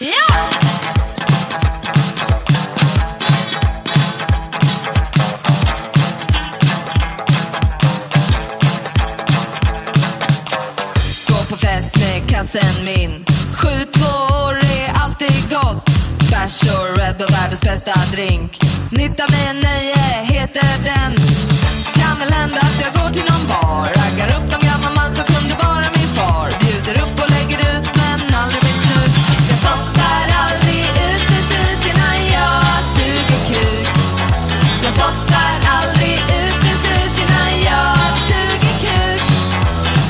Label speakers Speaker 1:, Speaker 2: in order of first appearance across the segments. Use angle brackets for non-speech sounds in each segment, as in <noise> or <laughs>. Speaker 1: Ja!
Speaker 2: Gå på fest med kassen min. 7-2 är alltid gott. Bärs och Red Bull, världens bästa drink. Nytta med nöje heter den. Kan väl hända att jag går till någon bar. Raggar upp någon gammal man som kunde vara min far. Bjuder upp och lägger ut men aldrig mitt snus. Jag spottar aldrig ut med snus innan jag suger kuk. Jag spottar aldrig ut med snus innan jag suger kuk.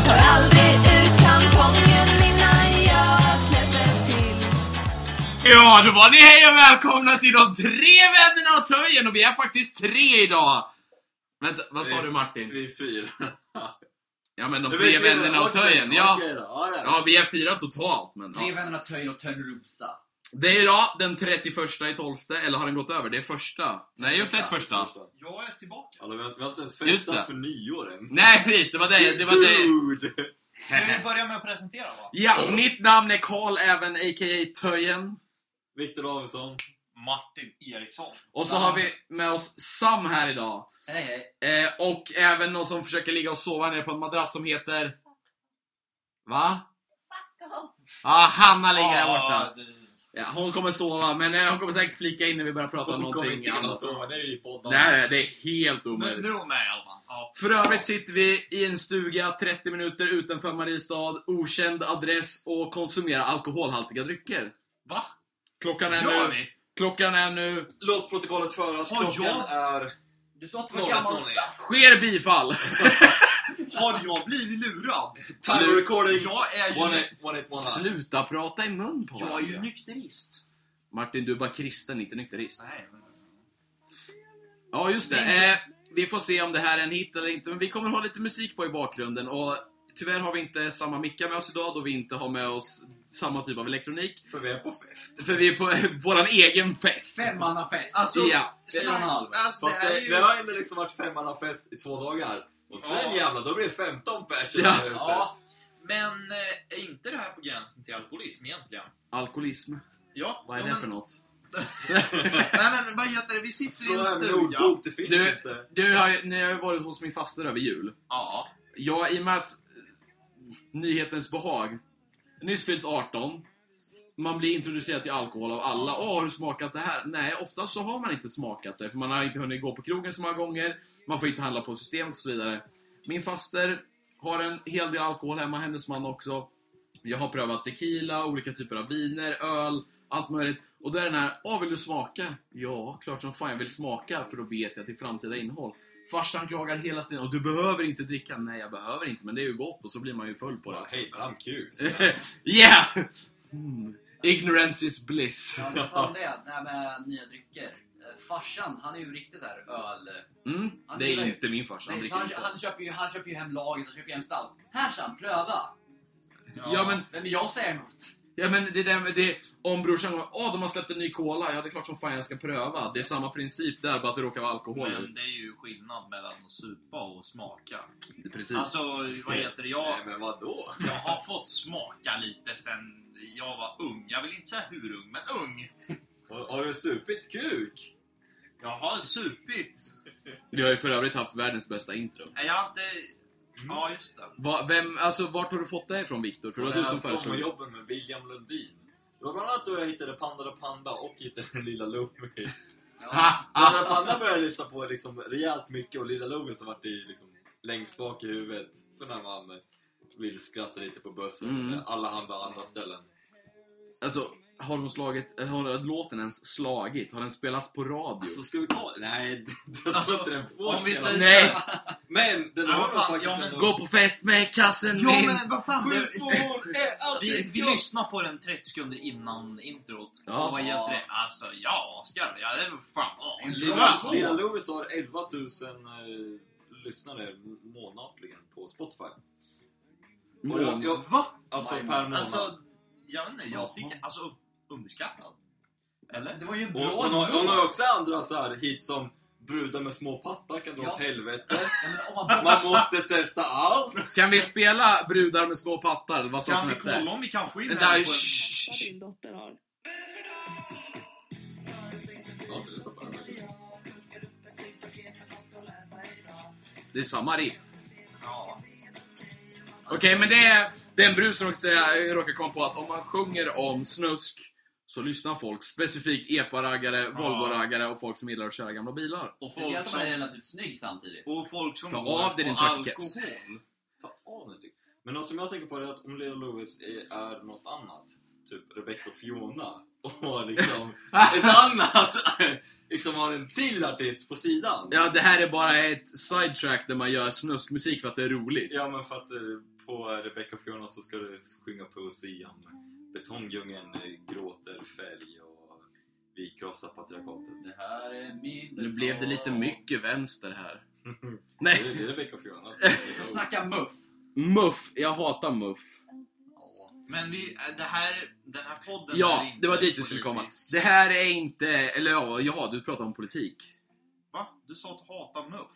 Speaker 2: Tar aldrig ut tampongen innan jag släpper till.
Speaker 3: Ja, då var ni hej och välkomna till de tre vännerna och töjen och vi är faktiskt tre idag! Vänta, vad sa du Martin?
Speaker 4: Vi är fyra.
Speaker 3: Ja men de
Speaker 4: Nu
Speaker 3: tre
Speaker 4: vet <laughs> vi det.
Speaker 3: vännerna och
Speaker 4: Okej,
Speaker 3: töjen, ja.
Speaker 4: okej då. Ja, det är det.
Speaker 3: Ja, vi är fyra totalt men
Speaker 5: Tre
Speaker 3: ja.
Speaker 5: vännerna Töjen och Törnrosa.
Speaker 3: Det är idag den 31 i 12, eller har den gått över? Det är första. Nej, ju 31.
Speaker 6: Jag är tillbaka.
Speaker 4: Alla, Alltså, vi, har, vi har inte ens
Speaker 3: Just det.
Speaker 4: festat för nyår än.
Speaker 3: Nej precis, det var det, det var det.
Speaker 4: Dude!
Speaker 6: Ska
Speaker 4: <laughs>
Speaker 6: vi börja med att presentera va?
Speaker 3: Ja, och mitt namn är Karl även a.k.a. Töjen.
Speaker 4: Viktor Davidsson.
Speaker 6: Martin Eriksson.
Speaker 3: Och så har vi med oss Sam här idag.
Speaker 5: Hej hej.
Speaker 3: Eh, och även någon som försöker ligga och sova nere på en madrass som heter... Va? Ja, ah, Hanna ligger där borta.
Speaker 6: Ja, det-
Speaker 3: Ja, hon kommer sova, men eh, hon kommer säkert flika in när vi börjar prata om
Speaker 4: Hon kommer
Speaker 3: någonting
Speaker 4: inte kunna
Speaker 3: annat.
Speaker 4: sova, det är vi i podden.
Speaker 3: Nej, nej, det är helt
Speaker 6: Nu, nu
Speaker 3: omöjligt.
Speaker 6: är hon med i alla fall. Ja.
Speaker 3: För övrigt sitter vi i en stuga 30 minuter utanför Mariestad, okänd adress och konsumerar alkoholhaltiga drycker.
Speaker 6: Va?
Speaker 3: Klockan är
Speaker 6: Gör
Speaker 3: nu...
Speaker 6: vi?
Speaker 3: Klockan är nu...
Speaker 4: Låt protokollet föra att
Speaker 6: Har
Speaker 4: klockan
Speaker 6: jag-
Speaker 4: är...
Speaker 5: Du sa att du var
Speaker 4: Noll,
Speaker 5: gammal
Speaker 4: noll,
Speaker 5: saft.
Speaker 3: Sker bifall!
Speaker 6: Har jag blivit lurad?
Speaker 4: Time recording!
Speaker 6: Jag är ju,
Speaker 4: 1819.
Speaker 3: Sluta prata i mun på
Speaker 6: jag är ju
Speaker 3: varandra.
Speaker 6: nykterist.
Speaker 3: Martin, du är bara kristen, inte nykterist.
Speaker 6: Nej, men...
Speaker 3: Ja, just det.
Speaker 6: Det är
Speaker 3: Eh, vi får se om det här är en hit eller inte, men vi kommer ha lite musik på i bakgrunden. Och tyvärr har vi inte samma mickar med oss idag, då vi inte har med oss samma typ av elektronik.
Speaker 4: För vi är på fest.
Speaker 3: För vi är på <laughs> våran egen fest.
Speaker 5: Femmannafest.
Speaker 6: Alltså,
Speaker 3: ja.
Speaker 5: en och en halv.
Speaker 6: alltså,
Speaker 4: Fast
Speaker 6: det här är
Speaker 4: det,
Speaker 6: ju...
Speaker 4: det har ändå liksom varit femmannafest i två dagar. Och sen
Speaker 6: Ja.
Speaker 4: jävlar, då blir det 15 pers i
Speaker 3: Ja.
Speaker 4: det här huset.
Speaker 5: Ja.
Speaker 6: Men eh, är inte det här på gränsen till alkoholism egentligen?
Speaker 3: Alkoholism.
Speaker 6: Ja.
Speaker 3: Vad är
Speaker 6: ja,
Speaker 3: det
Speaker 6: men,
Speaker 3: för något?
Speaker 6: Nej men vad heter det? Vi sitter i
Speaker 4: Slå
Speaker 6: en
Speaker 4: här med
Speaker 6: stuga.
Speaker 4: ordbok, det finns
Speaker 3: Du-
Speaker 4: inte.
Speaker 3: Du har ju, ni har ju varit hos min faster över jul.
Speaker 6: Ja.
Speaker 3: Ja, i och med att eh, nyhetens behag. Nyss fyllt 18. Man blir introducerad till alkohol av alla. Åh, har du smakat det här? Nej, oftast så har man inte smakat det. För man har inte hunnit gå på krogen så många gånger. Man får inte handla på systemet och så vidare. Min faster har en hel del alkohol hemma, hennes man också. Jag har prövat tequila, olika typer av viner, öl, allt möjligt. Och då är den här, åh vill du smaka? Ja, klart som fan jag vill smaka, för då vet jag till framtida innehåll. Farsan klagar hela tiden, och du behöver inte dricka. Nej, jag behöver inte, men det är ju gott och så blir man ju full på det.
Speaker 4: Bara, Hej, bramkuk.
Speaker 3: yeah! Mm. Ignorance is bliss.
Speaker 5: Ja, vad fan det är. Det här med nya drycker. Eh, Farsan, han är ju riktigt så här öl...
Speaker 3: Mm.
Speaker 5: Han
Speaker 3: Det
Speaker 5: gillar
Speaker 3: är
Speaker 5: ju-
Speaker 3: inte min farsa, han
Speaker 5: Nej, så
Speaker 3: dricker
Speaker 5: han,
Speaker 3: inte.
Speaker 5: han, köper ju, han köper ju hem laget, han köper ju hem stout. Här sa han, pröva!
Speaker 3: Ja men,
Speaker 5: Vem är jag säger emot?
Speaker 3: ja, men det där med det, om brorsan går, åh de har släppt en ny cola, ja det är klart som fan jag ska pröva. Det är samma princip där, bara att det råkar vara alkohol
Speaker 6: Men det är ju skillnad mellan att supa och smaka.
Speaker 3: i. Precis.
Speaker 6: Alltså, vad heter det? Jag,
Speaker 4: Nej, men vadå?
Speaker 6: jag har fått smaka lite sen jag var ung. Jag vill inte säga hur ung, men ung.
Speaker 4: Har, har du supit kuk?
Speaker 6: Jag har supit.
Speaker 3: Vi har ju för övrigt haft världens bästa intro.
Speaker 6: Nej, Jag har inte...
Speaker 3: Mm.
Speaker 6: Ja, just det.
Speaker 3: Va, vem, alltså, vart har du fått det ifrån Viktor? För det var du
Speaker 4: alltså
Speaker 3: som föreslog det.
Speaker 4: sommarjobben med William Lundin. Det var bland annat då jag hittade Panda da Panda och hittade den Lilla Lovis.
Speaker 5: Ja.
Speaker 3: Ha,
Speaker 4: Panda da
Speaker 3: ha.
Speaker 4: Panda började jag lyssna på liksom rejält mycket och Lilla Lovis har varit i, liksom, längst bak i huvudet för när man vill skratta lite på bussen
Speaker 3: Mm.
Speaker 4: eller alla andra, andra ställen.
Speaker 3: Alltså, har de slagit, eller har låten ens slagit? Har den spelat på radio?
Speaker 4: Alltså ska vi ta Nej, <laughs> jag
Speaker 6: Alltså,
Speaker 4: tror inte den får
Speaker 6: om vi säger-
Speaker 4: spela.
Speaker 3: Nej!
Speaker 4: Men den
Speaker 6: Ja,
Speaker 4: har
Speaker 6: vad fan,
Speaker 4: faktiskt
Speaker 6: ja, men-
Speaker 4: ändå...
Speaker 3: Gå på fest med kassen min!
Speaker 6: vad fan.
Speaker 4: Sju, två,
Speaker 5: <laughs>
Speaker 4: ett, allt
Speaker 6: Vi,
Speaker 4: är
Speaker 6: vi
Speaker 4: gott!
Speaker 6: lyssnar på den 30 sekunder innan introt.
Speaker 3: Ja.
Speaker 6: Och vad heter det? Alltså, ja, Oskar. Ja, det är väl fan
Speaker 4: Lilla,
Speaker 6: asskönt.
Speaker 4: Lilla Lovis har 11 000 eh, lyssnare månatligen på Spotify. Och jag, jag,
Speaker 6: Va?
Speaker 4: alltså
Speaker 5: Nej,
Speaker 4: per
Speaker 5: men-
Speaker 4: månad.
Speaker 6: Alltså, jag vet inte. Jag tycker... Alltså, underskattad. Eller?
Speaker 5: Det var ju en
Speaker 4: och
Speaker 5: bra
Speaker 4: hon har, hon
Speaker 5: låt.
Speaker 4: har också andra så här hit som brudar med små pattar kan dra
Speaker 5: Ja.
Speaker 4: åt helvete.
Speaker 5: Ja, men om man
Speaker 4: Man måste testa allt!
Speaker 3: Kan vi spela brudar med små pattar? Vad sa
Speaker 6: Kan
Speaker 3: de
Speaker 6: vi
Speaker 3: hette?
Speaker 6: kolla om vi kan få in
Speaker 3: Den
Speaker 6: henne
Speaker 3: där...
Speaker 6: på en-
Speaker 3: shh, shh,
Speaker 7: Vad
Speaker 3: shh.
Speaker 7: din dotter har.
Speaker 3: Det är samma riff.
Speaker 1: Ja.
Speaker 3: Okej, men det är, det är en brus som också jag råkar komma på att om man sjunger om snusk så lyssnar folk specifikt epa-raggare, Volvo-raggare och folk som gillar att köra gamla bilar.
Speaker 1: Och folk
Speaker 5: Speciellt om man är
Speaker 1: som,
Speaker 5: relativt snygg samtidigt.
Speaker 1: och folk som
Speaker 3: Ta
Speaker 1: går
Speaker 3: av dig din
Speaker 1: på
Speaker 3: trötta
Speaker 1: alkohol.
Speaker 3: keps.
Speaker 4: Ta av den tycker jag. Men något som jag tänker på är att om Lena Lewis är, är något annat, typ Rebecca och Fiona, och har liksom ett
Speaker 5: <laughs>
Speaker 4: annat, liksom har en till artist på sidan.
Speaker 3: Ja, det här är bara ett sidetrack där man gör snuskmusik för att det är roligt.
Speaker 4: Ja, men för att eh, på Rebecca och Fiona så ska du sjunga poesi om betongdjungeln eh, gråter fälg och vi krossar patriarkatet. <laughs>
Speaker 5: Det här är min
Speaker 3: Nu blev det lite mycket vänster här.
Speaker 4: Det
Speaker 3: Nej,
Speaker 4: är det är Rebecca alltså. och Fiona.
Speaker 5: Vi
Speaker 3: <laughs>
Speaker 5: får snacka muff.
Speaker 3: muff. Jag hatar muff.
Speaker 1: Men vi, eh, det här, den här podden är
Speaker 3: Ja,
Speaker 1: inte
Speaker 3: det var dit vi skulle komma.
Speaker 1: politisk.
Speaker 3: Det här är inte... Eller ja, ja du pratar om politik.
Speaker 1: Va? Du sa att hata muff.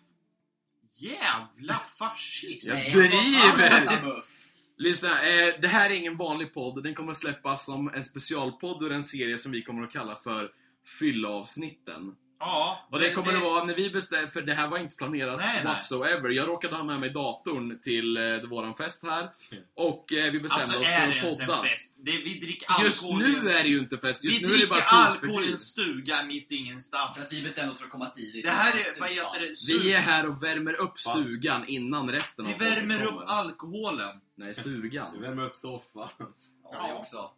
Speaker 1: Jävla fascist!
Speaker 3: Jag
Speaker 5: Nej,
Speaker 3: driver.
Speaker 5: jag hatar muff.
Speaker 3: Lyssna, eh, det här är ingen vanlig podd. Den kommer att släppas som en specialpodd ur en serie som vi kommer att kalla för Fylla-avsnitten.
Speaker 1: Ja,
Speaker 3: Och det kommer att vara när vi bestämmer, för det här var inte planerat
Speaker 1: Nej, nej.
Speaker 3: whatsoever. Jag råkade ha med mig datorn till eh, våran fest här. Och eh, vi bestämde
Speaker 1: Alltså
Speaker 3: oss
Speaker 1: är
Speaker 3: för
Speaker 1: det
Speaker 3: att
Speaker 1: ens en
Speaker 3: podda.
Speaker 1: fest? Det, vi dricker
Speaker 3: Just
Speaker 1: alkohol i en-
Speaker 3: nu är det ju inte fest, just
Speaker 1: Vi
Speaker 3: nu är det bara
Speaker 1: dricker alkohol i en
Speaker 3: torsdagsfest.
Speaker 1: stuga mitt ingenstans.
Speaker 5: För att vi bestämde oss för att komma tidigt.
Speaker 1: Det här är, vad heter det?
Speaker 3: Vi
Speaker 1: Su-
Speaker 3: är här och värmer upp
Speaker 4: Fast-
Speaker 3: stugan innan resten av
Speaker 1: Vi
Speaker 3: folket
Speaker 1: värmer upp
Speaker 3: kommer.
Speaker 1: alkoholen.
Speaker 3: Nej,
Speaker 4: Vi
Speaker 3: stugan.
Speaker 4: värmer upp soffan.
Speaker 5: Ja, det också.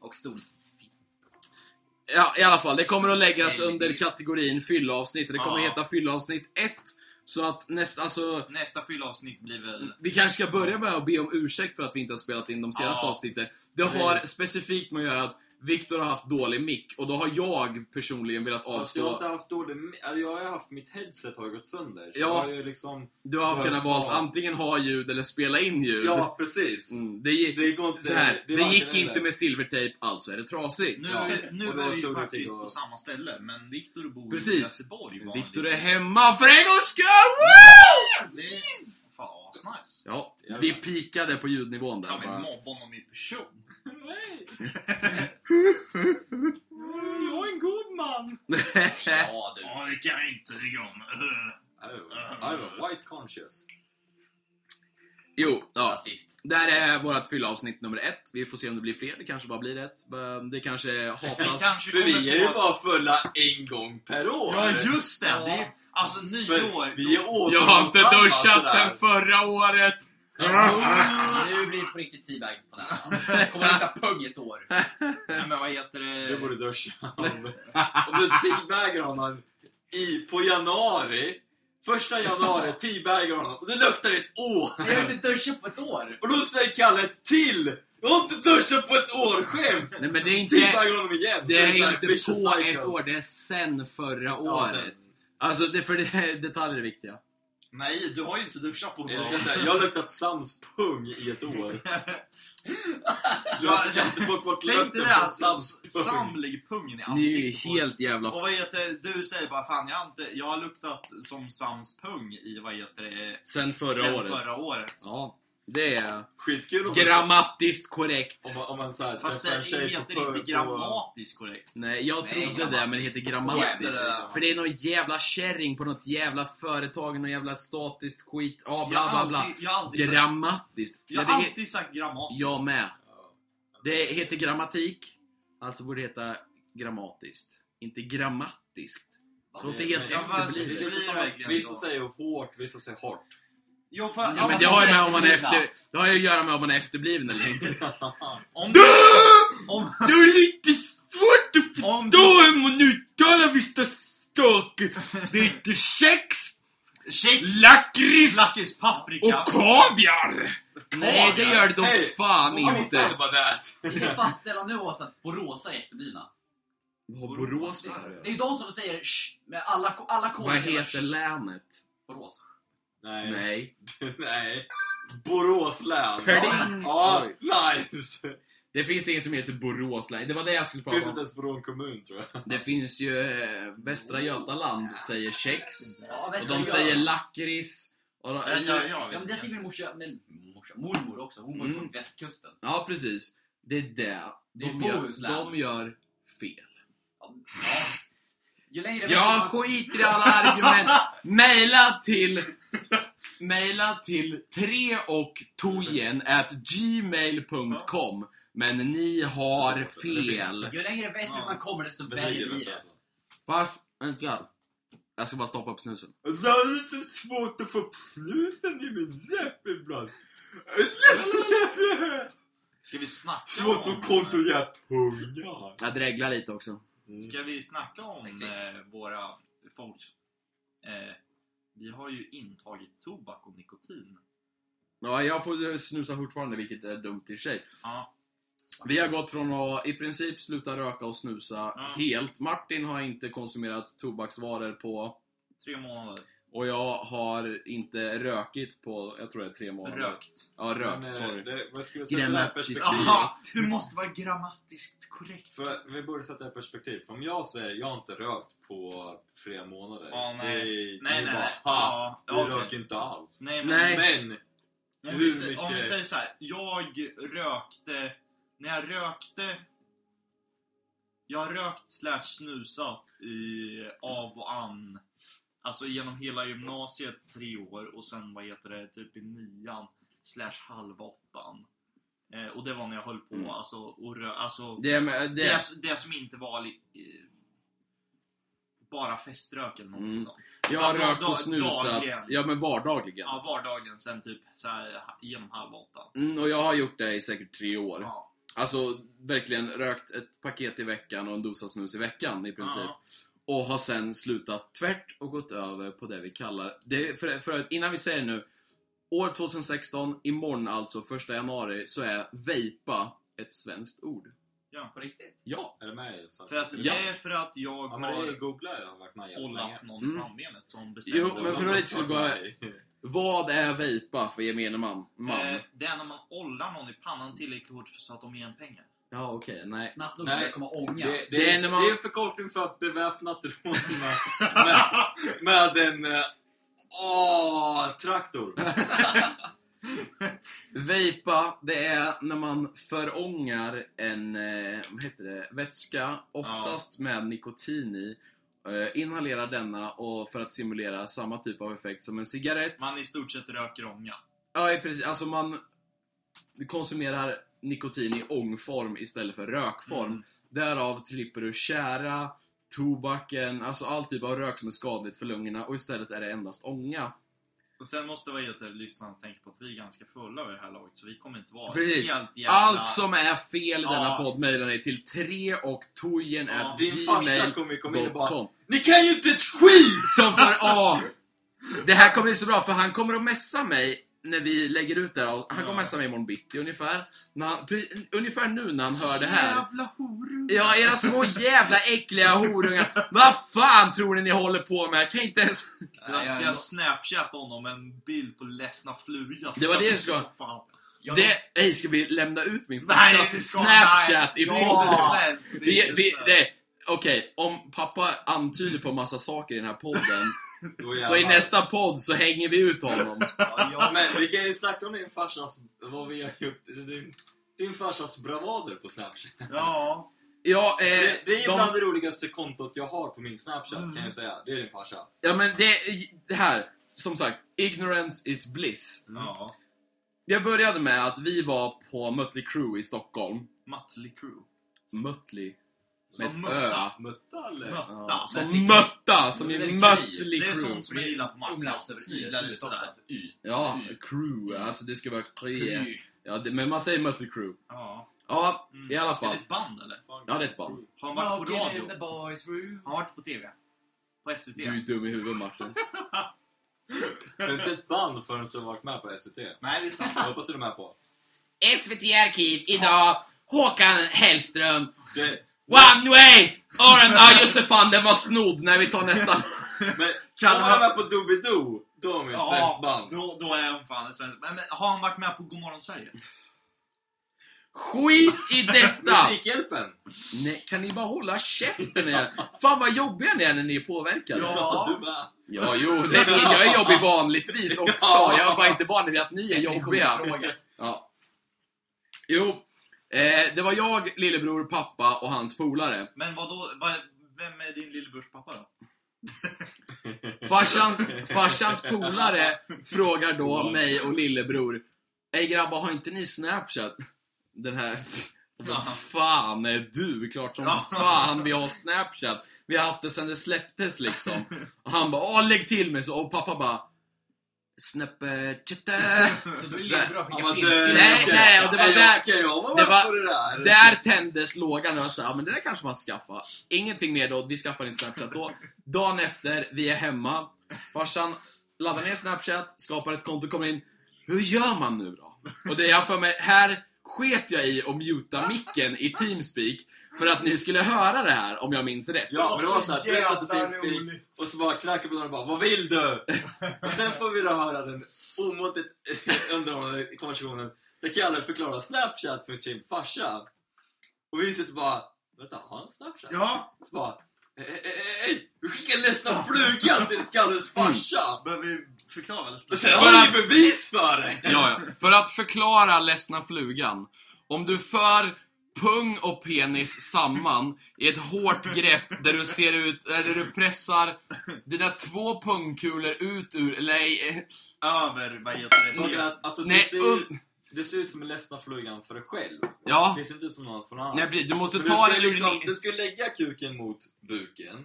Speaker 5: Och stols...
Speaker 3: Ja, i alla fall. Det kommer att läggas
Speaker 5: Nej,
Speaker 3: under
Speaker 5: det-
Speaker 3: kategorin fyllavsnitt. Det kommer
Speaker 1: Ja.
Speaker 3: heta fyllavsnitt 1. Så att nästa, alltså...
Speaker 1: Nästa fyllavsnitt blir väl...
Speaker 3: Vi kanske ska börja med att be om ursäkt för att vi inte har spelat in de senaste
Speaker 1: Ja.
Speaker 3: avsnitten. Det har specifikt med att göra att Viktor har haft dålig mick och då har jag personligen velat
Speaker 4: Fast jag har inte
Speaker 3: avstå.
Speaker 4: haft dålig... eller Jag har ju haft... Mitt headset har ju gått sönder. Så
Speaker 3: Ja.
Speaker 4: jag har ju liksom...
Speaker 3: Du har
Speaker 4: jag
Speaker 3: kunnat
Speaker 4: ska-
Speaker 3: valt antingen ha ljud eller spela in ljud.
Speaker 4: Ja, precis.
Speaker 3: Mm, det gick,
Speaker 4: Det går inte...
Speaker 3: så här, det,
Speaker 4: är varken
Speaker 3: gick inte
Speaker 4: eller.
Speaker 3: med silvertejp, alltså är det trasigt.
Speaker 1: Nu,
Speaker 4: Ja,
Speaker 1: nu
Speaker 4: och då
Speaker 1: var vi
Speaker 4: tog det
Speaker 1: faktiskt
Speaker 4: till
Speaker 1: på
Speaker 4: att-
Speaker 1: samma ställe, men Viktor bor i
Speaker 3: Precis.
Speaker 1: Göteborg. vanligtvis.
Speaker 3: Viktor är hemma för en gångs skull! Woo!
Speaker 1: Det är fan asnice.
Speaker 3: Ja, vi pikade på ljudnivån där.
Speaker 1: Kan vi
Speaker 3: bara. <laughs>
Speaker 1: mobba honom i person?
Speaker 5: <laughs>
Speaker 4: Nej! jag är en god man!
Speaker 5: Ja, du.
Speaker 1: Ja, det kan jag inte tycka om.
Speaker 4: I'm a white conscious.
Speaker 3: jo, ja. <laughs>
Speaker 5: Rasist.
Speaker 3: Där är vårt fyllavsnitt nummer ett. Vi får se om det blir fler, det kanske bara blir ett. Det kanske
Speaker 1: Vi <laughs>
Speaker 3: hatas.
Speaker 1: kanske
Speaker 4: För vi
Speaker 1: kommer
Speaker 4: är ju
Speaker 1: på-
Speaker 4: bara fulla en gång per år.
Speaker 1: Ja, just det!
Speaker 5: Ja.
Speaker 1: det är, ju- alltså, nyår...
Speaker 4: För vi är återhållsamma
Speaker 3: Jag har inte duschat
Speaker 4: sådär.
Speaker 3: sen förra året!
Speaker 5: Nu blir det på riktigt teabag på näsan. Kommer att lukta pung i ett år.
Speaker 1: Nej, men vad heter det?
Speaker 4: Du borde duscha. Om du- Om du teabaggar honom i, på januari, första januari teabaggar honom och det luktar ett år.
Speaker 5: Jag har inte duschat på ett år.
Speaker 4: Och då säger Kalle ett till! Jag har inte duschat på ett år, skämt!
Speaker 3: Nej men det
Speaker 4: <laughs>
Speaker 3: är inte,
Speaker 4: Teabaggar honom igen.
Speaker 3: det
Speaker 4: Så så
Speaker 3: är
Speaker 4: här,
Speaker 3: inte
Speaker 4: vicious
Speaker 3: på
Speaker 4: cycle.
Speaker 3: ett år, det är sen förra
Speaker 4: Ja, sen.
Speaker 3: året. Alltså, det, för det, <laughs> detaljer är viktiga.
Speaker 1: Nej, du har ju inte duschat på
Speaker 4: Jag, ska säga, jag har luktat Sams pung i ett år. Du har jag har inte fått bort
Speaker 1: Tänk dig
Speaker 4: lukten
Speaker 1: det,
Speaker 4: på
Speaker 1: alltså,
Speaker 4: Sams
Speaker 1: Sam
Speaker 4: pung.
Speaker 1: ligger pungen i
Speaker 3: Ni är
Speaker 1: ansiktet på
Speaker 3: helt jävla...
Speaker 1: dig. Och vad heter det? Du säger bara fan, jag har, inte, jag har luktat som Sams pung i, vad heter det,
Speaker 3: Sen
Speaker 1: sen
Speaker 3: förra året.
Speaker 1: förra året.
Speaker 3: Ja, det är
Speaker 4: Skitkul om man,
Speaker 3: grammatiskt korrekt.
Speaker 4: om man, om man så här,
Speaker 1: Fast
Speaker 4: träffar en
Speaker 1: det
Speaker 4: tjej på
Speaker 1: heter inte
Speaker 4: på-
Speaker 1: grammatiskt korrekt.
Speaker 3: Nej, jag
Speaker 5: Nej,
Speaker 3: trodde det, men det heter
Speaker 1: Vad
Speaker 3: grammatiskt.
Speaker 1: heter det?
Speaker 3: För det är någon jävla kärring på något jävla företag, någon jävla statiskt skit, ja bla bla bla.
Speaker 1: Jag har alltid, jag har alltid,
Speaker 3: Grammatiskt.
Speaker 1: sagt, jag
Speaker 3: Nej,
Speaker 1: har
Speaker 3: det he-
Speaker 1: alltid sagt grammatiskt.
Speaker 3: jag med.
Speaker 4: Ja.
Speaker 3: Det heter grammatik, alltså borde det heta grammatiskt. Inte grammatiskt.
Speaker 5: Va?
Speaker 3: Det låter helt
Speaker 4: Ja,
Speaker 1: fast
Speaker 4: Det
Speaker 3: efterblivet.
Speaker 4: är lite
Speaker 1: blir
Speaker 4: som
Speaker 1: verkligen
Speaker 4: att vissa
Speaker 1: så.
Speaker 4: säger hårt, vissa säger hårt. <laughs>
Speaker 1: Jo, för,
Speaker 5: Ja,
Speaker 3: Ja, men
Speaker 5: man
Speaker 3: det
Speaker 5: får
Speaker 3: har, ju
Speaker 5: säga
Speaker 3: med om man är
Speaker 5: efterblivna.
Speaker 3: efter, det har ju att göra med om man är efterbliven eller inte.
Speaker 1: om,
Speaker 3: Du!
Speaker 1: om,
Speaker 3: Det är lite svårt att
Speaker 1: Om
Speaker 3: förstå
Speaker 1: du-
Speaker 3: hur man uttalar vissa saker. Det heter kex,
Speaker 1: Shakespeare,
Speaker 3: lakrits
Speaker 1: lakrits, paprika.
Speaker 3: och kaviar. Nej, det gör det då
Speaker 4: Nej.
Speaker 3: fan inte.
Speaker 4: About that.
Speaker 5: Vi kan fastställa nu Åsa att Boråsa är efterblivna.
Speaker 3: Vad Borås är.
Speaker 5: Det är ju de som säger sh med alla, alla k
Speaker 3: Vad heter länet?
Speaker 5: Borås.
Speaker 4: Nej. Nej.
Speaker 3: Nej.
Speaker 4: Borås län.
Speaker 3: Pling.
Speaker 4: Ja,
Speaker 3: Oj.
Speaker 4: nice!
Speaker 3: Det finns inget som heter Borås län. Det var det jag skulle
Speaker 4: Finns
Speaker 3: prata
Speaker 4: inte
Speaker 3: om.
Speaker 4: ens Borås kommun tror jag.
Speaker 3: Det finns ju eh, Västra Götaland säger kex.
Speaker 5: Ja,
Speaker 3: Och
Speaker 5: vet du,
Speaker 3: de
Speaker 5: jag-
Speaker 3: säger lakrits. Och de,
Speaker 1: Ja, ja, ja,
Speaker 5: Ja men det säger min morsa, men morsa, mormor också, hon var
Speaker 3: Mm.
Speaker 5: från västkusten.
Speaker 3: Ja, precis. Det är det.
Speaker 5: Det är
Speaker 3: De gör,
Speaker 5: Bohuslän.
Speaker 3: de gör fel.
Speaker 5: Ju längre vi-
Speaker 3: Jag skiter i alla <laughs> argument. Maila till... Maila till 3 och tojen at gmail.com. Men ni har fel.
Speaker 5: Ju längre västerut man kommer desto värre blir det.
Speaker 3: Vars... Vänta. Jag ska bara stoppa upp snusen.
Speaker 4: Det är Alltså, lite svårt att få upp snusen i min läpp <laughs> ibland.
Speaker 1: Ska vi snacka
Speaker 4: Svårt
Speaker 1: om...
Speaker 4: att kontrollera pungar.
Speaker 3: Jag dreglar lite också.
Speaker 1: Ska vi snacka om
Speaker 5: Sex, sex.
Speaker 1: eh, våra folks... Eh, vi har ju intagit tobak och nikotin.
Speaker 3: Ja, jag får ju snusa fortfarande, vilket är dumt i sig.
Speaker 1: Ja.
Speaker 3: Vi har gått från att i princip sluta röka och snusa
Speaker 1: Ja.
Speaker 3: helt. Martin har inte konsumerat tobaksvaror på...
Speaker 1: Tre månader.
Speaker 3: Och jag har inte rökit på, jag tror det är tre månader.
Speaker 1: Rökt.
Speaker 3: Ja,
Speaker 4: Men,
Speaker 3: rökt.
Speaker 4: eh,
Speaker 3: Sorry.
Speaker 4: det- Vad ska vi sätta det här
Speaker 3: Grammatiskt.
Speaker 4: perspektivet?
Speaker 1: Aha, du måste vara grammatiskt korrekt.
Speaker 4: <laughs> För vi borde sätta det i perspektiv. För om jag säger jag har inte rökt på flera månader.
Speaker 1: Ja, nej.
Speaker 4: Det är, det
Speaker 1: Nej, nej,
Speaker 4: är
Speaker 1: nej.
Speaker 4: Bara, ha,
Speaker 1: Ja,
Speaker 4: du
Speaker 1: okej.
Speaker 4: röker inte alls.
Speaker 1: Nej, men
Speaker 3: Nej.
Speaker 4: Men, Hur
Speaker 1: Om, vi, sä- om vi
Speaker 4: mycket-
Speaker 1: säger så här. Jag rökte... När jag rökte... Jag har rökt slash snusat i av och an. Alltså genom hela gymnasiet tre år och sen vad heter det, typ i nian slash halva åttan. Eh, och det var när jag höll på
Speaker 3: Mm.
Speaker 1: alltså, och rö- alltså
Speaker 3: Det, med,
Speaker 1: det,
Speaker 3: det,
Speaker 1: det som inte var li- eh, bara feströk eller någonting
Speaker 3: Mm.
Speaker 1: sånt.
Speaker 3: jag har
Speaker 1: dag-
Speaker 3: rökt
Speaker 1: dag-
Speaker 3: och snusat,
Speaker 1: dagligen.
Speaker 3: ja men vardagligen.
Speaker 1: Ja, vardagen sen typ så här, ha- genom halv åtta.
Speaker 3: Mm, och jag har gjort det i säkert tre år.
Speaker 1: Ja.
Speaker 3: Alltså verkligen rökt ett paket i veckan och en dosa snus i veckan i princip.
Speaker 1: Ja.
Speaker 3: Och har sen slutat tvärt och gått över på det vi kallar, det, för, för att innan vi säger nu, år 2016, imorgon alltså, första januari, så är vejpa ett svenskt ord.
Speaker 5: På riktigt.
Speaker 3: Ja.
Speaker 4: är det med i svenska?
Speaker 1: För att,
Speaker 4: Ja.
Speaker 1: Det är för att jag
Speaker 4: Ja, men det är
Speaker 1: har
Speaker 4: googla jag har varit med jävligt länge.
Speaker 1: ollat någon
Speaker 3: Mm.
Speaker 1: i pannbenet som bestämde.
Speaker 3: Jo, men för att det inte skulle gå- Vad är vejpa för gemene man? man.
Speaker 1: Eh, Det är när man ollar någon i pannan tillräckligt hårt så att de ger en
Speaker 3: <laughs>
Speaker 1: pengar.
Speaker 3: Ja, okej, nej.
Speaker 5: Snabbt nog
Speaker 4: Nej.
Speaker 5: skulle det komma ånga.
Speaker 4: Det, det,
Speaker 3: Det är
Speaker 4: är,
Speaker 3: när man-
Speaker 4: det är förkortning för att beväpnat rån med, med, med en... eh, Åh, traktor!
Speaker 3: Vejpa, det är när man förångar en eh, vad heter det, vätska, oftast med nikotin i. Eh, inhalerar denna och för att simulera samma typ av effekt som en cigarett.
Speaker 1: Man i stort sett röker ånga.
Speaker 3: Ja, i precis. Alltså man konsumerar nikotin i ångform istället för rökform.
Speaker 1: Mm.
Speaker 3: Därav slipper du tjära, tobaken, alltså all typ av rök som är skadligt för lungorna och istället är det endast ånga.
Speaker 1: Och sen måste vad heter det, lyssnarna tänka på att vi är ganska fulla över det här laget så vi kommer inte vara
Speaker 3: Precis. Alltså,
Speaker 1: helt jävla...
Speaker 3: Allt som är fel i denna
Speaker 1: Ja.
Speaker 3: podd mejlar ni till 3 och tojen
Speaker 1: Ja.
Speaker 3: at
Speaker 4: Din farsa
Speaker 3: gmail.com
Speaker 4: kommer ju komma in och bara Ni kan ju inte ett skit!
Speaker 3: Som för A! Det här kommer bli så bra för han kommer att messa mig när vi lägger ut det här. Han kommer
Speaker 1: Ja.
Speaker 3: messa mig imorgon bitti ungefär. När han, pre- ungefär nu när han hör det här.
Speaker 1: Jävla horungar!
Speaker 3: Ja, era små jävla äckliga horungar. Vad fan tror ni ni håller på med? Jag kan inte ens...
Speaker 5: Nej,
Speaker 1: Jag ska
Speaker 5: jag-
Speaker 1: jag snapchatta honom en bild på ledsna fluga.
Speaker 3: Det var det jag skulle-
Speaker 1: Fan.
Speaker 5: jag-
Speaker 3: Det... Ej, ska vi lämna ut min
Speaker 1: Nej, det
Speaker 3: farsas
Speaker 1: ska-
Speaker 3: snapchat i
Speaker 1: nej, Det är
Speaker 3: podden?
Speaker 1: inte snällt. Det
Speaker 3: Vi,
Speaker 1: är
Speaker 3: vi,
Speaker 1: inte snällt.
Speaker 3: det, okej, om pappa antyder på massa saker i den här podden,
Speaker 4: Då
Speaker 3: så i
Speaker 4: jävlar.
Speaker 3: nästa podd så hänger vi ut honom.
Speaker 5: Ja,
Speaker 4: Ja,
Speaker 5: jag,
Speaker 4: men vi kan ju snacka om din farsas, vad vi har gjort, din, din farsas bravader på Snapchat.
Speaker 1: Ja.
Speaker 3: Ja, eh,
Speaker 4: Det, det är bland
Speaker 3: de,
Speaker 4: det roligaste kontot jag har på min Snapchat
Speaker 1: Mm.
Speaker 4: kan jag säga. Det är din farsa.
Speaker 3: ja men det, det här, som sagt, ignorance is bliss.
Speaker 1: ja.
Speaker 3: Jag började med att vi var på Mötley Crüe i Stockholm.
Speaker 1: Mötley Crüe.
Speaker 3: Mötley.
Speaker 1: Som
Speaker 3: Med ett
Speaker 1: mötta.
Speaker 3: ö.
Speaker 4: Mutta eller?
Speaker 1: Mötta.
Speaker 3: Ja, som
Speaker 5: Men-
Speaker 3: mötta, som i
Speaker 5: Men-
Speaker 3: Mötley
Speaker 1: Det är
Speaker 3: Crüe.
Speaker 1: sånt som jag gillar på
Speaker 5: Umlaut
Speaker 1: Mac.
Speaker 5: över
Speaker 1: Snilar
Speaker 5: i,
Speaker 1: lite sådär.
Speaker 5: utsatt y.
Speaker 3: Ja,
Speaker 5: Mm.
Speaker 3: crew. Alltså det ska vara crew.
Speaker 5: Kry.
Speaker 3: Ja, det, men man säger Mötley Crüe.
Speaker 1: Ja.
Speaker 3: Ja,
Speaker 1: Mm.
Speaker 3: i alla
Speaker 1: Är
Speaker 3: fall.
Speaker 1: det ett band eller?
Speaker 3: Ja, det är ett band.
Speaker 1: Har han varit på
Speaker 5: Smoking in the
Speaker 1: radio?
Speaker 5: boys room.
Speaker 1: Har han varit på TV? På SVT?
Speaker 3: Du är ju dum i huvudet Martin.
Speaker 4: Det är inte ett band förrän du har varit med på SVT.
Speaker 1: Nej, det
Speaker 3: <laughs>
Speaker 1: är sant.
Speaker 4: Jag hoppas du är med på.
Speaker 3: <laughs> SVT Arkiv idag. Håkan Hellström.
Speaker 4: Det,
Speaker 3: One way! Aron, ja just det fan den var snodd när vi tar nästa.
Speaker 4: men
Speaker 1: Kan
Speaker 4: om man
Speaker 1: han-
Speaker 4: är med på Doobidoo, då är man ett svenskt band.
Speaker 1: då, då är han fan en svensk. Men, men har han varit med på Godmorgon Sverige?
Speaker 3: Skit i <laughs> detta!
Speaker 4: Musikhjälpen!
Speaker 3: Nej, kan ni bara hålla käften er? Fan vad jobbiga ni är när ni är påverkade.
Speaker 1: Ja.
Speaker 4: Du med.
Speaker 3: Ja, jo, det är, jag är jobbig <laughs> vanligtvis också. Jag är bara inte van vid att ni är
Speaker 5: Vi kommer
Speaker 3: jobbiga.
Speaker 5: fråga.
Speaker 3: Ja. Jo, Eh, det var jag, lillebror, pappa och hans polare.
Speaker 6: Men vadå, vad, vem är din lillebrors pappa då?
Speaker 3: Farsans, farsans polare frågar då mig och lillebror Ey grabbar, har inte ni Snapchat? Den här...
Speaker 6: Ja.
Speaker 3: Vad fan är du? Klart som
Speaker 6: Ja.
Speaker 3: fan vi har Snapchat. Vi har haft det sen det släpptes liksom. Och han bara, åh lägg till mig! Så, och pappa bara, Snapchat.
Speaker 5: Så då är det
Speaker 3: Så här.
Speaker 5: lika bra
Speaker 4: Han
Speaker 5: att skicka
Speaker 4: bara,
Speaker 5: filmbilder.
Speaker 4: "Du,
Speaker 3: Nej,
Speaker 4: okej.
Speaker 3: nej, och det var
Speaker 4: Ey,
Speaker 3: där-
Speaker 4: Okej, jag var
Speaker 3: det
Speaker 4: med
Speaker 3: var-
Speaker 4: på det där.
Speaker 3: Där tändes lågan och jag sa, ja men det där kanske man ska skaffa. Ingenting mer då, vi skaffar inte Snapchat då. Dagen efter, vi är hemma. Farsan laddar ner Snapchat, skapar ett konto, kommer in. Hur gör man nu då? Och det jag för mig, här sket jag i att muta micken i Teamspeak för att ni skulle höra det här om jag minns rätt.
Speaker 4: Ja, men det var såhär, du satte
Speaker 6: jävla
Speaker 4: Teamspeak
Speaker 6: roligt.
Speaker 4: och så bara knackade på dörren och bara Vad
Speaker 3: <laughs>
Speaker 4: vill du? Och sen får vi då höra den omåttligt <laughs> underhållande konversationen där Kalle förklarar Snapchat för sin farsa. Och vi sitter bara Vänta, har han Snapchat?
Speaker 6: Ja,
Speaker 4: Så bara "Eh, eh, eh, eh, Du skickar ledsna flugan till Kalles farsa!
Speaker 6: behöver vi förklara eller
Speaker 4: Och
Speaker 6: snabbt?
Speaker 4: sen har
Speaker 3: Mm. Bara-
Speaker 4: du ju bevis för det!
Speaker 3: Ja, ja. För att förklara ledsna flugan. Om du för pung och penis samman i ett hårt grepp där du ser ut, eh, där du pressar dina två pungkulor ut ur, nej, eh,
Speaker 6: Över, vad heter
Speaker 4: Saken är
Speaker 6: det?
Speaker 4: att, alltså,
Speaker 3: Nej,
Speaker 4: det, ser,
Speaker 3: um-
Speaker 4: det ser ut som en ledsna flugan för dig själv.
Speaker 3: ja.
Speaker 4: Det ser inte ut som någon från annan.
Speaker 3: Nej, precis. du måste
Speaker 4: Men
Speaker 3: ta
Speaker 4: du
Speaker 3: det
Speaker 4: ska,
Speaker 3: ur
Speaker 4: liksom,
Speaker 3: din...
Speaker 4: du ska lägga kuken mot buken.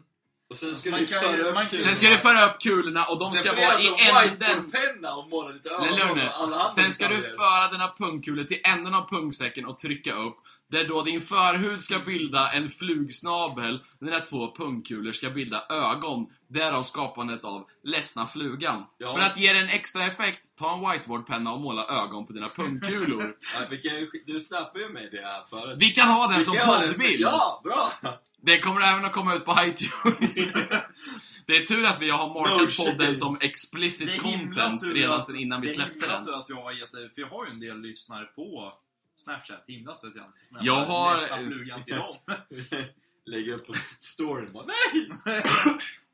Speaker 4: Och sen ska
Speaker 6: Man
Speaker 4: du
Speaker 6: kan
Speaker 4: föra
Speaker 6: ju-
Speaker 4: upp
Speaker 6: man kan ju-
Speaker 3: Sen ska du föra upp kulorna och de
Speaker 4: Sen
Speaker 3: ska
Speaker 4: får
Speaker 3: vara
Speaker 4: du
Speaker 3: i
Speaker 4: alltså
Speaker 3: änden.
Speaker 4: whiteboardpenna och måla lite
Speaker 3: Nej, lugn nu.
Speaker 4: över alla andra
Speaker 3: Sen ska du
Speaker 4: detaljer.
Speaker 3: föra dina pungkulor till änden av pungsäcken och trycka upp. Där då din förhud ska bilda en flugsnabel, dina två pungkulor ska bilda ögon. Därav skapandet av ledsna flugan.
Speaker 4: Ja.
Speaker 3: För att ge den en extra effekt, ta en whiteboardpenna och måla ögon på dina pungkulor.
Speaker 4: Ja, vi kan ju, sk- du snappade ju mig det här förut.
Speaker 3: Vi kan ha den
Speaker 4: Vi
Speaker 3: som
Speaker 4: kan göra det.
Speaker 3: poddbild!
Speaker 4: Ja, bra! <laughs>
Speaker 3: Det kommer även att komma ut på iTunes. det är tur att vi har
Speaker 4: No
Speaker 3: markat
Speaker 4: shit.
Speaker 3: podden som
Speaker 6: Det
Speaker 3: explicit
Speaker 6: är himla
Speaker 3: content
Speaker 6: tur
Speaker 3: redan
Speaker 6: att-
Speaker 3: sedan innan vi
Speaker 6: Det är
Speaker 3: släppte
Speaker 6: himla
Speaker 3: den.
Speaker 6: tur att jag har gett dig, för jag har ju en del lyssnare på Snapchat. Himla tur att jag inte snappade
Speaker 3: Jag har-
Speaker 6: nästa flugan till dem.
Speaker 4: Lägger upp på storyn bara, nej!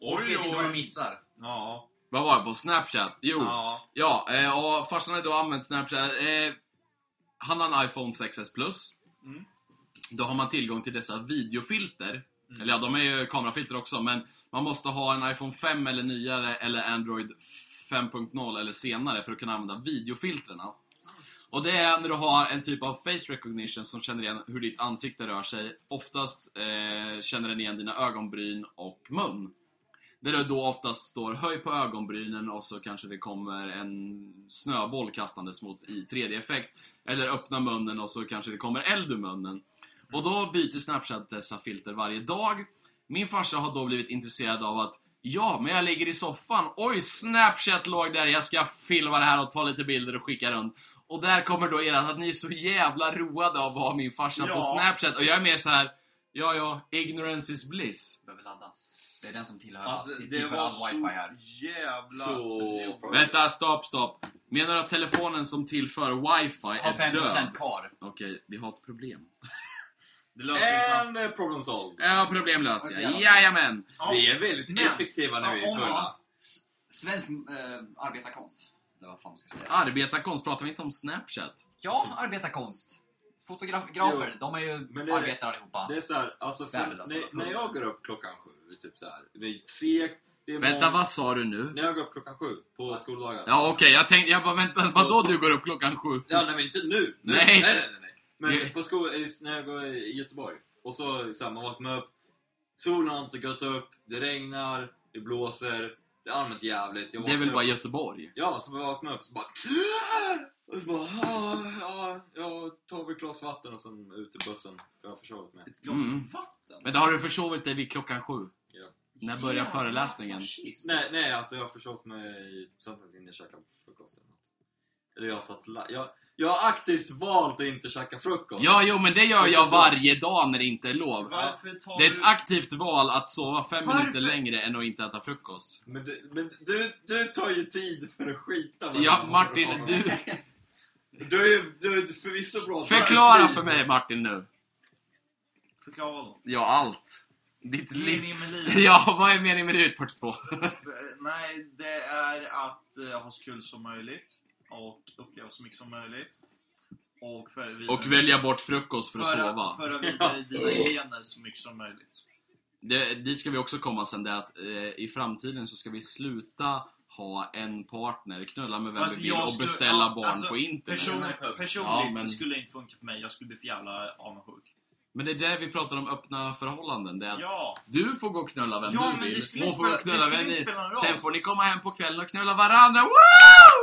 Speaker 5: Folk vet inte vad de missar.
Speaker 6: Ja,
Speaker 3: Vad var det på Snapchat? Jo.
Speaker 6: ja.
Speaker 3: Ja, eh, och farsan har då använt Snapchat. Eh, han har en iPhone 6S Plus.
Speaker 6: Mm.
Speaker 3: Då har man tillgång till dessa videofilter. Eller ja, de är ju kamerafilter också, men man måste ha en iPhone 5 eller nyare eller Android 5.0 eller senare för att kunna använda videofiltren. Och det är när du har en typ av face recognition som känner igen hur ditt ansikte rör sig. Oftast eh, känner den igen dina ögonbryn och mun. Där det då oftast står höj på ögonbrynen och så kanske det kommer en snöboll kastandes mot i 3D-effekt. Eller öppna munnen och så kanske det kommer eld ur munnen. Och då byter Snapchat dessa filter varje dag. Min farsa har då blivit intresserad av att Ja, men jag ligger i soffan. Oj, Snapchat låg där. Jag ska filma det här och ta lite bilder och skicka runt. Och där kommer då eran att ni är så jävla roade av att ha min farsa på
Speaker 6: Ja.
Speaker 3: Snapchat. Och jag är mer så här. ja ja, ignorance is bliss.
Speaker 5: Behöver laddas. Det är den som tillhör,
Speaker 6: Alltså,
Speaker 5: all,
Speaker 6: det
Speaker 3: typ
Speaker 5: tillhör all
Speaker 6: var så
Speaker 5: wifi här.
Speaker 6: jävla...
Speaker 4: Så...
Speaker 3: Vänta, stopp, stopp. Menar du att telefonen som tillför wifi
Speaker 5: Har
Speaker 3: är
Speaker 5: 5%
Speaker 3: död?
Speaker 5: kvar.
Speaker 3: Okej, vi har ett problem.
Speaker 6: Det löser vi snabbt.
Speaker 4: And eh, problem solved.
Speaker 3: Ja, problem löst.
Speaker 5: Okej,
Speaker 3: ja.
Speaker 5: jävla
Speaker 3: Jajamän!
Speaker 6: Ja.
Speaker 4: Vi är väldigt
Speaker 6: Men-
Speaker 4: effektiva när vi
Speaker 6: Ja,
Speaker 4: är
Speaker 6: om-
Speaker 4: fulla.
Speaker 5: S- Svensk eh, arbetarkonst. Eller vad fan man ska säga.
Speaker 3: Arbetarkonst, pratar vi inte om Snapchat?
Speaker 5: Ja, arbetarkonst. Fotografer,
Speaker 4: Jo.
Speaker 5: de är ju
Speaker 4: Men det-
Speaker 5: arbetare allihopa.
Speaker 4: Det är såhär, alltså för,
Speaker 5: Värdelösa
Speaker 4: när,
Speaker 5: relationer.
Speaker 4: när jag går upp klockan sju, typ så här, det är segt, det är
Speaker 3: Vänta,
Speaker 4: måndag.
Speaker 3: vad sa du nu?
Speaker 4: När jag går upp klockan sju på skoldagar.
Speaker 3: Ja, okej, jag tänkte, jag bara vänta, vadå du går upp klockan sju?
Speaker 4: Ja, nej men inte nu. nu.
Speaker 3: Nej.
Speaker 4: Nej, nej, nej, nej. Men
Speaker 3: Det-
Speaker 4: på skol, eh, när jag går i Göteborg och så, så här, man vaknar upp, solen har inte gått upp, det regnar, det blåser, det är allmänt jävligt. Jag
Speaker 3: Det är
Speaker 4: vaknar
Speaker 3: väl
Speaker 4: upp
Speaker 3: bara
Speaker 4: och-
Speaker 3: Göteborg?
Speaker 4: Ja, så vaknar jag upp och så bara... Och så bara, "Ah, ja, jag tar väl ett glas vatten och sen ut till bussen, för jag har försovit mig.
Speaker 6: Ett glas
Speaker 3: Mm.
Speaker 6: vatten?
Speaker 3: Men då har du försovit dig vid klockan sju?
Speaker 4: Ja.
Speaker 3: När börjar
Speaker 6: Jävla
Speaker 3: föreläsningen?
Speaker 6: fascist.
Speaker 4: Nej, nej, alltså jag har försovit mig samtidigt innan jag käkade frukost eller något. Eller jag har satt... la- Jag, jag har aktivt valt att inte käka frukost.
Speaker 3: Ja, jo, men det gör
Speaker 4: Det är
Speaker 3: jag
Speaker 4: så-
Speaker 3: varje dag när det inte är lov.
Speaker 6: Varför tar
Speaker 3: Det är
Speaker 6: du...
Speaker 3: ett aktivt val att sova fem
Speaker 6: Varför?
Speaker 3: minuter längre än att inte äta frukost.
Speaker 4: Men, du, men du, du tar ju tid för att skita vad
Speaker 3: Ja,
Speaker 4: du-
Speaker 3: Martin, du...
Speaker 4: Du är ju du är förvisso bra
Speaker 3: Förklara för mig, Martin, nu.
Speaker 6: Förklara då.
Speaker 3: Ja, allt. Ditt liv. <laughs>
Speaker 6: Meningen med livet.
Speaker 3: Ja, vad är meningen med det ut 42?
Speaker 6: Eh, Nej, det är att eh, ha så kul som möjligt och uppleva så mycket som möjligt. och föra vidare,
Speaker 3: Och välja bort frukost för att
Speaker 6: föra,
Speaker 3: sova. <laughs>
Speaker 6: Föra vidare dina gener så mycket som möjligt.
Speaker 3: Det, dit ska vi också komma sen, det är att eh, i framtiden så ska vi sluta ha en partner, knulla med vem
Speaker 6: Fast
Speaker 3: vi vill
Speaker 6: jag
Speaker 3: och
Speaker 6: skulle-
Speaker 3: beställa
Speaker 6: ja,
Speaker 3: barn
Speaker 6: alltså,
Speaker 3: på internet.
Speaker 6: Person,
Speaker 4: Nej.
Speaker 6: personligt
Speaker 3: Ja, men-
Speaker 6: skulle det inte funka för mig, jag skulle bli för jävla avundsjuk.
Speaker 3: Men det är där vi pratar om öppna förhållanden. Det är att
Speaker 6: Ja!
Speaker 3: du får gå och knulla vem
Speaker 6: Ja, men
Speaker 3: du
Speaker 6: det
Speaker 3: vill,
Speaker 6: skulle
Speaker 3: hon
Speaker 6: inte
Speaker 3: får gå och
Speaker 6: spela- det
Speaker 3: knulla
Speaker 6: skulle
Speaker 3: vem
Speaker 6: inte
Speaker 3: ni
Speaker 6: spela någon roll.
Speaker 3: Sen får ni komma hem på kvällen och knulla varandra. Woo!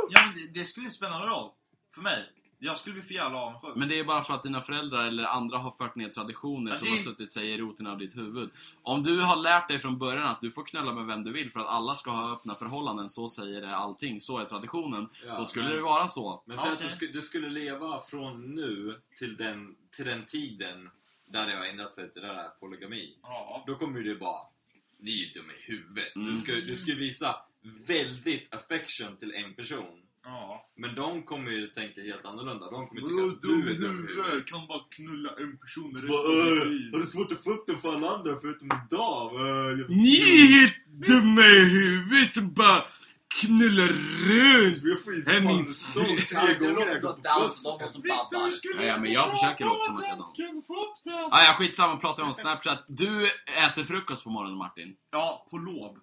Speaker 6: ja men det, det skulle inte spela någon roll för mig. Jag skulle bli för jävla avundsjuk.
Speaker 3: Men det är bara för att dina föräldrar eller andra har fört ner traditioner
Speaker 6: Ja,
Speaker 3: som
Speaker 6: det-
Speaker 3: har suttit sig i roten av ditt huvud. Om du har lärt dig från början att du får knulla med vem du vill för att alla ska ha öppna förhållanden, så säger det allting, så är traditionen.
Speaker 4: Ja,
Speaker 3: Då skulle
Speaker 4: men-
Speaker 3: det vara så.
Speaker 4: Men säg att
Speaker 6: Okej.
Speaker 4: du, skulle, du skulle leva från nu till den, till den tiden där det har ändrat sig till det där polygami.
Speaker 6: Ja.
Speaker 4: Då kommer ju du bara, ni är ju dumma i huvudet.
Speaker 3: Mm.
Speaker 4: Du, ska, du ska visa väldigt affection till en person.
Speaker 6: Ja.
Speaker 4: Men de kommer ju tänka helt annorlunda. De kommer tycka att du är dum i huvudet.
Speaker 6: kan bara knulla en person
Speaker 4: Så bara, "Äh, Har du svårt att få upp den för alla andra förutom idag? Äh, jag-
Speaker 3: helt dumma i huvudet som bara knullar runt!
Speaker 4: Jag får ju
Speaker 3: Nej, min
Speaker 4: fan sång tre gånger
Speaker 5: Du
Speaker 4: när
Speaker 5: låter
Speaker 4: jag
Speaker 5: som
Speaker 4: går
Speaker 5: att
Speaker 4: på
Speaker 5: dansa,
Speaker 4: bussen.
Speaker 5: de låter som babbar.
Speaker 3: Ja, ja, men jag försöker låta som att jag dansar.
Speaker 6: Kan du få upp den?
Speaker 3: Ah, ja, skitsamma, pratar vi om Snapchat. Du äter frukost på morgonen Martin.
Speaker 6: Ja, på lov.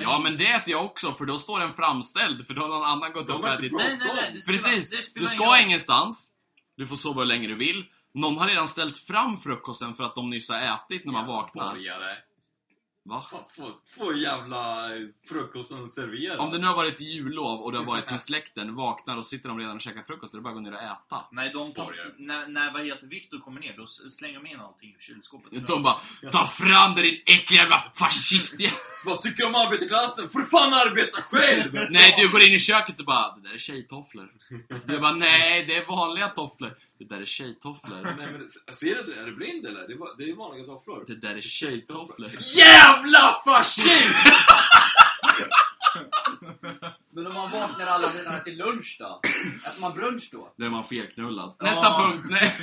Speaker 3: Ja, men det äter jag också, för då står den framställd, för då har någon annan gått
Speaker 4: De
Speaker 3: upp och
Speaker 4: har inte
Speaker 3: ätit.
Speaker 4: bråttom.
Speaker 6: Nej, nej, nej. Det spelar,
Speaker 3: Precis!
Speaker 6: Det spelar
Speaker 3: Du
Speaker 6: ingen
Speaker 3: ska
Speaker 6: roll.
Speaker 3: ingenstans, du får sova hur länge du vill. Någon har redan ställt fram frukosten för att de nyss har ätit när man vaknar.
Speaker 4: Borgare.
Speaker 3: Va?
Speaker 4: Fan, Få, få jävla eh, frukosten
Speaker 3: <laughs>
Speaker 4: serverad.
Speaker 3: Om det nu har varit jullov och du har varit med släkten, vaknar och sitter de redan och käkar frukost, då är det bara att gå ner och äta.
Speaker 6: Nej, de
Speaker 4: Borgare.
Speaker 6: tar, när, när vad heter Viktor kommer ner, då s- slänger de in allting i kylskåpet.
Speaker 3: De bara Ta fram dig din äckliga jävla fascist!
Speaker 4: <laughs> Så Vad tycker du om arbetarklassen? Får du fan
Speaker 3: <laughs>
Speaker 4: arbeta själv!
Speaker 3: Nej, du går in i köket och bara Det där är tjejtofflor. Du bara Nej, det är vanliga tofflor. Det där är tjejtofflor.
Speaker 4: Nej, men, s- ser du inte det? Är du blind eller? Det är, va- det är vanliga tofflor.
Speaker 3: Det där är tjejtofflor.
Speaker 4: Jävla fascist!
Speaker 5: Men om man vaknar alla redan till lunch då? Äter man brunch då?
Speaker 3: Där är man felknullad. Nästa
Speaker 6: Ja.
Speaker 3: punkt! Nej.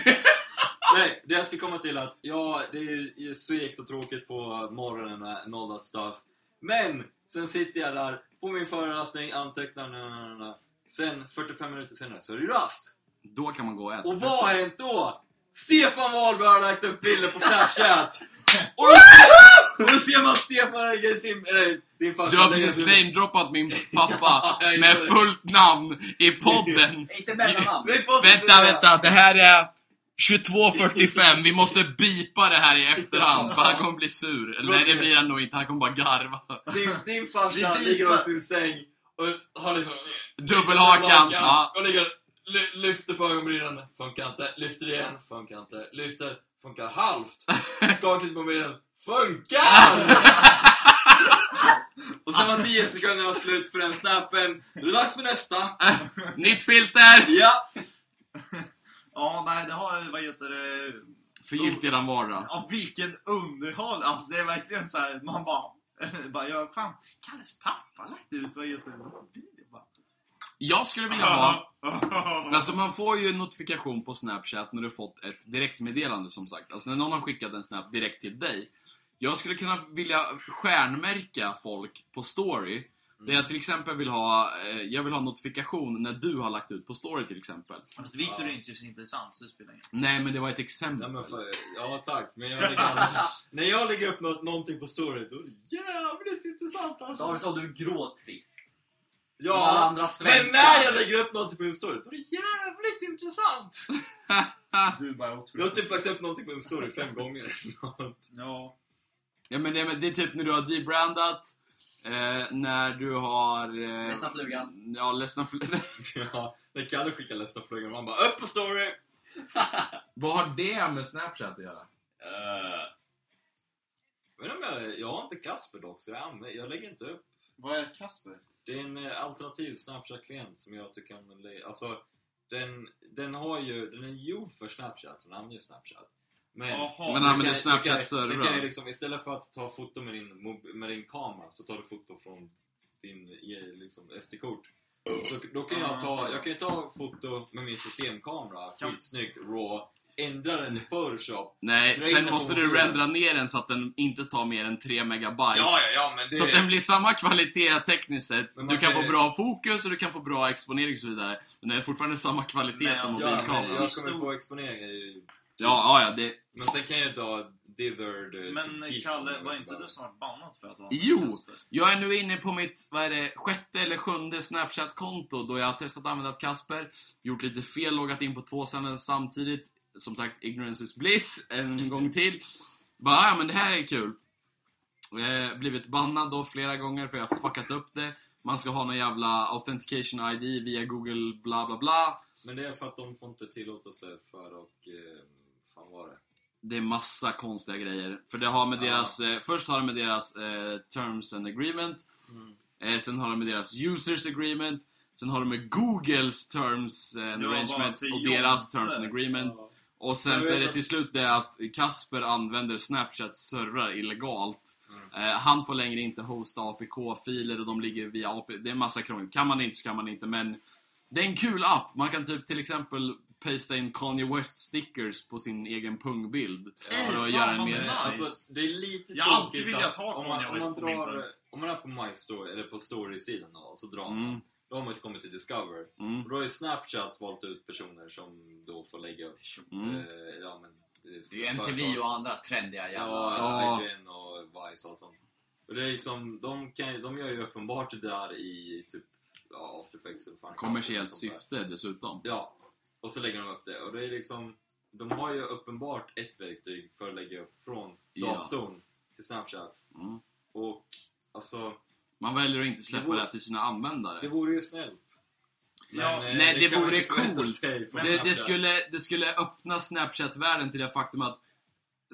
Speaker 4: Nej, det jag ska komma till är att ja, det är ju segt och tråkigt på morgonen med all that stuff. Men sen sitter jag där på min föreläsning, antecknar, na, na, na, na. Sen 45 minuter senare så är det rast.
Speaker 3: Då kan man gå och äta.
Speaker 4: Och vad har hänt då? Stefan Wahlberg har lagt upp bilder på Snapchat! Och då ser, och då ser man Stefan lägger sin... Äh, din farsa
Speaker 3: Du har
Speaker 4: lägger
Speaker 3: precis
Speaker 4: sin-
Speaker 3: namedroppat min pappa
Speaker 4: <laughs> Ja, jag
Speaker 3: med
Speaker 4: gjorde det.
Speaker 3: fullt namn i podden.
Speaker 5: Inte mellannamn.
Speaker 4: Vi får
Speaker 3: Vänta,
Speaker 4: se.
Speaker 3: vänta. Det här är 22.45. Vi måste bipa det här i efterhand för han kommer bli sur. Eller nej, det blir han nog inte. Han kommer bara garva.
Speaker 4: Din, din farsa
Speaker 6: Vi
Speaker 4: ligger
Speaker 6: bipar.
Speaker 4: på sin säng och har liksom...
Speaker 3: Dubbelhakan. Ja.
Speaker 4: Och ligger ly, lyfter på ögonbrynen, funkar inte. Lyfter igen, funkar inte. Lyfter, funkar halvt. Skakar lite på benen,
Speaker 3: <laughs>
Speaker 4: funkar! och sen var 10 sekunderna slut för den snappen. Nu är det dags för nästa.
Speaker 3: Nytt filter!
Speaker 4: Ja!
Speaker 6: Ja, nej, det har ju, vad heter det...
Speaker 3: Förgyllt eran vardag.
Speaker 6: Ja, vilken underhåll! Alltså, det är verkligen så här, man bara... <laughs> bara ja, fan, Kalles pappa har lagt ut, vad heter det? video, bara.
Speaker 3: Jag skulle vilja ha... Alltså man får ju en notifikation på Snapchat när du fått ett direktmeddelande som sagt. Alltså när någon har skickat en Snap direkt till dig. Jag skulle kunna vilja stjärnmärka folk på story. Där jag till exempel vill ha, eh, jag vill ha notifikation när du har lagt ut på story till exempel.
Speaker 6: Fast Viktor alltså, är inte så intressant, så det spelar ingen
Speaker 3: Nej men det var ett exempel.
Speaker 4: Nej, men för, ja tack, men jag lägger aldrig, när jag lägger upp något, någonting på story då är det jävligt intressant alltså.
Speaker 5: David sa du är gråtrist. Som alla
Speaker 4: Ja, men
Speaker 5: andra
Speaker 4: när
Speaker 5: svenskar.
Speaker 4: jag lägger upp någonting på min story då är det jävligt intressant.
Speaker 6: roll. Du bara, jag tror-
Speaker 4: Jag har typ lagt upp någonting på min story fem gånger. <laughs>
Speaker 6: Ja.
Speaker 3: Ja, men det, men det är typ när du har debrandat, eh, när du har... Eh,
Speaker 5: Ledsna flugan.
Speaker 3: Ja, ledsna <laughs> flugan.
Speaker 4: ja, när Kalle skickar nästa flugan man bara upp på story!
Speaker 3: Vad har det med Snapchat att göra?
Speaker 4: Uh. Men om jag, jag har inte Kasper dock så jag, använder, jag lägger inte upp
Speaker 6: Vad är Kasper?
Speaker 4: Det är en eh, alternativ Snapchat-klient som jag tycker om den le- Alltså, den, den har ju, den är gjord för Snapchat, så den använder ju Snapchat. Men,
Speaker 6: Jaha.
Speaker 3: Men
Speaker 4: du
Speaker 3: använder
Speaker 4: kan-
Speaker 3: Snapchat
Speaker 4: du kan-
Speaker 3: servrar.
Speaker 4: Du kan ju liksom, istället för att ta foto med din, mob- med din kamera så tar du foto från din eh, liksom, SD-kort. Så då kan jag ta, jag kan ju ta foto med min systemkamera, skitsnyggt, raw. ändra den i Photoshop.
Speaker 3: Nej,
Speaker 4: Dra in
Speaker 3: sen
Speaker 4: den
Speaker 3: måste
Speaker 4: på
Speaker 3: du
Speaker 4: mobilen.
Speaker 3: rendera ner den så att den inte tar mer än 3 megabyte.
Speaker 4: Ja, ja, ja, men det...
Speaker 3: Så att den blir samma kvalitet tekniskt sett.
Speaker 4: Men
Speaker 3: Du
Speaker 4: man
Speaker 3: kan
Speaker 4: kan
Speaker 3: få
Speaker 4: ju-
Speaker 3: bra fokus och du kan få bra exponering och så vidare. Men det är fortfarande samma kvalitet
Speaker 6: Men-
Speaker 3: som
Speaker 4: ja, men
Speaker 3: mobilkameran. Ja,
Speaker 4: jag kommer få exponering i...
Speaker 3: ja, ja, det...
Speaker 4: Men sen kan jag dra dithered... eh,
Speaker 6: Men
Speaker 4: till
Speaker 6: Kalle,
Speaker 4: GIF.
Speaker 6: var inte du snart bannad för att vara
Speaker 3: Jo.
Speaker 6: med Kasper?
Speaker 3: Jag är nu inne på mitt, vad är det, sjätte eller sjunde Snapchat-konto då jag har testat att använda ett Kasper, gjort lite fel, loggat in på två sändare samtidigt. Som sagt, ignorance is bliss, en gång till. Bara, ja men det här är kul. Eh, blivit bannad då flera gånger för jag har fuckat upp det. Man ska ha någon jävla authentication ID via Google bla bla bla.
Speaker 4: Men det är för att de får inte tillåtelse för och... Eh, fan var det?
Speaker 3: Det är massa konstiga grejer. För det har med
Speaker 4: Ja.
Speaker 3: deras, eh, först har det med deras eh, Terms and Agreement.
Speaker 6: Mm.
Speaker 3: Eh, sen har de med deras Users Agreement. Sen har de med Googles Terms and
Speaker 6: Det var bara
Speaker 3: Arrangements
Speaker 6: till
Speaker 3: och deras
Speaker 6: Jonte.
Speaker 3: Terms and Agreement.
Speaker 4: Ja.
Speaker 3: Och
Speaker 4: Jag
Speaker 3: sen
Speaker 4: vet
Speaker 3: så är det
Speaker 4: att-
Speaker 3: till slut det att Kasper använder Snapchats servrar illegalt.
Speaker 4: Mm.
Speaker 3: Eh, han får längre inte hosta APK-filer och de ligger via APK. Det är en massa krångel. Kan man inte så kan man inte, men det är en kul app. Man kan typ till exempel pasta in Kanye West-stickers på sin egen pungbild.
Speaker 4: Ja,
Speaker 3: För
Speaker 6: fan,
Speaker 3: att göra en
Speaker 6: vad
Speaker 3: mer...
Speaker 6: nice.
Speaker 4: Alltså, det är lite
Speaker 6: Jag har alltid
Speaker 4: tråkigt
Speaker 6: velat
Speaker 4: att
Speaker 6: ha
Speaker 4: om man,
Speaker 6: Kanye
Speaker 4: om
Speaker 6: West
Speaker 4: man
Speaker 6: på min
Speaker 4: drar...
Speaker 6: skärm.
Speaker 4: Om man är på My Story, eller på Story-sidan då, och så drar man.
Speaker 3: Mm,
Speaker 4: Då har man inte kommit till Discover.
Speaker 3: mm,
Speaker 4: Och då har ju Snapchat valt ut personer som då får lägga upp...
Speaker 3: mm.
Speaker 4: Eh, ja, men, eh,
Speaker 5: Det är ju
Speaker 4: företag.
Speaker 5: MTV och andra trendiga jävla...
Speaker 4: Ja,
Speaker 3: Ja.
Speaker 4: IGN och Vice och sånt. Och det är liksom, de, kan, de gör ju uppenbart det där i typ ja, After Effects eller fan
Speaker 3: Kommersiellt
Speaker 4: sånt där.
Speaker 3: syfte dessutom.
Speaker 4: Ja, och så lägger de upp det. Och det är liksom, de har ju uppenbart ett verktyg för att lägga upp från
Speaker 3: Ja.
Speaker 4: datorn till Snapchat.
Speaker 3: Mm.
Speaker 4: Och alltså,
Speaker 3: Man väljer att inte släppa
Speaker 4: Det vore-
Speaker 3: det här till sina användare.
Speaker 4: det vore ju snällt.
Speaker 6: Ja,
Speaker 4: eh,
Speaker 3: nej, det
Speaker 4: kan man
Speaker 3: vore
Speaker 4: inte förvänta
Speaker 3: coolt.
Speaker 4: sig från
Speaker 3: Det, det,
Speaker 4: Snapchat.
Speaker 3: skulle, det skulle öppna Snapchat-världen till det faktum att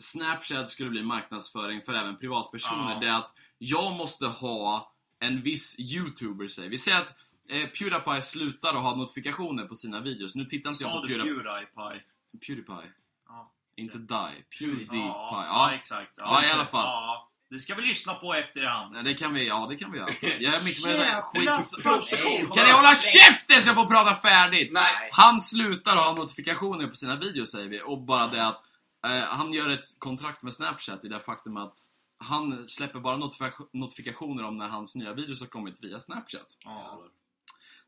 Speaker 3: Snapchat skulle bli marknadsföring för även privatpersoner.
Speaker 6: Ja.
Speaker 3: Det är att jag måste ha en viss YouTuber, säger vi. säger att eh, Pewdiepie slutar att ha notifikationer på sina videos. Nu tittar inte jag
Speaker 6: Sa
Speaker 3: på
Speaker 6: du
Speaker 3: Pewdiepie.
Speaker 6: Pewdiepie?
Speaker 3: Pewdiepie.
Speaker 6: Ja.
Speaker 3: Inte Die. Pewdiepie.
Speaker 6: Ja,
Speaker 3: Ja.
Speaker 6: exakt.
Speaker 3: Ja, i alla fall.
Speaker 6: Ja, det ska vi lyssna på efterhand.
Speaker 3: Nej, Det kan vi, ja det kan vi göra. Jag är mycket med den här
Speaker 6: Jävla
Speaker 3: skits...
Speaker 6: proffs.
Speaker 3: Kan ni hålla käften så jag får prata färdigt?
Speaker 4: Nej!
Speaker 3: Han slutar ha notifikationer på sina videos säger vi, och bara det att eh, han gör ett kontrakt med Snapchat i det faktum att han släpper bara notifika- notifikationer om när hans nya videos har kommit via Snapchat.
Speaker 6: Ja.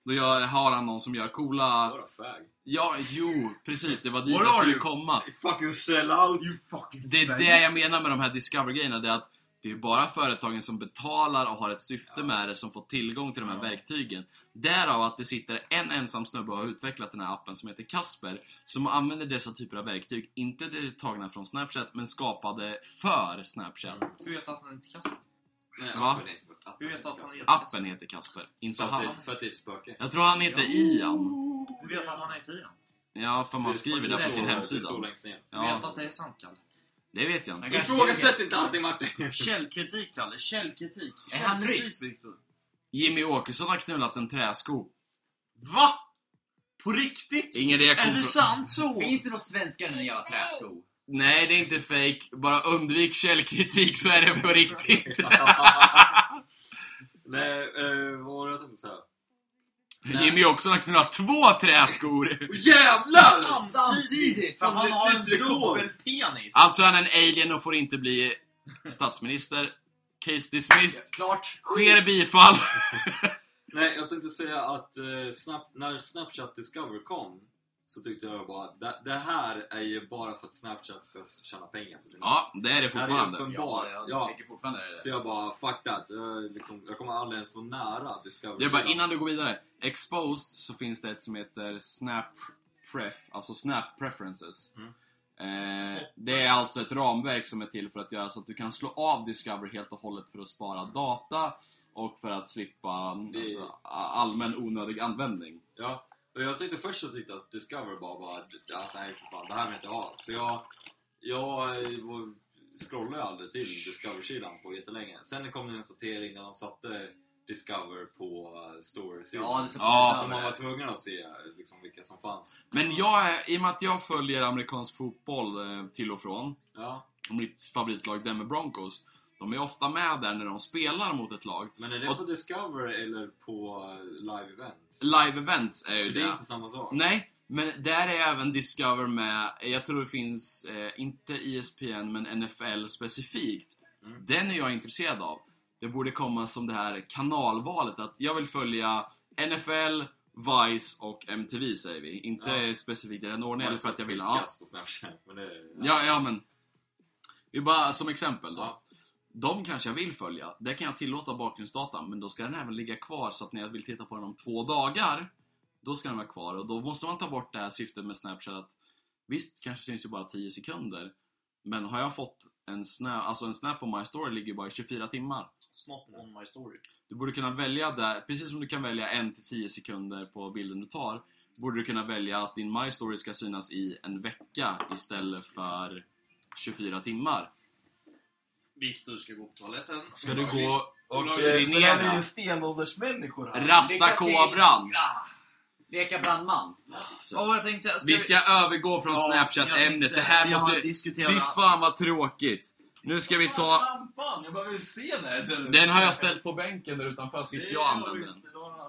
Speaker 3: Då gör, har han någon som gör coola...
Speaker 4: Vadå fag?
Speaker 3: Ja, jo, precis, det var dit
Speaker 6: What
Speaker 3: jag
Speaker 6: are
Speaker 3: skulle
Speaker 6: you?
Speaker 3: komma.
Speaker 4: Fucking sell out!
Speaker 6: You fucking
Speaker 3: Det är
Speaker 6: faggot.
Speaker 3: det jag menar med de här Discover-grejerna, det är att det är bara företagen som betalar och har ett syfte
Speaker 4: Ja.
Speaker 3: med det som får tillgång till de här
Speaker 6: Ja.
Speaker 3: verktygen. Därav att det sitter en ensam snubbe och har utvecklat den här appen som heter Kasper, som använder dessa typer av verktyg, inte det tagna från Snapchat, men skapade för Snapchat.
Speaker 6: Hur vet att han inte kastar?
Speaker 3: Va?
Speaker 6: Hur vet att han heter Kasper?
Speaker 3: Appen heter Kasper, inte
Speaker 4: För att
Speaker 3: han.
Speaker 4: det- För att det är ett spöke.
Speaker 3: Jag tror han heter Ian.
Speaker 6: Hur vet att han heter Ian?
Speaker 3: Ja, för man
Speaker 4: Det
Speaker 3: skriver
Speaker 4: står-
Speaker 3: det på sin
Speaker 4: står- Det
Speaker 3: hemsida.
Speaker 4: står längst ner.
Speaker 6: Du vet
Speaker 3: Ja,
Speaker 6: att det är sant, Kalle?
Speaker 3: det vet jag inte.
Speaker 4: Ifrågasätt inte allting Martin!
Speaker 6: Källkritik, Kalle. Källkritik.
Speaker 5: Är han
Speaker 6: Källkritik,
Speaker 5: ryss?
Speaker 6: Viktor.
Speaker 3: Jimmy Åkesson har knullat en träsko.
Speaker 6: Va? På riktigt?
Speaker 3: Ingen
Speaker 6: Är
Speaker 3: reaktion
Speaker 6: det sant så?
Speaker 5: Finns det några svenskar i den jävla träsko?
Speaker 3: Nej, det är inte fake. Bara undvik källkritik så är det på riktigt.
Speaker 4: <laughs> Nej, eh, vad var det jag tänkte säga?
Speaker 3: Jimmy också har knullat två träskor.
Speaker 4: Åh, jävlar!
Speaker 5: Samtidigt! Samtidigt!
Speaker 6: För han
Speaker 4: Det-
Speaker 6: har
Speaker 4: det
Speaker 6: en
Speaker 4: tryckår.
Speaker 6: dubbelpenis.
Speaker 3: Alltså han är en alien och får inte bli statsminister. Case dismissed.
Speaker 5: Klart!
Speaker 3: Sker bifall.
Speaker 4: Nej, jag tänkte säga att eh, snap, när Snapchat Discover kom så tyckte jag bara att det, det här är ju bara för att Snapchat ska tjäna pengar på sina...
Speaker 3: Ja, det är det
Speaker 4: det här är ju
Speaker 3: fortfarande.
Speaker 4: uppenbart.
Speaker 5: Ja, jag
Speaker 4: Ja,
Speaker 5: tänker fortfarande det.
Speaker 4: så jag bara, fuck that. Jag, liksom, jag kommer aldrig ens vara nära Discover.
Speaker 3: Jag bara, innan du går vidare. Exposed så finns det ett som heter Snap Pref, alltså Snap Preferences.
Speaker 4: Mm.
Speaker 3: Eh, det är alltså ett ramverk som är till för att göra så att du kan slå av Discover helt och hållet för att spara
Speaker 4: Mm.
Speaker 3: data och för att slippa alltså, allmän onödig användning.
Speaker 4: Ja, och jag tyckte först så tyckte jag att Discover bara, bara alltså, nej för fan, det här vill jag inte ha. Så jag, jag eh, var- scrollade aldrig till Discover-sidan på jättelänge. Sen kom det en uppdatering där de satte Discover på eh, Store-sidan.
Speaker 5: Ja, det ska
Speaker 3: Ja,
Speaker 4: så
Speaker 5: precis
Speaker 4: man
Speaker 5: samma.
Speaker 4: var tvungen att se liksom, vilka som fanns.
Speaker 3: Men jag, är- i och med att jag följer amerikansk fotboll eh, till och från,
Speaker 4: Ja,
Speaker 3: och mitt favoritlag Denver Broncos, de är ofta med där när de spelar mot ett lag.
Speaker 4: men är det
Speaker 3: Och-
Speaker 4: på Discover eller på eh, Live Events?
Speaker 3: Live events är
Speaker 4: För
Speaker 3: ju
Speaker 4: det är
Speaker 3: det.
Speaker 4: inte samma sak.
Speaker 3: Nej, Men där är även Discover med, jag tror det finns, eh, inte ESPN, men NFL specifikt.
Speaker 4: Mm.
Speaker 3: Den är jag intresserad av. Det borde komma som det här kanalvalet, att jag vill följa NFL, Vice och MTV säger vi. Inte
Speaker 4: Ja.
Speaker 3: specifikt i den ordningen, eller för att jag vill. Ja,
Speaker 4: Skitkass på Snapchat, men det...
Speaker 3: ja, ja men. Vi bara som exempel då.
Speaker 4: Ja.
Speaker 3: De kanske jag vill följa. Där kan jag tillåta bakgrundsdata, men då ska den även ligga kvar så att när jag vill titta på den om två dagar, då ska den vara kvar. Och då måste man ta bort det här syftet med Snapchat att visst, kanske syns ju bara 10 sekunder, men har jag fått en snap, alltså en snap på My Story ligger ju bara i 24 timmar.
Speaker 6: Snap on my story.
Speaker 3: Du borde kunna välja där, precis som du kan välja 1-10 sekunder på bilden du tar, borde du kunna välja att din My Story ska synas i en vecka istället för 24 timmar.
Speaker 6: Viktor ska gå på toaletten.
Speaker 3: Ska du gå
Speaker 4: Och
Speaker 3: och
Speaker 4: eh, sen är vi ju
Speaker 3: urinera?
Speaker 4: stenåldersmänniskor här.
Speaker 3: Rasta kobran!
Speaker 5: Ja. Leka brandman.
Speaker 6: Ja, vad jag tänkte säga.
Speaker 3: Vi ska övergå från
Speaker 6: Ja, jag
Speaker 3: Snapchat-ämnet.
Speaker 6: tänkte-
Speaker 3: Det här
Speaker 6: vi har
Speaker 3: måste...
Speaker 6: diskuterat-
Speaker 3: Fy fan vad tråkigt! Nu ska vi ta...
Speaker 4: Lampan! Jag behöver se den här.
Speaker 3: Den har jag ställt på bänken där utanför sist jag använde den.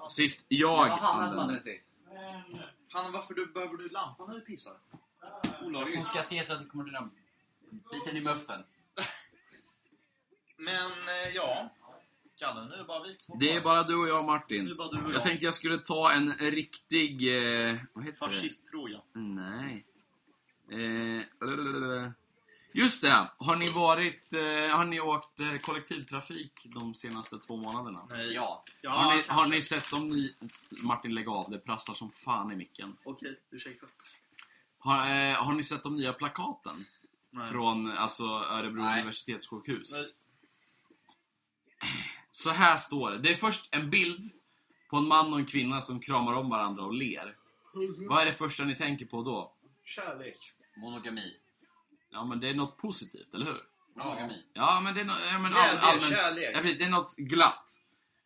Speaker 3: Sist jag
Speaker 5: Det var Hanna som
Speaker 3: använde
Speaker 5: hade
Speaker 3: den.
Speaker 5: den sist.
Speaker 6: Hanna, varför du, behöver du lampan när du pissar?
Speaker 5: Hon
Speaker 6: Olagligt.
Speaker 5: ska se så att det kommer till dem. Biten i muffen.
Speaker 6: Men, eh, ja. Kalle, nu är det bara vi två
Speaker 3: Det är
Speaker 6: kvar.
Speaker 3: bara du och jag Martin.
Speaker 6: Nu är det bara du och jag.
Speaker 3: Jag tänkte jag skulle ta en riktig... Eh, vad heter
Speaker 6: Fascistfråga.
Speaker 3: det? Nej. Eh, lalalala. just det! Har ni varit... Eh, har ni åkt eh, kollektivtrafik de senaste två månaderna?
Speaker 6: Nej.
Speaker 5: Eh, Ja.
Speaker 6: Ja,
Speaker 3: har, ni,
Speaker 6: kanske.
Speaker 3: har ni sett om ni... Martin lägg av, det prasslar som fan i micken.
Speaker 6: Okej, ursäkta.
Speaker 3: Har, eh, har ni sett de nya plakaten?
Speaker 6: Nej.
Speaker 3: Från alltså, Örebro
Speaker 5: Nej.
Speaker 3: universitetssjukhus?
Speaker 6: Nej.
Speaker 3: Så här står det. Det är först en bild på en man och en kvinna som kramar om varandra och ler. Vad är det första ni tänker på då?
Speaker 6: Kärlek.
Speaker 5: Monogami.
Speaker 3: Ja, men det är något positivt, eller hur?
Speaker 5: Monogami.
Speaker 3: Ja, men det är, nå- ja, men all,
Speaker 6: Glädje,
Speaker 3: allmän,
Speaker 6: kärlek.
Speaker 3: ja, precis, det är något glatt.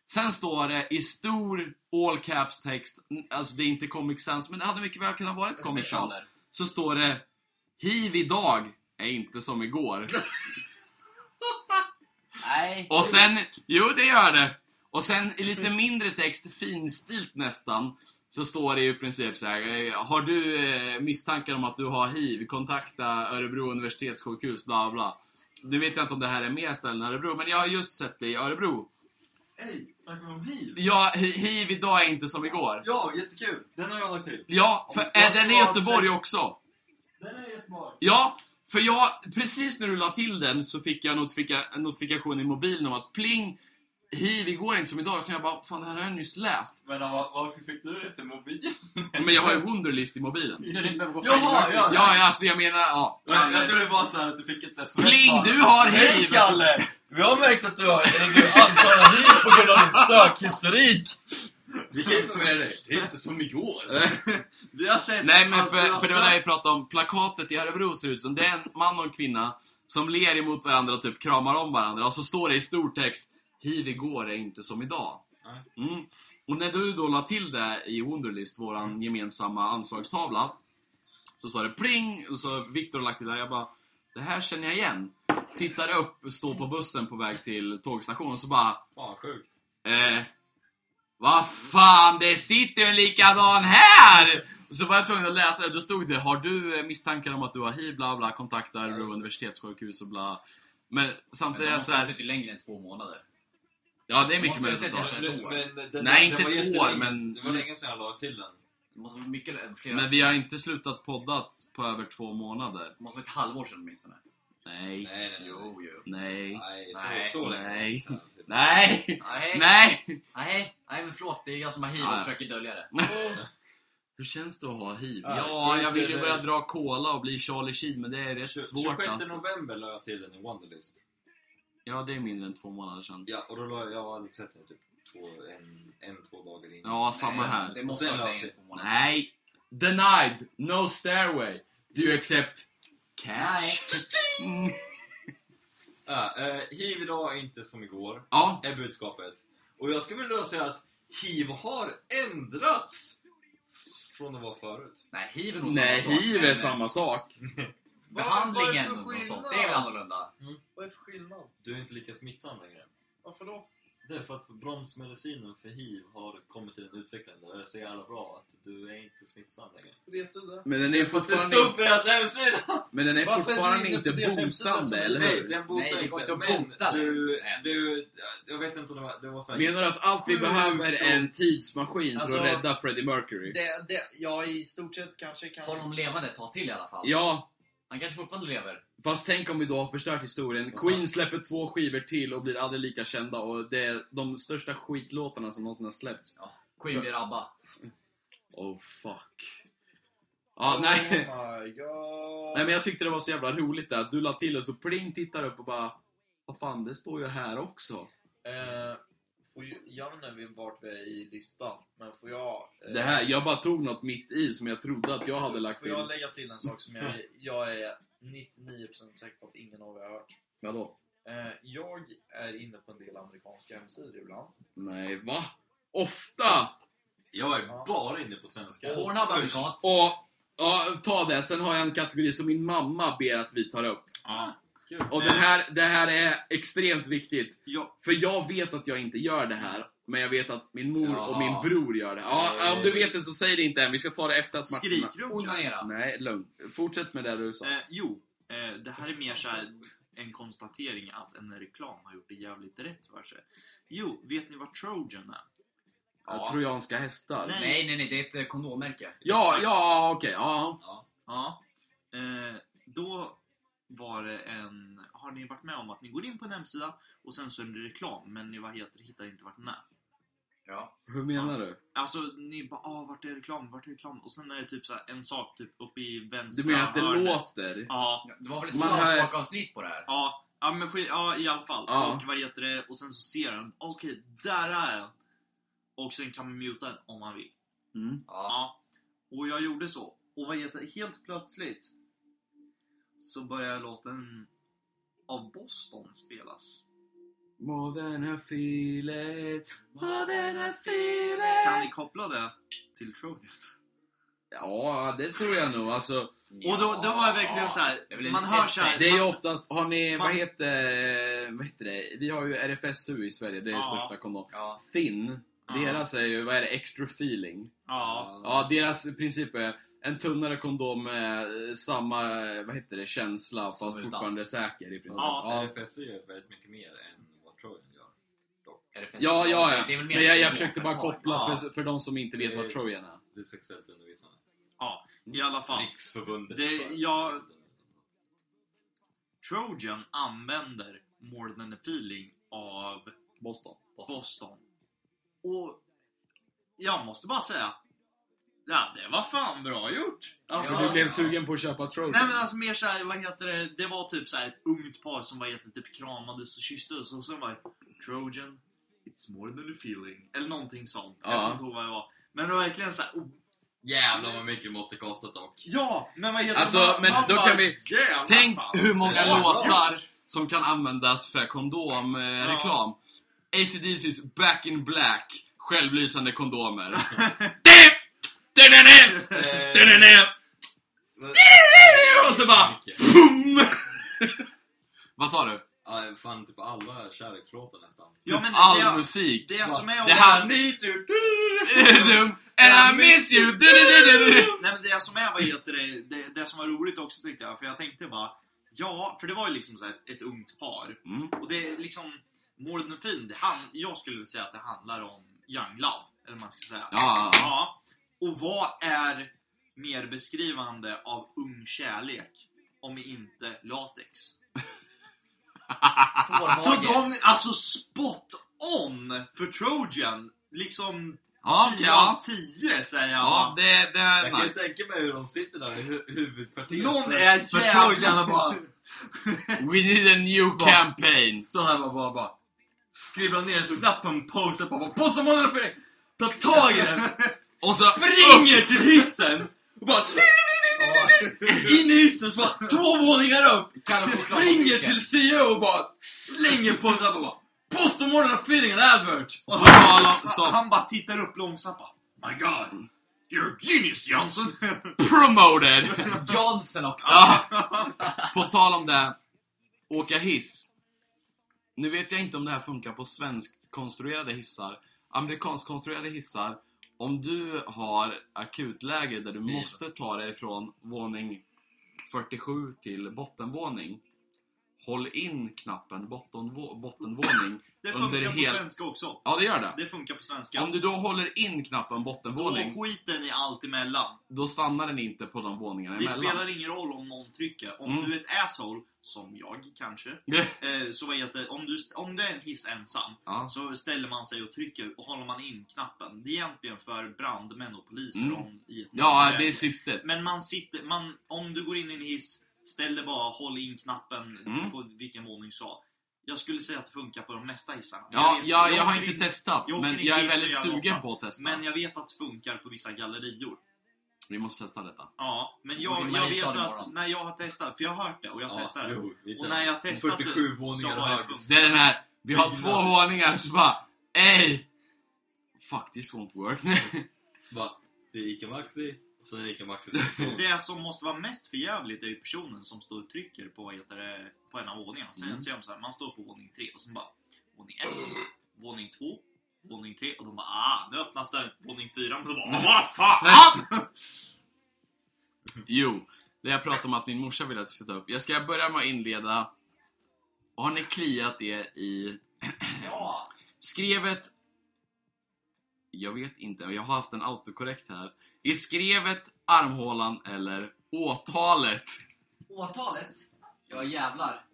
Speaker 3: Sen står det i stor all caps text, mm, alltså det är inte Comic Sans, men det hade mycket väl kunnat vara ett Comic Sans.
Speaker 5: Personer.
Speaker 3: Så står det Hiv idag är inte som igår.
Speaker 5: Nej.
Speaker 3: Och sen, jo det gör det. Och sen i lite mindre text, finstilt nästan, så står det ju i princip så här. eh, Har du eh, misstankar om att du har hiv, kontakta Örebro universitetssjukhus, bla bla. Nu vet jag inte om det här är mer ställen än Örebro, men jag har just sett det i Örebro.
Speaker 4: Hej! Snackar vi om hiv?
Speaker 3: Ja, hi- hiv idag är inte som igår.
Speaker 4: Ja, jättekul! Den har jag lagt till.
Speaker 3: Ja, för är den i Göteborg också?
Speaker 4: Den är jättebra.
Speaker 3: Ja, för jag, precis när du la till den så fick jag notifika, en notifikation i mobilen om att pling, hiv igår är inte som idag. Så jag bara, fan det här har jag nyss läst.
Speaker 4: Men vad, varför fick du det till mobilen?
Speaker 3: Men jag har ju Wunderlist i mobilen.
Speaker 5: Så du inte behöver gå
Speaker 4: Jaha,
Speaker 5: färdigt.
Speaker 4: ja.
Speaker 3: Ja, ja, alltså jag menar, ja.
Speaker 4: Jag, jag tror det var så här att du fick ett sms
Speaker 3: Pling,
Speaker 4: bara,
Speaker 3: du har
Speaker 4: Hej
Speaker 3: hiv!"
Speaker 4: Kalle! Vi har märkt att du har eller
Speaker 3: <laughs>
Speaker 4: du antar hiv på grund av din sökhistorik! Vi kan informera dig, det är inte som igår.
Speaker 6: Vi har sett
Speaker 3: Nej men
Speaker 6: att
Speaker 1: Alltså,
Speaker 3: för,
Speaker 6: du har
Speaker 3: för det var det
Speaker 6: sagt-
Speaker 3: jag pratade om, plakatet i Örebro ser ut som, det är en man och en kvinna som ler emot varandra och typ kramar om varandra och så står det i stor text Hiv igår är inte som idag. Mm. Och när du då la till det i Wunderlist, våran gemensamma anslagstavla, så sa det pling och så Viktor har lagt till det där, jag bara Det här känner jag igen. Tittar upp, står på bussen på väg till tågstationen och så bara
Speaker 4: Fan sjukt.
Speaker 3: Eh, vad fan, det sitter ju en likadan här! Så var jag tvungen att läsa det, då stod det Har du eh, misstankar om att du har hiv, bla bla, kontakta Örebro universitetssjukhus och bla Men
Speaker 5: Men
Speaker 3: samtidigt
Speaker 5: de
Speaker 3: är jag
Speaker 5: måste ha
Speaker 3: såhär,
Speaker 5: suttit längre än två månader.
Speaker 3: ja det är mycket
Speaker 5: måste
Speaker 3: möjligt
Speaker 5: jag
Speaker 3: att ta
Speaker 5: säga det. ett år.
Speaker 4: den-
Speaker 3: Nej,
Speaker 4: den
Speaker 3: inte
Speaker 4: var
Speaker 3: ett år,
Speaker 4: jättelänge-
Speaker 3: men-
Speaker 4: Det var länge sedan jag la till den.
Speaker 5: Det måste vara mycket, eh, flera.
Speaker 3: Men vi har inte slutat poddat på över två månader
Speaker 5: Det måste vara ett halvår sedan åtminstone.
Speaker 3: Nej,
Speaker 4: Nej, nej, nej.
Speaker 5: Jo, jo.
Speaker 3: nej,
Speaker 4: Nej,
Speaker 5: Nej,
Speaker 4: så, så länge
Speaker 3: nej.
Speaker 4: sedan.
Speaker 3: nej,
Speaker 5: Nej.
Speaker 3: nej!
Speaker 5: Nej, nej men förlåt. Det är jag som har hiv
Speaker 3: Ja,
Speaker 5: och
Speaker 3: ja.
Speaker 5: försöker dölja det.
Speaker 3: Hur känns det att ha hiv?
Speaker 4: Ja,
Speaker 3: Ja,
Speaker 4: det är
Speaker 3: jag vill ju
Speaker 4: inte-
Speaker 3: börja dra cola och bli Charlie Sheen men det är rätt
Speaker 4: Tjo-
Speaker 3: svårt
Speaker 4: 26
Speaker 3: alltså
Speaker 4: november la jag till den i Wonderlist.
Speaker 3: Ja, det är mindre än två månader sedan
Speaker 4: Ja, och då la jag, jag har aldrig sett den typ två, en, en, två dagar innan.
Speaker 3: Ja, samma här
Speaker 5: Det måste
Speaker 4: Sen
Speaker 5: vara
Speaker 4: la jag
Speaker 5: längre än
Speaker 4: till.
Speaker 5: två månader.
Speaker 3: Nej! Denied! No stairway! Do you accept cash? Mm.
Speaker 4: Ja, eh, hiv idag är inte som igår,
Speaker 3: Ja,
Speaker 4: är budskapet. Och jag skulle vilja säga att hiv har ändrats från det var förut.
Speaker 5: Nej, hiv är nog
Speaker 3: nej,
Speaker 5: samma sak,
Speaker 3: hiv är
Speaker 5: men eh,
Speaker 3: samma sak.
Speaker 6: Vad- vad är det
Speaker 5: Behandlingen
Speaker 6: för
Speaker 5: och sånt,
Speaker 6: skillnad?
Speaker 5: det är väl annorlunda?
Speaker 6: Vad är för skillnad?
Speaker 4: Du är inte lika smittsam längre.
Speaker 6: Varför då?
Speaker 4: Det är för att bromsmedicinen för hiv har kommit till en utveckling där det är så jävla bra att du är inte smittsam längre.
Speaker 8: Vet du det?
Speaker 3: Men den är
Speaker 4: Det stod
Speaker 3: fortfarande,
Speaker 4: på deras hemsida!
Speaker 3: men den är
Speaker 8: Varför är du
Speaker 3: fortfarande
Speaker 8: inne på
Speaker 3: inte
Speaker 8: deras hemsida som-
Speaker 3: botande, eller
Speaker 4: Nej,
Speaker 3: hur?
Speaker 4: den botar
Speaker 5: Nej, det går
Speaker 4: inte.
Speaker 5: inte att
Speaker 4: Men
Speaker 5: bota
Speaker 4: du,
Speaker 5: längre.
Speaker 4: du, jag vet inte om det var, det var så här,
Speaker 3: Menar du att allt vi
Speaker 4: Sjukt
Speaker 3: behöver är en tidsmaskin för
Speaker 8: Alltså-
Speaker 3: att rädda Freddie Mercury?
Speaker 8: det, det ja, i stort sett kanske kan...
Speaker 5: Håll honom levande ett tag till i alla fall.
Speaker 3: Ja,
Speaker 5: Han kanske fortfarande lever.
Speaker 3: fast tänk om vi då har förstört historien.
Speaker 4: Vad
Speaker 3: Queen släpper två skivor till och blir aldrig lika kända och det är de största skitlåtarna som någonsin har släppts.
Speaker 5: Queen blir ABBA.
Speaker 3: Oh fuck. Ja, nej.
Speaker 8: Oh my god.
Speaker 3: Nej men jag tyckte det var så jävla roligt där. Du la till och så pling tittar upp och bara Vad fan, det står ju här också.
Speaker 8: Eh, får ju, jag vet inte vart vi är i listan, men får jag... eh,
Speaker 3: Det här, jag bara tog något mitt i som jag trodde att jag hade lagt
Speaker 8: Får
Speaker 3: till.
Speaker 8: jag lägga till en sak som
Speaker 3: <laughs>
Speaker 8: jag, jag är 99% säker på att ingen av er har hört?
Speaker 3: Vadå?
Speaker 8: Eh, jag är inne på en del amerikanska hemsidor ibland.
Speaker 3: Nej, va? Ofta!
Speaker 4: Jag är
Speaker 8: Ja.
Speaker 4: bara inne på svenska.
Speaker 5: Pornhub amerikanskt.
Speaker 3: Och, ja, ta det. Sen har jag en kategori som min mamma ber att vi tar upp.
Speaker 1: Ja.
Speaker 4: Kul.
Speaker 3: Och den här, det här är extremt viktigt.
Speaker 1: Ja.
Speaker 3: För jag vet att jag inte gör det här. Men jag vet att min mor och min
Speaker 5: Jaha.
Speaker 3: bror gör det. Ja,
Speaker 8: Så-
Speaker 3: om du vet det så säg det inte än. Vi ska ta det efter att matcherna...
Speaker 1: Skrikrunka.
Speaker 5: Onanera.
Speaker 3: Nej, lugn. Fortsätt med det du sa.
Speaker 1: Eh, jo, eh, det här är mer så här en konstatering att en reklam har gjort det jävligt rätt för sig. Jo, vet ni vad Trojan är?
Speaker 3: Eh, Trojanska hästar.
Speaker 1: Nej.
Speaker 5: Nej, nej, nej. Det är ett eh, kondommärke.
Speaker 3: Ja, ja, okej. ja.
Speaker 1: Ja. Eh, då var det en... Har ni varit med om att ni går in på en hemsida och sen så är det reklam, men ni vad heter det, hittar inte vart den är?
Speaker 5: Ja.
Speaker 3: Hur menar du?
Speaker 1: Alltså, ni bara ah, vart är reklam, vart är reklam? Och sen är det typ så här, en sak typ uppe i vänstra
Speaker 3: Du menar att det
Speaker 1: hörnet.
Speaker 3: låter?
Speaker 1: Ja.
Speaker 5: Det var väl ett
Speaker 3: Man hör-
Speaker 5: South på det här?
Speaker 1: Ja. Ja, men skit, ja, i alla fall.
Speaker 3: Ja.
Speaker 1: Och vad heter det? Och sen så ser den. Okej, där är den. Och sen kan man muta den om man vill.
Speaker 3: Mm.
Speaker 5: Ja.
Speaker 1: Ja. Och jag gjorde så. Och vad heter det? Helt plötsligt så börjar låten av Boston spelas.
Speaker 3: More than a feeling, more than a
Speaker 1: Kan
Speaker 3: feeling.
Speaker 1: ni koppla det till Trojan?
Speaker 3: Ja, det tror jag nog. Alltså,
Speaker 1: Och då, då var jag verkligen så
Speaker 5: Det är väl
Speaker 1: här. man
Speaker 5: en
Speaker 1: hör så här,
Speaker 5: hästväg.
Speaker 3: Det är ju
Speaker 1: man-
Speaker 3: oftast, har ni, vad
Speaker 1: Man-
Speaker 3: heter, vad heter det? Vi har ju RFSU i Sverige, det är
Speaker 1: Ja.
Speaker 3: största kondom.
Speaker 5: Ja.
Speaker 3: Thin,
Speaker 1: Ja.
Speaker 3: deras är ju, vad är det, extra feeling?
Speaker 1: Ja.
Speaker 3: Ja, deras princip är en tunnare kondom med samma, eh, vad heter det, känsla fast
Speaker 5: utan.
Speaker 3: fortfarande säker i princip.
Speaker 4: alltså,
Speaker 1: Ja.
Speaker 3: Ja.
Speaker 4: RFSU gör väldigt mycket mer än vad Trojan gör.
Speaker 5: Är det fest-
Speaker 3: Ja, ja, ja.
Speaker 5: Det är väl mer
Speaker 3: Men jag,
Speaker 5: ett
Speaker 3: jag
Speaker 5: kondomföretag.
Speaker 3: försökte bara koppla
Speaker 1: Ja.
Speaker 3: för, för de som inte vet vad
Speaker 4: Yes.
Speaker 3: Trojan är.
Speaker 4: Det är sexuellt undervisande.
Speaker 1: I alla fall.
Speaker 4: Riksförbundet.
Speaker 1: Det-
Speaker 4: för-
Speaker 1: jag- Trojan använder More than a feeling av
Speaker 3: Boston.
Speaker 1: Boston. Och jag måste bara säga, ja, det var fan bra gjort. Alltså,
Speaker 3: Så
Speaker 5: Ja.
Speaker 3: du blev sugen på att köpa Trojan?
Speaker 1: Nej men alltså mer såhär, vad heter det, det var typ såhär ett ungt par som var jätte typ kramades och kysstes och sen var det Trojan, it's more than a feeling. Eller någonting sånt. Jag
Speaker 3: Ja.
Speaker 1: kommer inte ihåg vad det var. Men det var verkligen såhär, oh,
Speaker 4: Jävlar vad mycket det måste kosta dock.
Speaker 1: ja! Men vad heter det?
Speaker 3: Alltså,
Speaker 1: Man-
Speaker 3: men
Speaker 1: man
Speaker 3: då
Speaker 1: bara,
Speaker 3: kan vi-
Speaker 1: "Jävlar,
Speaker 3: Tänk
Speaker 1: alltså, fan,
Speaker 3: hur många
Speaker 1: smart."
Speaker 3: låtar som kan användas för kondomreklam. Eh, ACDC's Back in Black, självlysande
Speaker 1: <laughs>
Speaker 3: kondomer. Det- det- det- det- det- det- det- Och så bara... Pum! <laughs> Vad sa du?
Speaker 4: Ja, fan typ alla kärlekslåtar nästan.
Speaker 1: Ja men det,
Speaker 3: All
Speaker 1: är-
Speaker 3: musik.
Speaker 1: det är som är
Speaker 3: Det här... And I miss you! Du-du-du-du-du.
Speaker 1: Nej men det som är, vad heter det, det, det som var roligt också tyckte jag, för jag tänkte bara Ja, för det var ju liksom så här ett, ett ungt par.
Speaker 3: Mm.
Speaker 1: Och det är liksom More than a feeling, det han, jag skulle vilja säga att det handlar om young love, eller vad man ska säga.
Speaker 3: Ja, ja,
Speaker 1: Ja. Och vad är mer beskrivande av ung kärlek om inte latex?
Speaker 5: Fårmage.
Speaker 1: Så de, alltså spot on för Trojan! Liksom 10 av 10 säger jag.
Speaker 3: ja. Det, det
Speaker 4: Jag kan
Speaker 3: är
Speaker 4: ju
Speaker 3: nice.
Speaker 4: tänka mig hur de sitter där i hu- huvudkvarteret.
Speaker 1: Någon
Speaker 4: För-
Speaker 1: är
Speaker 4: för
Speaker 1: jävla-
Speaker 4: Trojan och bara...
Speaker 3: We need a new
Speaker 4: Smart.
Speaker 3: campaign.
Speaker 4: Står här och bara, bara skribblar ner snappen, postar på bara posta månaden för dig! Ta tag i den!
Speaker 3: <laughs> Och så...
Speaker 4: Ringer till hissen! Och bara in i hissen så bara två våningar upp!
Speaker 5: Kan de choklad-
Speaker 4: Springer till CEO och bara slänger på snappen och bara Posta månaden feeling an advert!
Speaker 1: Och
Speaker 3: Ja,
Speaker 1: han,
Speaker 3: ja, stopp.
Speaker 1: han bara tittar upp långsamt bara, My God! You're a genius Johnson!
Speaker 3: Promoted!
Speaker 5: Johnson också.
Speaker 3: Ah. Ja. På tal om det, åka hiss. Nu vet jag inte om det här funkar på svenskt konstruerade hissar. Amerikanskt konstruerade hissar. Om du har akutläge där du måste ta dig från våning 47 till bottenvåning. Håll in knappen bottenvå- bottenvåning.
Speaker 1: <laughs> Det
Speaker 3: Under
Speaker 1: funkar på
Speaker 3: hel-
Speaker 1: svenska också.
Speaker 3: Ja, det gör det.
Speaker 1: Det funkar på svenska.
Speaker 3: Om du då håller in knappen bottenvåning,
Speaker 1: Då skiter ni allt emellan.
Speaker 3: då stannar den inte på de våningarna
Speaker 1: Det
Speaker 3: emellan.
Speaker 1: spelar ingen roll om någon trycker. Om
Speaker 3: Mm.
Speaker 1: du är ett asshole, som jag kanske, eh, så vad heter om du, st- om du är en hiss ensam,
Speaker 3: Ja.
Speaker 1: så ställer man sig och trycker och håller man in knappen. Det är egentligen för brandmän och poliser
Speaker 3: Mm.
Speaker 1: om, i ett
Speaker 3: ja,
Speaker 1: nödläge.
Speaker 3: det är syftet.
Speaker 1: Men man sitter, man, om du går in i en hiss, ställ dig bara, håll in knappen
Speaker 3: Mm.
Speaker 1: på vilken våning sa. Jag skulle säga att det funkar på de mesta hissarna.
Speaker 3: Ja,
Speaker 1: vet-
Speaker 3: jag, jag har
Speaker 1: åker
Speaker 3: inte
Speaker 1: in-
Speaker 3: testat,
Speaker 1: jag åker
Speaker 3: men
Speaker 1: in
Speaker 3: jag är
Speaker 1: hiss och
Speaker 3: väldigt
Speaker 1: jag
Speaker 3: sugen
Speaker 1: hoppar.
Speaker 3: på att testa.
Speaker 1: Men jag vet att det funkar på vissa gallerior.
Speaker 3: Vi måste testa detta.
Speaker 1: Ja, men
Speaker 5: Och
Speaker 1: jag,
Speaker 5: i
Speaker 1: jag vet
Speaker 5: Mariestad
Speaker 1: att
Speaker 5: imorgon.
Speaker 1: när jag har testat, för jag har hört det och jag testar det.
Speaker 4: jo, vi
Speaker 1: Och när jag testat det
Speaker 4: 47
Speaker 1: så
Speaker 4: våningar
Speaker 1: har det
Speaker 4: högre.
Speaker 1: funkat.
Speaker 3: Det är den här, vi har
Speaker 4: Bilar.
Speaker 3: två våningar så bara, ey! Fuck this won't work. <laughs>
Speaker 4: Bara, det är Ica Maxi, och sen är det Ica Maxi som är tom.
Speaker 1: Mm. Det som måste vara mest förjävligt är ju personen som står och trycker på, vad heter det, på en av våningarna. Sen
Speaker 3: Mm.
Speaker 1: så gör de så här, man står på våning tre och sen bara våning ett, våning två, våning tre och de bara ah, nu öppnas den. Våning fyra, och de bara "Ah, vad <laughs> fan!
Speaker 3: jo, det jag pratade om att min morsa ville att jag ska ta upp. Jag ska börja med att inleda. Har ni kliat er i
Speaker 5: Ja!
Speaker 3: skrevet... Jag vet inte, jag har haft en autokorrekt här. I skrevet, armhålan eller åtalet?
Speaker 5: Åtalet? Ja jävlar.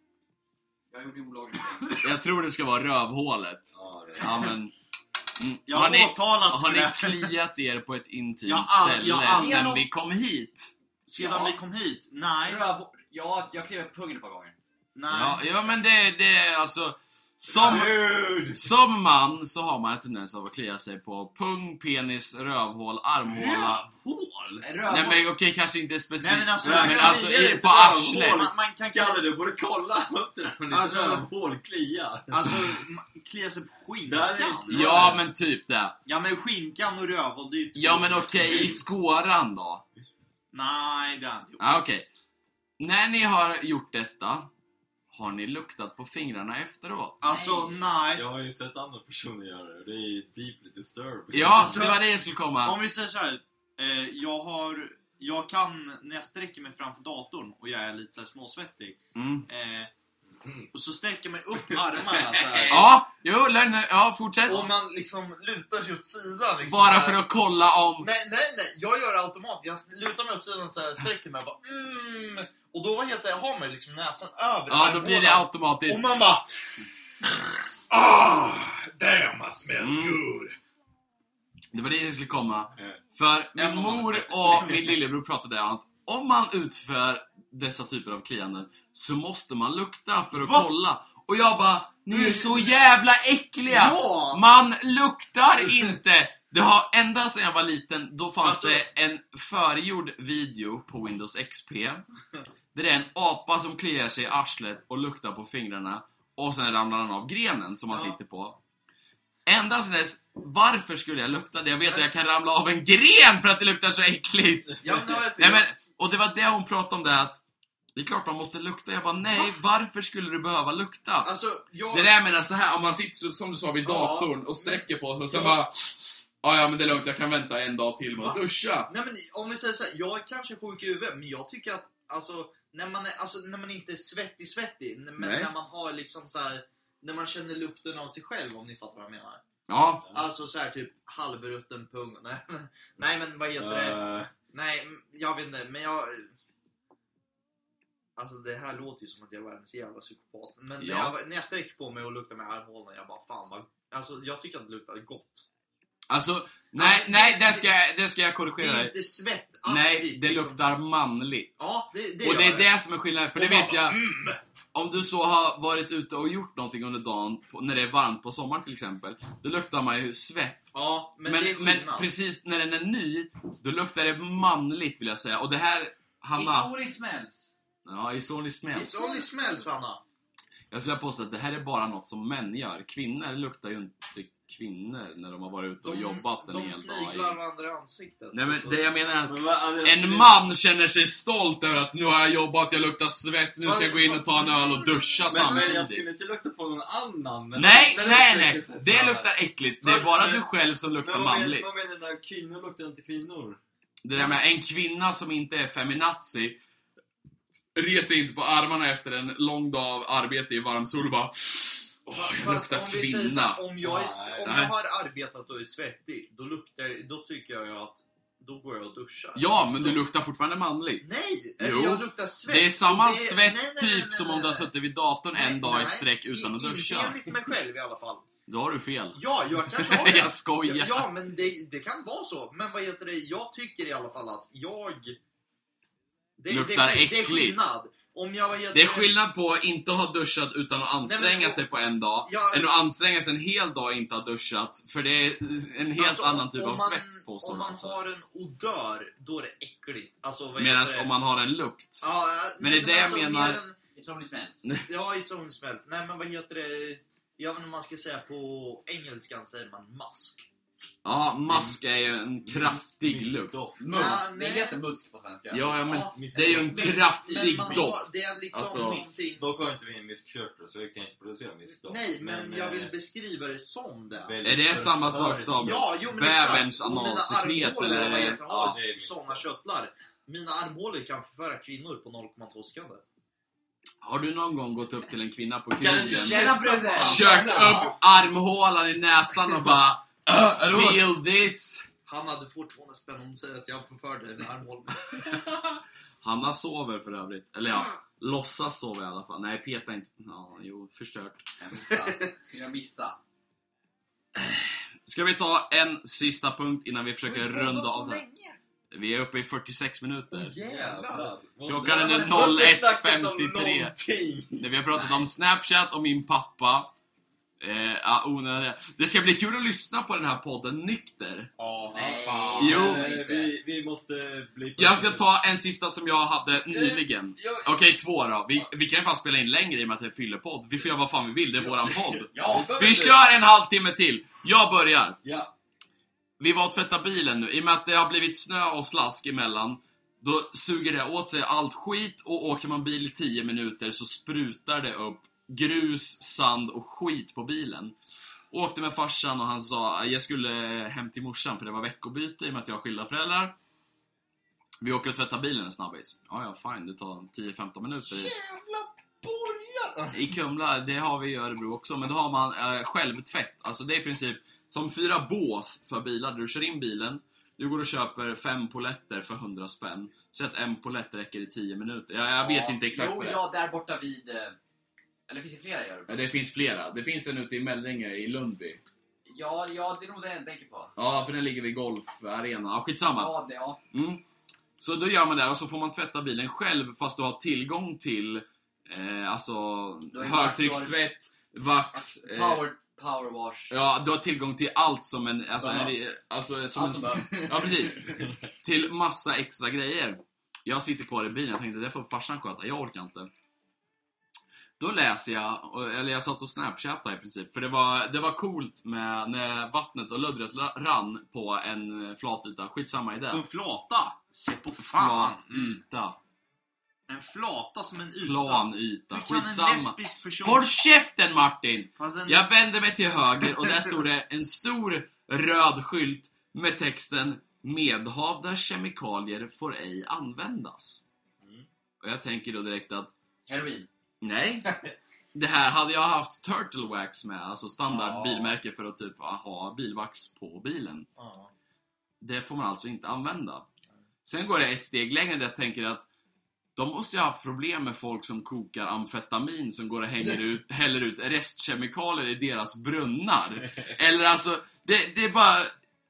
Speaker 5: Jag gjorde ju olagligt.
Speaker 3: Jag tror det ska vara rövhålet.
Speaker 4: Ja, det
Speaker 3: <laughs>
Speaker 4: är-
Speaker 3: Ja, men... Mm.
Speaker 1: Jag
Speaker 3: Har
Speaker 1: har
Speaker 3: ni-
Speaker 1: åtalats
Speaker 3: Har
Speaker 1: för
Speaker 3: ni
Speaker 1: det.
Speaker 3: kliat er på ett intimt
Speaker 1: Jag har all-
Speaker 3: ställe
Speaker 1: jag har all-
Speaker 3: sen vi kom hit?
Speaker 1: Sedan
Speaker 5: Ja.
Speaker 1: vi kom hit? Nej.
Speaker 5: Röv... Ja, jag klev på pungen ett par gånger.
Speaker 1: Nej.
Speaker 3: Ja, ja men det, det är alltså... Som,
Speaker 4: Dude!
Speaker 3: som man så har man en tendens av att klia sig på pung, penis, rövhål, armhåla.
Speaker 1: Rövhål?
Speaker 5: Röv...
Speaker 3: Nej men okej, kanske inte specifikt.
Speaker 1: Nej men alltså,
Speaker 4: Nej,
Speaker 3: men
Speaker 1: rövhål-
Speaker 3: alltså
Speaker 4: det är
Speaker 3: i,
Speaker 4: inte
Speaker 3: på
Speaker 4: rövhål.
Speaker 3: arslet.
Speaker 1: man, man kan
Speaker 4: Kalle, du borde kolla upp det där med ditt
Speaker 1: Alltså-
Speaker 4: rövhål kliar.
Speaker 1: Alltså, man- klia sig på
Speaker 4: Det här är
Speaker 1: skinkan.
Speaker 4: inte-
Speaker 3: Ja men typ det.
Speaker 1: Ja men skinkan och rövhål, det är ju två-
Speaker 3: Ja men okej, i skåran då?
Speaker 1: Nej, det har jag inte gjort.
Speaker 3: Ja okej. När ni har gjort detta, har ni luktat på fingrarna efteråt?
Speaker 1: Alltså, nej.
Speaker 4: Jag har ju sett andra personer göra det och det är ju deeply disturbing.
Speaker 3: Ja, så det var det jag skulle komma.
Speaker 1: Om vi säger så här. Eh, jag har... Jag kan, när jag sträcker mig framför datorn och jag är lite så här småsvettig.
Speaker 3: Mm.
Speaker 1: Eh, och så sträcker jag mig upp armarna så här.
Speaker 3: <laughs> Ja, jo, Lenny, ja fortsätt.
Speaker 9: Och man liksom lutar sig åt sidan. Liksom,
Speaker 3: Bara
Speaker 9: så här.
Speaker 3: för att kolla om...
Speaker 9: Nej, nej, nej. Jag gör det automatiskt. Jag lutar mig åt sidan så här, sträcker mig och bara mm. Och då vad heter det, har man ju liksom näsan över
Speaker 3: Ja, då blir det
Speaker 9: armbågarna.
Speaker 3: automatiskt.
Speaker 9: Och man bara... Ah, damn I smell
Speaker 3: Mm.
Speaker 9: good!
Speaker 3: Det var det jag skulle komma.
Speaker 4: Ja.
Speaker 3: För min
Speaker 9: Även om man
Speaker 3: mor
Speaker 9: har sett
Speaker 3: och min lillebror pratade om att om man utför dessa typer av klianden så måste man lukta för att
Speaker 1: Va?
Speaker 3: kolla. Och jag bara, ni är så jävla äckliga!
Speaker 1: Ja!
Speaker 3: Man luktar
Speaker 1: <laughs>
Speaker 3: inte! Det har ända sedan jag var liten, då fanns
Speaker 1: Alltså-
Speaker 3: det en förgjord video på Windows XP. Där det är en apa som kliar sig i arslet och luktar på fingrarna. Och sen ramlar han av grenen som han
Speaker 1: Ja.
Speaker 3: sitter på. Ända sedan dess, varför skulle jag lukta det? Jag vet att jag kan ramla av en gren för att det luktar så äckligt!
Speaker 1: Ja, men det har jag
Speaker 3: Nej,
Speaker 1: fel.
Speaker 3: men, och det var det hon pratade om det att det är klart man måste lukta. Jag bara, nej, varför skulle du behöva lukta?
Speaker 1: Alltså, jag...
Speaker 3: Det där menar så här, om man sitter så, som du sa vid datorn och sträcker på sig och sen bara Ja, ja men det är lugnt, jag kan vänta en dag till med att duscha.
Speaker 1: Nej men om vi säger så här, jag är kanske sjuk i huvudet, men jag tycker att alltså när man, är, alltså, när man inte är svettig svettig, men
Speaker 3: Nej.
Speaker 1: när man har liksom så här när man känner lukten av sig själv om ni fattar vad jag menar.
Speaker 3: Ja,
Speaker 1: Alltså så här typ halvrutten pung. <laughs> Nej, nej men vad heter det?
Speaker 4: Eh,
Speaker 1: Nej, m- jag vet inte, men jag... Alltså det här låter ju som att jag är världens jävla psykopat. Men
Speaker 3: Ja.
Speaker 1: när, jag, var- när jag sträcker på mig och luktar med armhålorna, jag bara fan vad... Alltså jag tycker att det luktar gott.
Speaker 3: alltså nej,
Speaker 1: Alltså,
Speaker 3: nej,
Speaker 1: det-
Speaker 3: det ska, jag- det ska jag
Speaker 1: Det är
Speaker 3: korrigera dig.
Speaker 1: inte svettaktigt.
Speaker 3: Nej, det
Speaker 1: liksom.
Speaker 3: luktar manligt.
Speaker 1: Ja, det, det
Speaker 3: Och
Speaker 1: gör
Speaker 3: det är det som är skillnaden, för det
Speaker 1: Och man mm.
Speaker 3: vet jag. Om du så har varit ute och gjort någonting under dagen, på, när det är varmt på sommaren till exempel, då luktar man ju svett.
Speaker 1: Ja, men,
Speaker 3: Men,
Speaker 1: det är
Speaker 3: men
Speaker 1: skillnad.
Speaker 3: precis när den är ny, då luktar det manligt vill jag säga. Och det här, Hanna...
Speaker 5: Isori smells.
Speaker 3: Ja, it's only smells.
Speaker 1: It's only smells, Hanna.
Speaker 3: Jag skulle påstå att det här är bara något som män gör. Kvinnor luktar ju inte kvinnor när de har varit ute och jobbat en
Speaker 1: de
Speaker 3: hel dag.
Speaker 1: sniglar varandra i ansiktet.
Speaker 3: Nej men det jag menar är att
Speaker 4: Men vad- alltså, jag
Speaker 3: en
Speaker 4: skulle-
Speaker 3: man känner sig stolt över att nu har jag jobbat, jag luktar svett, nu ska jag gå in och ta en öl och duscha
Speaker 4: Men, men jag
Speaker 3: samtidigt.
Speaker 4: skulle inte lukta på någon annan. men-
Speaker 3: Nej,
Speaker 4: men-
Speaker 3: nej,
Speaker 4: men-
Speaker 3: nej!
Speaker 4: så här.
Speaker 3: Det luktar äckligt. Det är
Speaker 4: Men-
Speaker 3: bara
Speaker 4: men-
Speaker 3: du själv som
Speaker 4: Men vad
Speaker 3: luktar
Speaker 4: menar-
Speaker 3: manligt.
Speaker 4: Vad menar du när kvinnor luktar inte kvinnor?
Speaker 3: Det där med en kvinna som inte är feminazi reser inte på armarna efter en lång dag av arbete i varm sol och bara Åh, jag
Speaker 1: Fast om
Speaker 3: luktar
Speaker 1: vi säger så
Speaker 3: kvinna.
Speaker 1: här, om jag, är, om
Speaker 3: Nej.
Speaker 1: jag har arbetat och är svettig, då, luktar, jag- då tycker jag ju att då går jag och duschar.
Speaker 3: Ja, men du luktar fortfarande manligt.
Speaker 1: Nej!
Speaker 3: Jo.
Speaker 1: Jag luktar svett.
Speaker 3: Det är samma
Speaker 1: Och det-
Speaker 3: svett
Speaker 1: nej,
Speaker 3: typ
Speaker 1: nej, nej, nej,
Speaker 3: som om du har
Speaker 1: nej.
Speaker 3: suttit vid datorn en
Speaker 1: Nej,
Speaker 3: dag i
Speaker 1: nej.
Speaker 3: sträck utan att
Speaker 1: I-
Speaker 3: duscha.
Speaker 1: Inte enligt mig själv i alla fall.
Speaker 3: Då har du fel.
Speaker 1: Ja,
Speaker 3: <laughs>
Speaker 1: jag kanske har det.
Speaker 3: jag skojar.
Speaker 1: Ja, men det, det kan vara så. Men vad heter det? Jag tycker i alla fall att jag... Det,
Speaker 3: Luktar
Speaker 1: det, det, det är
Speaker 3: äckligt.
Speaker 1: skillnad. Om jag vad heter
Speaker 3: Det är skillnad på att inte ha duschat utan att anstränga
Speaker 1: Nej, men-
Speaker 3: sig på en dag,
Speaker 1: Ja,
Speaker 3: än att anstränga sig en hel dag och inte ha duschat. För det är en helt
Speaker 1: alltså,
Speaker 3: annan typ
Speaker 1: om
Speaker 3: av
Speaker 1: man-
Speaker 3: svett påstår
Speaker 1: Om man
Speaker 3: man. så.
Speaker 1: har en odör, då är det äckligt. Alltså, vad
Speaker 3: Medan
Speaker 1: heter det?
Speaker 3: om man har en lukt.
Speaker 1: Ja,
Speaker 3: Men
Speaker 1: nej,
Speaker 3: det är det jag
Speaker 1: alltså,
Speaker 3: menar.
Speaker 1: mer än-
Speaker 5: It's only smells.
Speaker 1: Ja, it's only smells. Nej, men vad heter det? Jag vet inte om man ska säga på engelskan säger man mask.
Speaker 3: Ja, mask är ju
Speaker 1: Mm.
Speaker 3: en kraftig lukt.
Speaker 4: Doft.
Speaker 5: Musk.
Speaker 1: Ja,
Speaker 5: det
Speaker 1: nej.
Speaker 5: heter musk på svenska.
Speaker 3: Ja, ja, men
Speaker 1: Ja,
Speaker 3: det är ju en
Speaker 1: men-
Speaker 3: kraftig
Speaker 1: men man har-
Speaker 3: doft.
Speaker 1: Det är liksom
Speaker 3: Alltså-
Speaker 1: någonting...
Speaker 4: Dock har inte vi en misskörter så vi kan inte producera miskdoft.
Speaker 1: Nej, men jag vill
Speaker 4: eh,
Speaker 1: beskriva det som det.
Speaker 4: väldigt
Speaker 3: Är det samma sak
Speaker 4: förföriskt.
Speaker 3: som
Speaker 1: Ja, jo men
Speaker 3: bäverns
Speaker 1: exakt. Och mina
Speaker 3: analsekret
Speaker 1: armhålor,
Speaker 3: eller?
Speaker 1: vad heter det,
Speaker 4: Ja,
Speaker 1: har
Speaker 4: det är visst.
Speaker 1: sådana köttlar. Mina armhålor kan förföra kvinnor på 0,2 sekunder.
Speaker 3: Har du någon gång gått upp till en kvinna på
Speaker 4: Kan du
Speaker 3: krogen,
Speaker 4: känna bröder?
Speaker 3: kört upp armhålan i näsan och bara "Uh, Feel this!
Speaker 1: Han hade fortfarande spänn om sig att jag förförde dig med armhålorna.
Speaker 3: Hanna sover för övrigt. Eller ja, låtsas sova i alla fall. Nej, peta inte. Ja, jo, förstört.
Speaker 5: Jag missade. Jag missade.
Speaker 3: Ska vi ta en sista punkt innan vi försöker
Speaker 1: Oj, vänta
Speaker 3: runda
Speaker 1: så
Speaker 3: av det här?
Speaker 1: länge.
Speaker 3: Vi är uppe i 46 minuter.
Speaker 1: Jävlar.
Speaker 4: Jävlar.
Speaker 3: Klockan är nu
Speaker 4: Jag har inte snackat om
Speaker 3: 01.53.
Speaker 4: någonting.
Speaker 3: När vi har pratat om Snapchat och min pappa. Eh, ja, onödiga. Det ska bli kul att lyssna på den här podden nykter.
Speaker 1: Ja,
Speaker 5: Nej.
Speaker 1: fan.
Speaker 3: Jo.
Speaker 4: Eh, Vi, vi måste bli...
Speaker 3: Jag ska ta en sista som jag hade nyligen.
Speaker 4: Jag,
Speaker 3: Okej, två då. Vi, vi kan ju fan spela in längre i och med att det är fyllepodd. Vi får göra vad fan vi vill, det är våran podd.
Speaker 5: Ja,
Speaker 4: behöver
Speaker 3: Vi
Speaker 4: inte-
Speaker 3: kör en halvtimme till! Jag börjar.
Speaker 4: Ja.
Speaker 3: Vi var och tvättade bilen nu. I och med att det har blivit snö och slask emellan, då suger det åt sig allt skit och åker man bil i 10 minuter så sprutar det upp grus, sand och skit på bilen. Åkte med farsan och han sa jag skulle hem till morsan för det var veckobyte i och med att jag har skilda föräldrar. Vi åker och tvättar bilen en snabbis. Ja, ja, fine. Det tar 10-15 minuter. I Kumla, det har vi i Örebro också, men då har man eh, självtvätt. Alltså det är i princip som fyra bås för bilar. Du kör in bilen, du går och köper fem poletter för 100 spänn. Så att en polett räcker i 10 minuter. Jag, jag vet inte exakt
Speaker 5: Jo,
Speaker 3: vad det är.
Speaker 5: ja, där borta vid... eh, Eller finns det flera i Örebro?
Speaker 3: Ja, Det finns flera. Det finns en ute i Mellringe i Lundby.
Speaker 5: Ja, ja, det är nog det jag tänker på.
Speaker 3: Ja, för den ligger vid golfarenan. Ja, skitsamma.
Speaker 5: Ja, det, ja.
Speaker 3: Mm. Så då gör man det och så får man tvätta bilen själv fast du har tillgång till eh, alltså
Speaker 5: Du har ju
Speaker 3: högtryckstvätt, vax, eh,
Speaker 5: Power, power wash.
Speaker 3: Ja, du har tillgång till allt som en... Alltså, en,
Speaker 5: Behövs.
Speaker 3: alltså som
Speaker 5: Allt som
Speaker 3: en,
Speaker 5: behövs.
Speaker 3: Ja, precis. Till massa extra grejer. Jag sitter kvar i bilen jag tänkte det får farsan sköta, jag orkar inte. Då läser jag, och- eller jag satt och snapchattade i princip, för det var, det var coolt med när vattnet och luddret la- rann på en flat yta. Skitsamma i det.
Speaker 10: En flata? Se på fan!
Speaker 1: Ah. mm.
Speaker 3: Flat yta.
Speaker 10: En flata som en yta.
Speaker 3: Plan yta.
Speaker 10: Hur kan en
Speaker 3: Skitsamma.
Speaker 10: lesbisk person...
Speaker 3: Håll käften Martin!
Speaker 10: Fast en...
Speaker 3: Jag vände mig till höger och där stod det en stor röd skylt med texten Medhavda kemikalier får ej användas. Och jag tänker då direkt att
Speaker 5: Heroin.
Speaker 3: nej, det här hade jag haft Turtle Wax med, alltså standard
Speaker 1: Ja.
Speaker 3: bilmärke för att typ ha bilvax på bilen.
Speaker 1: Ja.
Speaker 3: Det får man alltså inte använda. Sen går det ett steg längre där jag tänker att de måste ju ha haft problem med folk som kokar amfetamin som går och hänger ut, häller ut restkemikalier i deras brunnar. Eller alltså, det, det bara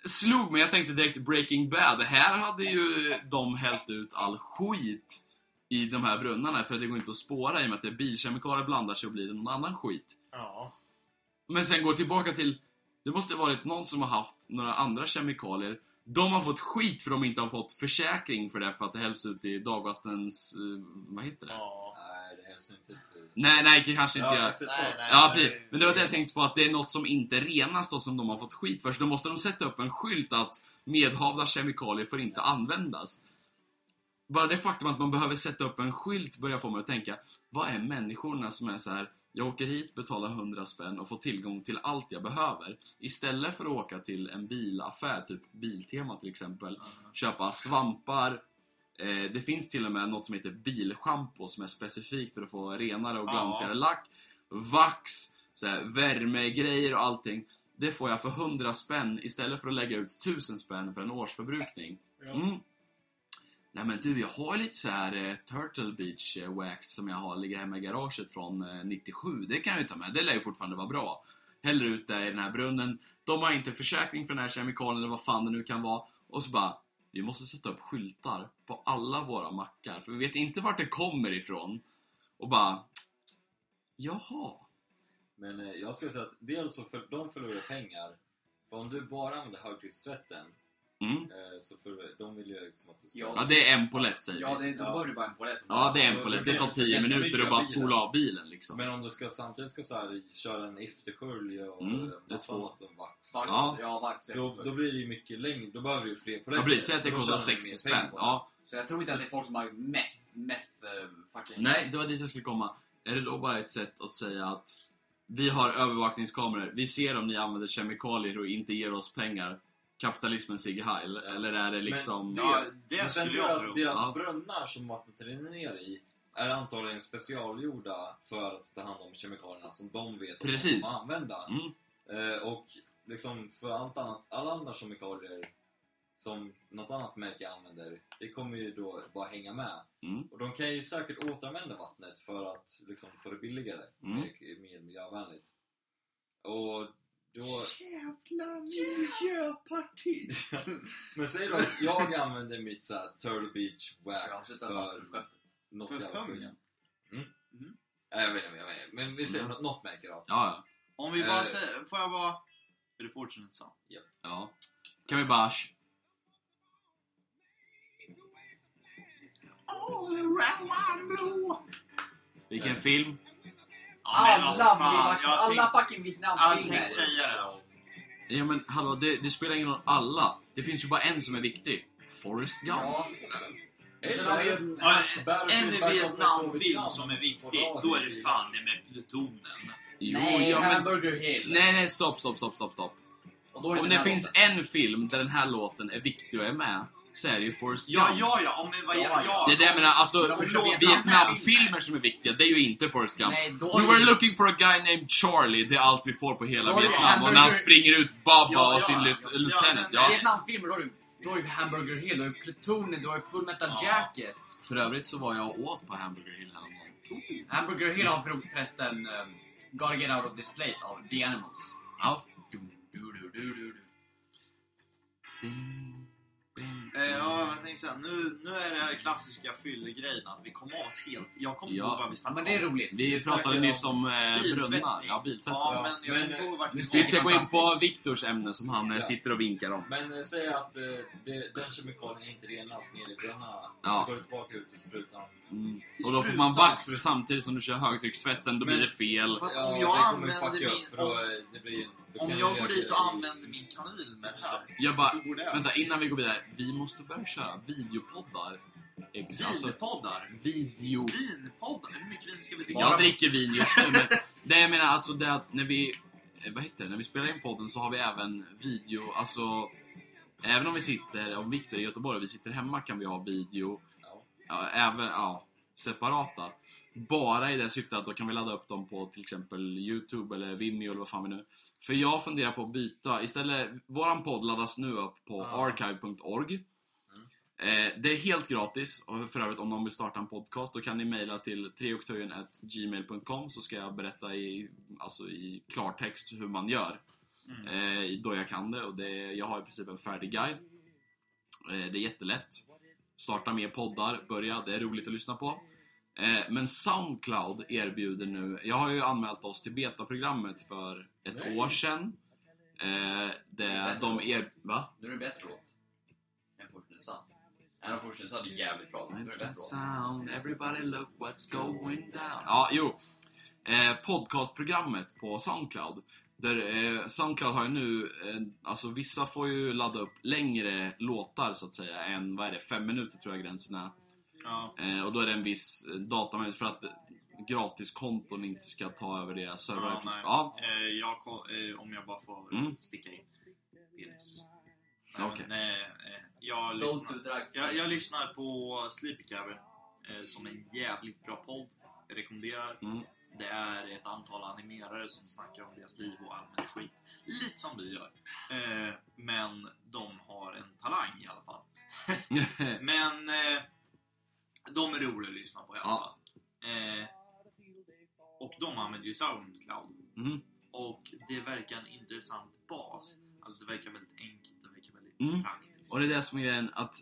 Speaker 3: slog mig. Jag tänkte direkt Breaking Bad. Här hade ju de hällt ut all skit i de här brunnarna för det går inte att spåra i och med att det är bilkemikalier blandar sig och blir någon annan skit.
Speaker 1: Ja.
Speaker 3: Men sen går tillbaka till Det måste varit någon som har haft några andra kemikalier De har fått skit för de inte har fått försäkring för det för att det hälls ut i dagvattens... eh, Vad heter det?
Speaker 1: Ja.
Speaker 4: Nej, det är så inte...
Speaker 3: Nej, nej, kanske inte
Speaker 4: Ja,
Speaker 3: jag.
Speaker 4: efter ett
Speaker 11: Nej,
Speaker 4: tag.
Speaker 11: nej,
Speaker 3: Ja,
Speaker 11: nej,
Speaker 3: precis.
Speaker 11: nej.
Speaker 3: Men det var det jag tänkte på, att det är något som inte renas då som de har fått skit för. Så då måste de sätta upp en skylt att medhavda kemikalier får inte användas. Bara det faktum att man behöver sätta upp en skylt börjar få mig att tänka, vad är människorna som är så här. jag åker hit, betalar 100 spänn och får tillgång till allt jag behöver. Istället för att åka till en bilaffär, typ Biltema till exempel, köpa svampar, Eh, det finns till och med något som heter bilschampo som är specifikt för att få renare och glansigare lack. Vax, så här, värmegrejer och allting. Det får jag för 100 spänn istället för att lägga ut 1000 spänn för en årsförbrukning. Mm. Nej men du, jag har lite så här eh, Turtle Beach eh, Wax som jag har ligger hemma i garaget från eh, 97. Det kan jag ju ta med. Det lär ju fortfarande vara bra. Häller ut det i den här brunnen. De har inte försäkring för den här kemikalien eller vad fan det nu kan vara. Och så bara, vi måste sätta upp skyltar på alla våra mackar. För vi vet inte vart det kommer ifrån. Och bara, jaha.
Speaker 4: Men eh, jag skulle säga att dels så för, de förlorar pengar. För om du bara använder högtryckstvätten
Speaker 3: Mm.
Speaker 4: eh, så för, de vill ju liksom att du ska...
Speaker 5: Ja,
Speaker 3: Ja, det är en polett säger
Speaker 5: Ja,
Speaker 3: vi.
Speaker 5: det, då var det bara en palett.
Speaker 3: Ja, det är en polett. Det tar 10 minuter att bara
Speaker 4: bilen.
Speaker 3: spola av bilen liksom.
Speaker 4: Men om du ska samtidigt ska så här, köra en efterskölj och
Speaker 3: Mm,
Speaker 4: mm,
Speaker 3: det är
Speaker 4: massa
Speaker 3: två.
Speaker 4: annat som vax.
Speaker 5: Vax,
Speaker 3: Ja.
Speaker 5: ja. vax.
Speaker 4: Då, då blir det ju mycket längre. Då behöver du ju fler
Speaker 3: Ja,
Speaker 4: polletter.
Speaker 3: precis. Säg att
Speaker 4: så
Speaker 3: det
Speaker 4: då
Speaker 3: kostar
Speaker 4: tjänar du mer
Speaker 3: 60
Speaker 4: pengar
Speaker 3: spänn.
Speaker 4: på det.
Speaker 3: Ja.
Speaker 5: Så jag tror inte att det är folk som har mest, mest eh, fucking...
Speaker 3: Nej, det var dit jag skulle komma. Är det då bara ett sätt att säga att vi har övervakningskameror, vi ser om ni använder kemikalier och inte ger oss pengar. Kapitalismen Sieg Heil. Eller är det liksom...
Speaker 1: Det,
Speaker 4: Ja,
Speaker 1: det
Speaker 4: Men sen
Speaker 1: skulle
Speaker 4: tror jag
Speaker 1: jag
Speaker 4: att
Speaker 1: tro.
Speaker 4: deras
Speaker 3: Ja.
Speaker 4: brunnar som vattnet rinner ner i är antagligen specialgjorda för att ta hand om kemikalierna som de vet att de
Speaker 3: Precis.
Speaker 4: kommer använda.
Speaker 3: Mm.
Speaker 4: Eh, och liksom för allt annat, alla andra kemikalier som något annat märke använder, det kommer ju då bara hänga med.
Speaker 3: Mm.
Speaker 4: Och de kan ju säkert återanvända vattnet för att liksom få det billigare,
Speaker 3: Mm.
Speaker 4: mer, mer miljövänligt. Och då...
Speaker 1: Jävla miljöpartist!
Speaker 4: Men säg då att jag använder mitt så här, Turtle Beach
Speaker 5: Jag har
Speaker 4: Wax
Speaker 5: sett alla
Speaker 4: för
Speaker 5: som skämt.
Speaker 4: något
Speaker 1: För
Speaker 4: jävla skit.
Speaker 1: pungen.
Speaker 4: Mm.
Speaker 1: Mm.
Speaker 4: Ja, jag vet inte, jag vet inte. Men vi ser
Speaker 3: Mm.
Speaker 4: något, något märke då.
Speaker 3: Ja,
Speaker 1: Om vi bara
Speaker 4: Eh.
Speaker 1: säger, får jag bara... Är det fortune sant?
Speaker 3: ja. Kan vi bara...
Speaker 1: All around blue!
Speaker 5: Eh.
Speaker 3: Vilken film?
Speaker 5: Alla,
Speaker 1: vad fan,
Speaker 5: Vietnam-
Speaker 1: jag
Speaker 5: alla
Speaker 1: tänkte-
Speaker 5: fucking
Speaker 1: jag
Speaker 5: Vietnamfilmer!
Speaker 1: tänkte säga det.
Speaker 3: Ja men hallå, det, det spelar ingen roll. Alla. Det finns ju bara en som är viktig. Forrest Gump.
Speaker 5: Ja. Sen har vi
Speaker 4: Eller
Speaker 5: ju...
Speaker 1: Ja,
Speaker 4: Battlefield
Speaker 1: En
Speaker 4: Backup
Speaker 1: Vietnamfilm
Speaker 4: Vietnam
Speaker 1: som är
Speaker 4: får
Speaker 1: viktig,
Speaker 4: dra
Speaker 1: då är
Speaker 4: det
Speaker 1: det
Speaker 4: i-
Speaker 1: fan det med plutonen.
Speaker 3: Jo,
Speaker 5: Nej,
Speaker 3: ja, men...
Speaker 5: Hamburger Hill!
Speaker 3: Nej, nej, stopp, stopp, stopp, stopp, stopp.
Speaker 5: Och då är
Speaker 3: Om
Speaker 5: den
Speaker 3: det
Speaker 5: här
Speaker 3: finns
Speaker 5: låten.
Speaker 3: en film där den här låten är viktig och är med, så är det ju Forrest Gump.
Speaker 1: Ja, ja, ja. Om vi var,
Speaker 5: Ja,
Speaker 1: ja,
Speaker 5: ja.
Speaker 3: Det är det jag menar, alltså
Speaker 5: Ja, men
Speaker 3: förlåt,
Speaker 5: Vietnam-
Speaker 3: Vietnamfilmer som är viktiga, det är ju inte Forrest Gump.
Speaker 5: Nej, då är
Speaker 3: We were
Speaker 5: det-
Speaker 3: looking for a guy named Charlie, det är allt vi får på hela
Speaker 5: Då är det
Speaker 3: Vietnam. Och när han
Speaker 5: hamburger-
Speaker 3: springer ut Baba
Speaker 1: Ja,
Speaker 3: och sin
Speaker 1: ja,
Speaker 3: lut-
Speaker 1: ja,
Speaker 3: lieutenant,
Speaker 1: den-
Speaker 3: ja.
Speaker 5: Vietnamfilmer, då är det då är det Hamburger Hill, då är det Plutonen, då är det Full Metal
Speaker 1: Ja.
Speaker 5: Jacket.
Speaker 3: För övrigt så var jag och åt på Hamburger Hill häromdagen.
Speaker 5: Hamburger Hill har för- förresten um, Gotta Get Out of This Place av The Animals.
Speaker 3: Ja.
Speaker 5: Du, du, du, du, du.
Speaker 1: Eh, ja, jag tänkte såhär, nu, nu är det här klassiska fyllegrejen att vi kom av oss helt. Jag kommer inte
Speaker 3: Ja.
Speaker 1: ihåg vad vi
Speaker 5: Ja,
Speaker 1: snackade
Speaker 5: men det är roligt.
Speaker 3: Vi pratade
Speaker 4: om
Speaker 3: nyss om eh,
Speaker 1: Biltvättning.
Speaker 3: brunnar, ja biltvättning.
Speaker 1: Ja, men jag
Speaker 4: Men,
Speaker 1: kommer inte ihåg vart vi
Speaker 5: vi
Speaker 3: Vi
Speaker 1: var.
Speaker 5: ser-
Speaker 3: ska gå in på Viktors ämne som han eh,
Speaker 4: Ja.
Speaker 3: sitter och vinkar om.
Speaker 4: Men eh, säg att eh, det, den kemikalien inte renas ner i brunnarna,
Speaker 3: Ja.
Speaker 4: så går det tillbaka ut i sprutan.
Speaker 3: Mm. Och då får man vax samtidigt som du kör högtryckstvätten, då
Speaker 4: Men-
Speaker 3: blir det fel.
Speaker 1: Fast
Speaker 4: Ja,
Speaker 1: om
Speaker 4: det
Speaker 1: jag
Speaker 4: kommer ju
Speaker 1: använder
Speaker 4: fucka upp,
Speaker 1: min...
Speaker 4: för då,
Speaker 1: Om,
Speaker 4: eh, det blir, då
Speaker 1: om
Speaker 4: kan
Speaker 1: jag
Speaker 4: det
Speaker 1: går
Speaker 4: reagera
Speaker 1: dit och
Speaker 4: i-
Speaker 1: använder min kanyl med det här.
Speaker 3: Jag bara,
Speaker 1: Hur går det?
Speaker 3: vänta innan vi går vidare. Vi måste börja köra videopoddar. Ex- Alltså,
Speaker 1: Vinpoddar.
Speaker 3: video...
Speaker 1: Vinpoddar? Hur mycket vin ska vi dricka?
Speaker 3: Jag dricker vin just nu, men... Nej, jag menar alltså det att när vi... eh, Vad heter det? När vi spelar in podden så har vi även video, alltså... Även om vi sitter, om Viktor är i Göteborg och vi sitter hemma kan vi ha video.
Speaker 4: Ja.
Speaker 3: Ja, även, ja, separata. Bara i det syftet att då kan vi ladda upp dem på till exempel Youtube eller Vimeo eller vad fan vi nu... För jag funderar på att byta, istället, våran podd laddas nu upp på
Speaker 4: Ja.
Speaker 3: archive.org. Eh, det är helt gratis och för övrigt om någon vill starta en podcast då kan ni mejla till treoktöjen.gmail.com så ska jag berätta i, alltså i klartext hur man gör. Eh, då jag kan det och det, jag har i princip en färdig guide. Eh, det är jättelätt. Starta mer poddar, börja, det är roligt att lyssna på. Eh, men Soundcloud erbjuder nu, jag har ju anmält oss till betaprogrammet för ett
Speaker 4: Nej.
Speaker 3: år sedan. Eh, det, de er... Va?
Speaker 5: Nu är det bättre låt. Än Äh, Fortune Sun. Än Fortune Sun är jävligt bra. Nu är det bättre låt.
Speaker 3: Sound, everybody look what's going down. Ja, jo. eh, podcastprogrammet på Soundcloud. Där eh, Soundcloud har ju nu, eh, alltså vissa får ju ladda upp längre låtar så att säga än, vad är det, fem minuter tror jag gränsen är.
Speaker 1: Ja.
Speaker 3: Eh, och då är det en viss eh, datamängd för att gratiskonton inte ska ta över deras servrar.
Speaker 1: Ja, nej.
Speaker 3: ja, <laughs>
Speaker 1: Eh, jag, ko- eh, om jag bara får
Speaker 3: Mm.
Speaker 1: sticka in. Pils.
Speaker 3: Ja, okej.
Speaker 1: men, eh, eh, jag,
Speaker 5: Don't do
Speaker 1: lyssnar,
Speaker 5: drugs.
Speaker 1: jag, jag lyssnar på Sleepy Cavern eh, som är en jävligt bra podd. Jag rekommenderar.
Speaker 3: Mm.
Speaker 1: Det är ett antal animerare som snackar om deras liv och allmänt skit. Lite som vi gör. Eh, men de har en talang i alla fall. Men eh, de är roliga att lyssna på i alla
Speaker 3: Ja.
Speaker 1: fall. Eh, och de använder ju Soundcloud.
Speaker 3: Mm.
Speaker 1: Och det verkar en intressant bas. Alltså det verkar väldigt enkelt, det verkar väldigt
Speaker 3: Mm.
Speaker 1: praktiskt.
Speaker 3: och det är det som är grejen att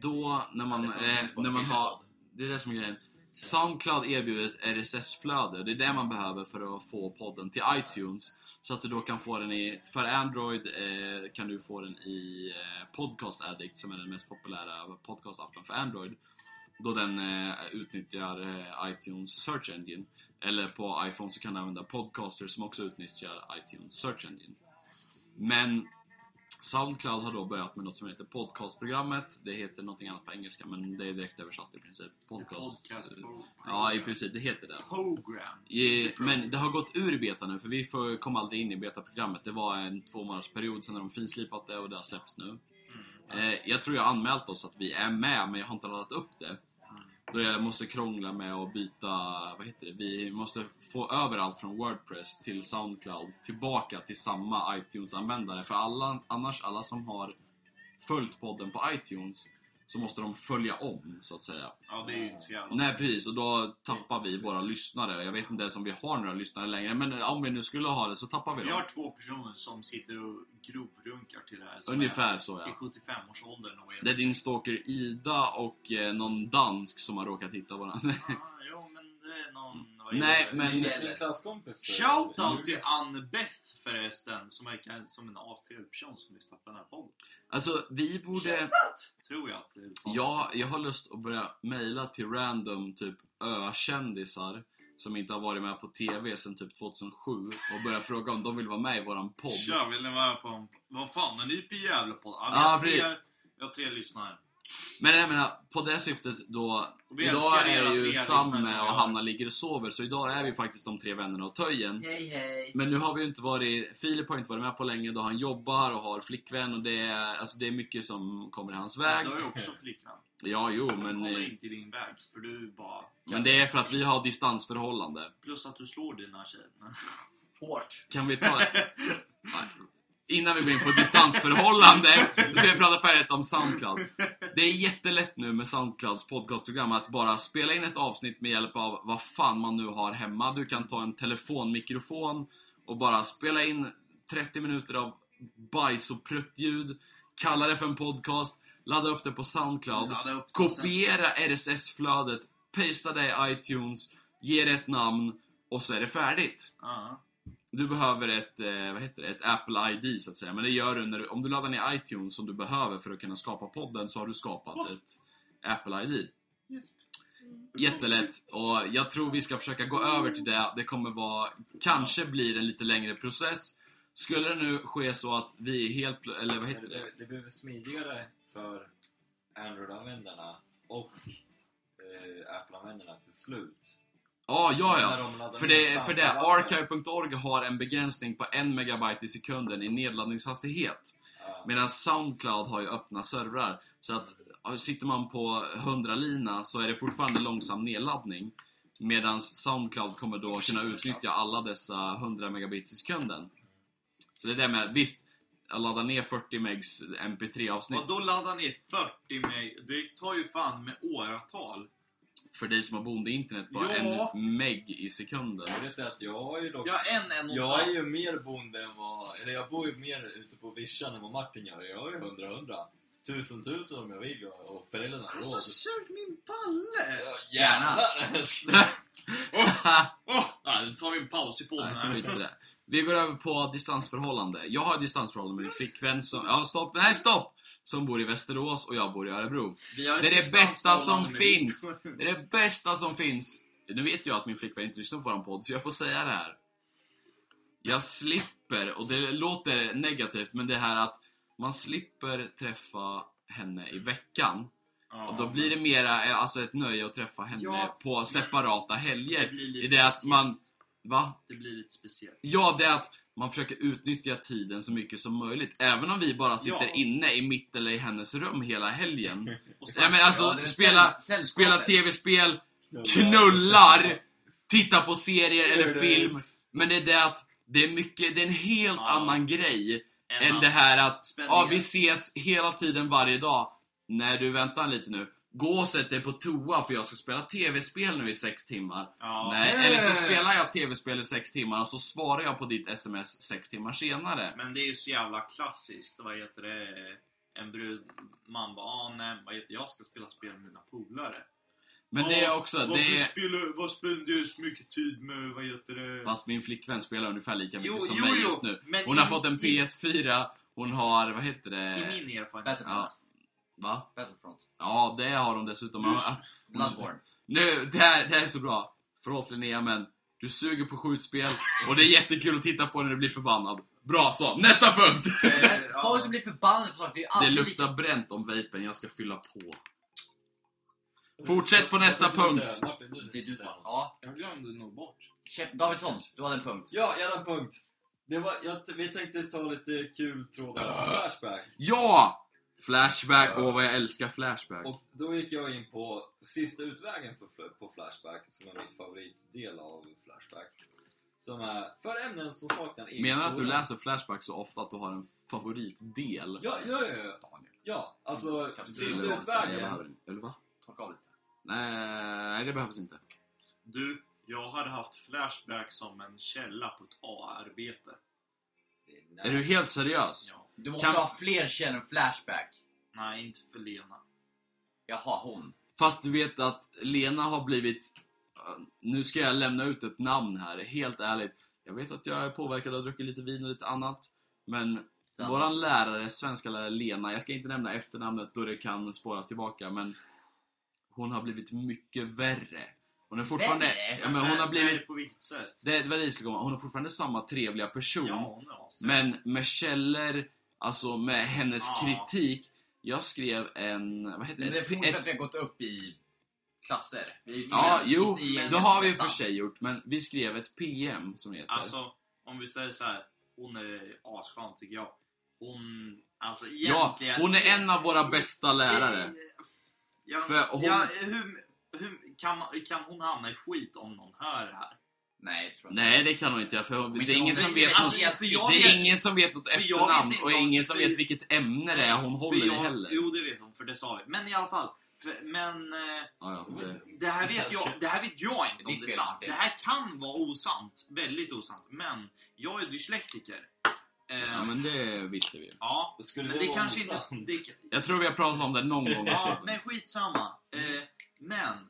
Speaker 3: då när man, eh, när man har, det är det som är grejen. Soundcloud erbjuder ett RSS-flöde. Det är det man behöver för att få podden till iTunes. Så att du då kan få den i, för Android eh, kan du få den i eh, Podcast Addict som är den mest populära podcastappen för Android. Då den eh, utnyttjar eh, iTunes Search Engine. Eller på iPhone så kan du använda Podcaster som också utnyttjar iTunes Search Engine. Men Soundcloud har då börjat med något som heter podcastprogrammet. Det heter någonting annat på engelska men det är direkt översatt i princip. Podcast.
Speaker 1: Podcast pro-
Speaker 3: Ja, i princip. Det heter det.
Speaker 1: Program.
Speaker 3: Eh, Men det har gått ur beta nu, för vi får- kom aldrig in i betaprogrammet. Det var en två månaders period, sen har de finslipat det och det har släppts nu. Eh, Jag tror jag har anmält oss att vi är med, men jag har inte laddat upp det. Då jag måste krångla med att byta, vad heter det, vi måste få överallt från Wordpress till Soundcloud tillbaka till samma iTunes-användare. För alla, annars, alla som har följt podden på iTunes, så måste de följa om, så att säga.
Speaker 1: Ja, det är ju inte så jävla...
Speaker 3: Nej precis, och då tappar vi våra lyssnare. Jag vet inte ens om vi har några lyssnare längre, men om vi nu skulle ha det så tappar vi
Speaker 1: Vi
Speaker 3: dem.
Speaker 1: har två personer som sitter och grovrunkar till det här. som
Speaker 3: Ungefär så
Speaker 1: Är, I
Speaker 3: ja.
Speaker 1: 75-årsåldern och är...
Speaker 3: Det är din stalker Ida och eh, någon dansk som har råkat hitta varandra.
Speaker 1: Ah, jo, men det är någon... vad
Speaker 3: Nej,
Speaker 1: heter det?
Speaker 3: men...
Speaker 4: Min klasskompis... eh,
Speaker 1: Shoutout
Speaker 4: Julius.
Speaker 1: till Ann-Beth förresten, som verkar som en astrevlig person som lyssnar på den här podden.
Speaker 3: <laughs> Alltså, vi borde...
Speaker 1: Tror jag att det uttalas.
Speaker 3: Jag, jag har lust att börja mejla till random typ ö-kändisar som inte har varit med på TV sedan typ 2007 och börja fråga om de vill vara med i våran podd.
Speaker 1: Tja, vill ni vara på en... Vad fan, är ni för jävla podd? Ja, vi
Speaker 3: Ja,
Speaker 1: har tre,
Speaker 3: precis.
Speaker 1: vi har tre lyssnare.
Speaker 3: Men jag menar, på det syftet då...
Speaker 1: Och vi
Speaker 3: Idag
Speaker 1: älskar era
Speaker 3: är
Speaker 1: tre
Speaker 3: ju
Speaker 1: lyssnare
Speaker 3: Samme
Speaker 1: som vi har.
Speaker 3: och Hanna ligger och sover, så idag är vi faktiskt de tre vännerna och töjen.
Speaker 5: Hej hej.
Speaker 3: Men nu har vi ju inte varit... Filip har ju inte varit med på länge då han jobbar och har flickvän och det är, alltså det är mycket som kommer i hans väg.
Speaker 1: Du har ju också flickvän.
Speaker 3: Ja, jo,
Speaker 1: Men
Speaker 3: men,
Speaker 1: kommer
Speaker 3: eh,
Speaker 1: inte i din väg, för du bara...
Speaker 3: men det är för att vi har distansförhållande.
Speaker 1: Plus att du slår dina tjejer. <laughs>
Speaker 5: Hårt.
Speaker 3: Kan vi ta... Nej. Innan vi går in på distansförhållande så ska jag prata färdigt om Soundcloud. Det är jättelätt nu med Soundclouds podcastprogram att bara spela in ett avsnitt med hjälp av vad fan man nu har hemma. Du kan ta en telefonmikrofon och bara spela in 30 minuter av bajs och pruttljud, kalla det för en podcast, ladda upp det på Soundcloud.
Speaker 1: Ladda upp den sen.
Speaker 3: Kopiera RSS-flödet, pasta det i iTunes, ge det ett namn och så är det färdigt.
Speaker 1: Ja.
Speaker 3: Du behöver ett, eh, vad heter det, ett Apple ID så att säga. Men det gör du när du, om du laddar ner iTunes som du behöver för att kunna skapa podden så har du skapat ett Apple ID. Jättelätt. Och jag tror vi ska försöka gå över till det. Det kommer vara, kanske blir en lite längre process. Skulle det nu ske så att vi är helt, pl- eller vad
Speaker 4: Det,
Speaker 3: heter det?
Speaker 4: det, det blev smidigare för Android-användarna och eh, Apple-användarna till slut.
Speaker 3: Ah, ja, ja.
Speaker 4: När de laddade
Speaker 3: För
Speaker 4: ner
Speaker 3: det,
Speaker 4: samma
Speaker 3: för det
Speaker 4: appar.
Speaker 3: archive.org har en begränsning på 1 megabyte i sekunden i nedladdningshastighet.
Speaker 4: Ja.
Speaker 3: Medan Soundcloud har ju öppna servrar. Så att ja, sitter man på 100-lina så är det fortfarande långsam nedladdning. Medan Soundcloud kommer då kunna utnyttja alla dessa 100 megabit i sekunden. Så det där med, visst, att ladda ner 40 megs mp3-avsnitt
Speaker 1: Och då laddar ni 40 mig. Det tar ju fan med åratal.
Speaker 3: för dig som har bonde internet på
Speaker 1: Ja.
Speaker 3: en meg i sekunden.
Speaker 4: Jag vill säga att jag har ju dock...
Speaker 1: Jag har en, en och
Speaker 4: Jag är ju mer bonde än vad... Eller jag bor ju mer ute på vischan än vad Martin gör. Jag är ju hundra hundra. Tusen tusen om jag vill och- och föräldrarna har
Speaker 1: Alltså, sug min balle!
Speaker 4: Ja, Jävlar!
Speaker 1: <laughs>
Speaker 3: <laughs>
Speaker 1: Åh! nej, nu tar vi en paus i podden
Speaker 3: Nej, skit i
Speaker 1: här.
Speaker 3: det. Vi går över på distansförhållande. Jag har ett distansförhållande med min flickvän som... Ja, stopp! Nej, stopp! Som bor i Västerås och jag bor i Örebro.
Speaker 1: Vi har
Speaker 3: Det är
Speaker 1: ett
Speaker 3: det bästa som
Speaker 1: distansförhållande med
Speaker 3: finns.
Speaker 1: ditt-
Speaker 3: Det är det bästa som finns. Nu vet jag att min flickvän inte lyssnar på vår podd, så jag får säga det här. Jag slipper, och det låter negativt, men det här att man slipper träffa henne i veckan. Och då blir det mera eh, alltså, ett nöje att träffa henne
Speaker 1: Ja.
Speaker 3: på separata helger.
Speaker 1: blir
Speaker 3: I
Speaker 1: lite
Speaker 3: det att
Speaker 1: speciellt.
Speaker 3: man... Va?
Speaker 1: Det blir lite speciellt.
Speaker 3: Ja, det är att man försöker utnyttja tiden så mycket som möjligt. Även om vi bara sitter
Speaker 1: Ja.
Speaker 3: inne i mitt eller i hennes rum hela helgen.
Speaker 1: Och
Speaker 3: Ja, men alltså,
Speaker 5: Ja, det är
Speaker 3: spela,
Speaker 5: säll-
Speaker 3: spela
Speaker 5: sällskapet.
Speaker 3: tv-spel, knullar, titta på serier eller film. Men det är det att det är mycket, det är en helt
Speaker 1: Ja.
Speaker 3: annan grej
Speaker 1: En
Speaker 3: än
Speaker 1: att-
Speaker 3: det här att
Speaker 1: spänningen.
Speaker 3: ja, vi ses hela tiden varje dag. Nej du, vänta lite nu. Gå och sätt dig på toa för jag ska spela tv-spel nu i sex timmar.
Speaker 1: Ja.
Speaker 3: Nej,
Speaker 5: Nej.
Speaker 3: eller så spelar jag tv-spel i sex timmar och så svarar jag på ditt sms sex timmar senare.
Speaker 1: Men det är ju så jävla klassiskt. Vad heter det? En brud, man bara ah, nej, vad heter jag ska spela spel med mina polare.
Speaker 3: Men det är också,
Speaker 1: varför
Speaker 3: det är,
Speaker 1: spelar, vad spenderar du så mycket tid med, vad heter det?
Speaker 3: fast min flickvän spelar ungefär lika mycket
Speaker 1: Jo,
Speaker 3: som
Speaker 1: jo,
Speaker 3: mig
Speaker 1: jo,
Speaker 3: just nu.
Speaker 1: men
Speaker 3: Hon har
Speaker 1: i-
Speaker 3: fått en
Speaker 1: i-
Speaker 3: PS4, hon har, vad heter
Speaker 1: I
Speaker 3: det?
Speaker 1: min erfarenhet.
Speaker 5: Battlefront.
Speaker 3: Va?
Speaker 5: Battlefront.
Speaker 3: Ja, det har hon dessutom.
Speaker 1: Just-
Speaker 3: Ah,
Speaker 5: Bloodborne.
Speaker 3: Nu, det här, det här är så bra. Förlåt Linnea, men du suger på skjutspel och det är jättekul att titta på när du blir förbannad. Bra så, nästa punkt! <laughs>
Speaker 1: Eh, ja.
Speaker 5: Folk som blir förbannade på saker, det är ju
Speaker 3: Det
Speaker 5: alltid lika...
Speaker 3: luktar bränt om vapen, jag ska fylla på. Fortsätt på nästa
Speaker 4: Vad tänkte du
Speaker 3: punkt.
Speaker 4: säga? Martin, du
Speaker 5: Det är du
Speaker 4: säger något.
Speaker 5: Ja.
Speaker 1: Jag glömde nog bort.
Speaker 5: Käpp- Davidsson, du hade en punkt.
Speaker 4: Ja, jag hade en punkt. Det var, jag, vi tänkte ta lite kul trådar på Flashback.
Speaker 3: Ja! Flashback, åh vad jag älskar Flashback.
Speaker 4: Och då gick jag in på sista utvägen för, på Flashback, som är mitt favoritdel av Flashback. Som är för ämnen som saknar egen
Speaker 3: Menar du att du
Speaker 4: fråga.
Speaker 3: läser Flashback så ofta att du har en favoritdel?
Speaker 4: Ja, ja, ja, ja. ja alltså
Speaker 5: Kanske
Speaker 4: sista
Speaker 5: det är-
Speaker 3: Nej, jag
Speaker 4: utvägen.
Speaker 3: behöver inte. Eller va?
Speaker 5: Torka av lite.
Speaker 3: Nej, det behövs inte.
Speaker 1: Du, jag hade haft Flashback som en källa på ett A-arbete.
Speaker 3: Är du helt seriös?
Speaker 1: Ja.
Speaker 5: Du måste
Speaker 3: Kan-
Speaker 5: ha fler källor än Flashback.
Speaker 1: Nej, inte för Lena.
Speaker 5: Jaha, hon.
Speaker 3: Fast du vet att Lena har blivit... eh, Nu ska jag lämna ut ett namn här, helt ärligt. Jag vet att jag är påverkad och har druckit lite vin och lite annat. Men
Speaker 5: Den-
Speaker 3: våran lärare, svenska lärare Lena, jag ska inte nämna efternamnet då det kan spåras tillbaka, men hon har blivit mycket värre. Hon är fortfarande...
Speaker 5: Värre?
Speaker 3: Ja, men hon har blivit...
Speaker 1: På vilket sätt?
Speaker 3: Det var det jag skulle komma. Hon är fortfarande samma trevliga person.
Speaker 1: Ja, hon är astrevlig.
Speaker 3: Men med källor, alltså med hennes
Speaker 1: Ja.
Speaker 3: kritik. Jag skrev en... Vad heter
Speaker 5: Men det är
Speaker 3: det?
Speaker 5: förmodligen för att
Speaker 3: Ett,
Speaker 5: vi har gått upp i klasser. Vi är ju
Speaker 3: ja,
Speaker 5: tydligen
Speaker 3: jo.
Speaker 5: i gänget
Speaker 3: Det har vi
Speaker 5: gemensamt.
Speaker 3: för sig gjort. Men vi skrev ett PM som det heter.
Speaker 1: Alltså, om vi säger så här. Hon är asskön tycker jag. Hon, alltså
Speaker 3: ja,
Speaker 1: egentligen...
Speaker 3: hon är en av våra bästa lärare.
Speaker 1: Ja,
Speaker 3: För hon-
Speaker 1: ja, hur, hur, kan, kan hon hamna i skit om någon hör det här?
Speaker 5: Nej, det tror jag inte.
Speaker 3: Nej, det kan hon inte göra, för
Speaker 5: Om
Speaker 3: det
Speaker 5: inte
Speaker 3: är ingen
Speaker 5: hon-
Speaker 3: som vet...
Speaker 1: Alltså,
Speaker 3: något-
Speaker 1: för jag
Speaker 3: det
Speaker 1: vet-
Speaker 3: är ingen som vet något
Speaker 1: för jag
Speaker 3: efternamn
Speaker 1: vet inte
Speaker 3: och
Speaker 1: om-
Speaker 3: ingen som
Speaker 1: för-
Speaker 3: vet vilket ämne det är hon
Speaker 1: För
Speaker 3: håller i
Speaker 1: jag-
Speaker 3: heller.
Speaker 1: Jo, det vet hon, för det sa vi. Men i alla fall. För, men eh,
Speaker 3: Ja, ja, det...
Speaker 1: det, här vet jag, det här vet jag inte om
Speaker 5: Ditt
Speaker 1: det är
Speaker 5: fel,
Speaker 1: sant.
Speaker 5: Martin.
Speaker 1: Det här kan vara osant. Väldigt osant. Men jag är dyslektiker. Eh,
Speaker 3: ja, men det visste vi ju.
Speaker 1: ja,
Speaker 4: Skulle
Speaker 1: men
Speaker 4: det
Speaker 1: det
Speaker 4: vara
Speaker 1: kanske inte...
Speaker 4: osant?
Speaker 1: Det,
Speaker 3: Jag tror vi har pratat om det någon gång.
Speaker 1: Ja, men skitsamma. Eh, men.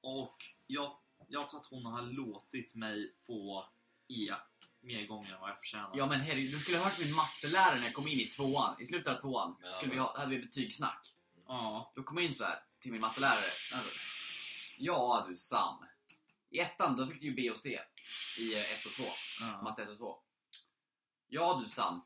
Speaker 1: Och jag, jag tror att hon har låtit mig få E mer gånger än vad jag förtjänar.
Speaker 5: Ja men herregud, du skulle ha hört min mattelärare när jag kom in i tvåan. I slutet av tvåan
Speaker 4: Ja.
Speaker 5: skulle vi ha, hade vi betygssnack.
Speaker 1: Ja.
Speaker 5: Då kom jag in så här till min mattelärare. Alltså, ja du Sam. I ettan då fick du ju B och C. I 1 och 2.
Speaker 1: ja.
Speaker 5: Matte 1 och 2. Ja du Sam.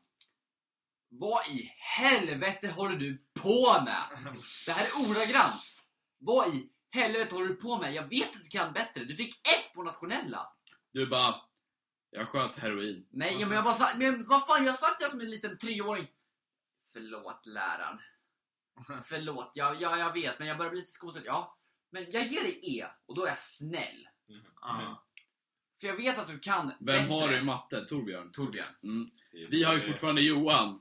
Speaker 5: Vad i helvete håller du på med? Det här är ordagrant. Vad i helvete håller du på med? Jag vet att du kan bättre. Du fick F på nationella.
Speaker 3: Du bara... Jag sköt heroin.
Speaker 5: Nej, ja, men jag bara sa, men vad fan, jag satt där som en liten treåring. Förlåt läraren. Förlåt, jag, jag, jag vet, men jag börjar bli lite skoltrött. Ja, men jag ger dig E och då är jag snäll.
Speaker 1: Ja.
Speaker 5: För jag vet att du kan
Speaker 3: Vem har du i matte? Torbjörn?
Speaker 5: Torbjörn.
Speaker 3: Mm.
Speaker 4: Det är-
Speaker 3: Vi har ju fortfarande Johan.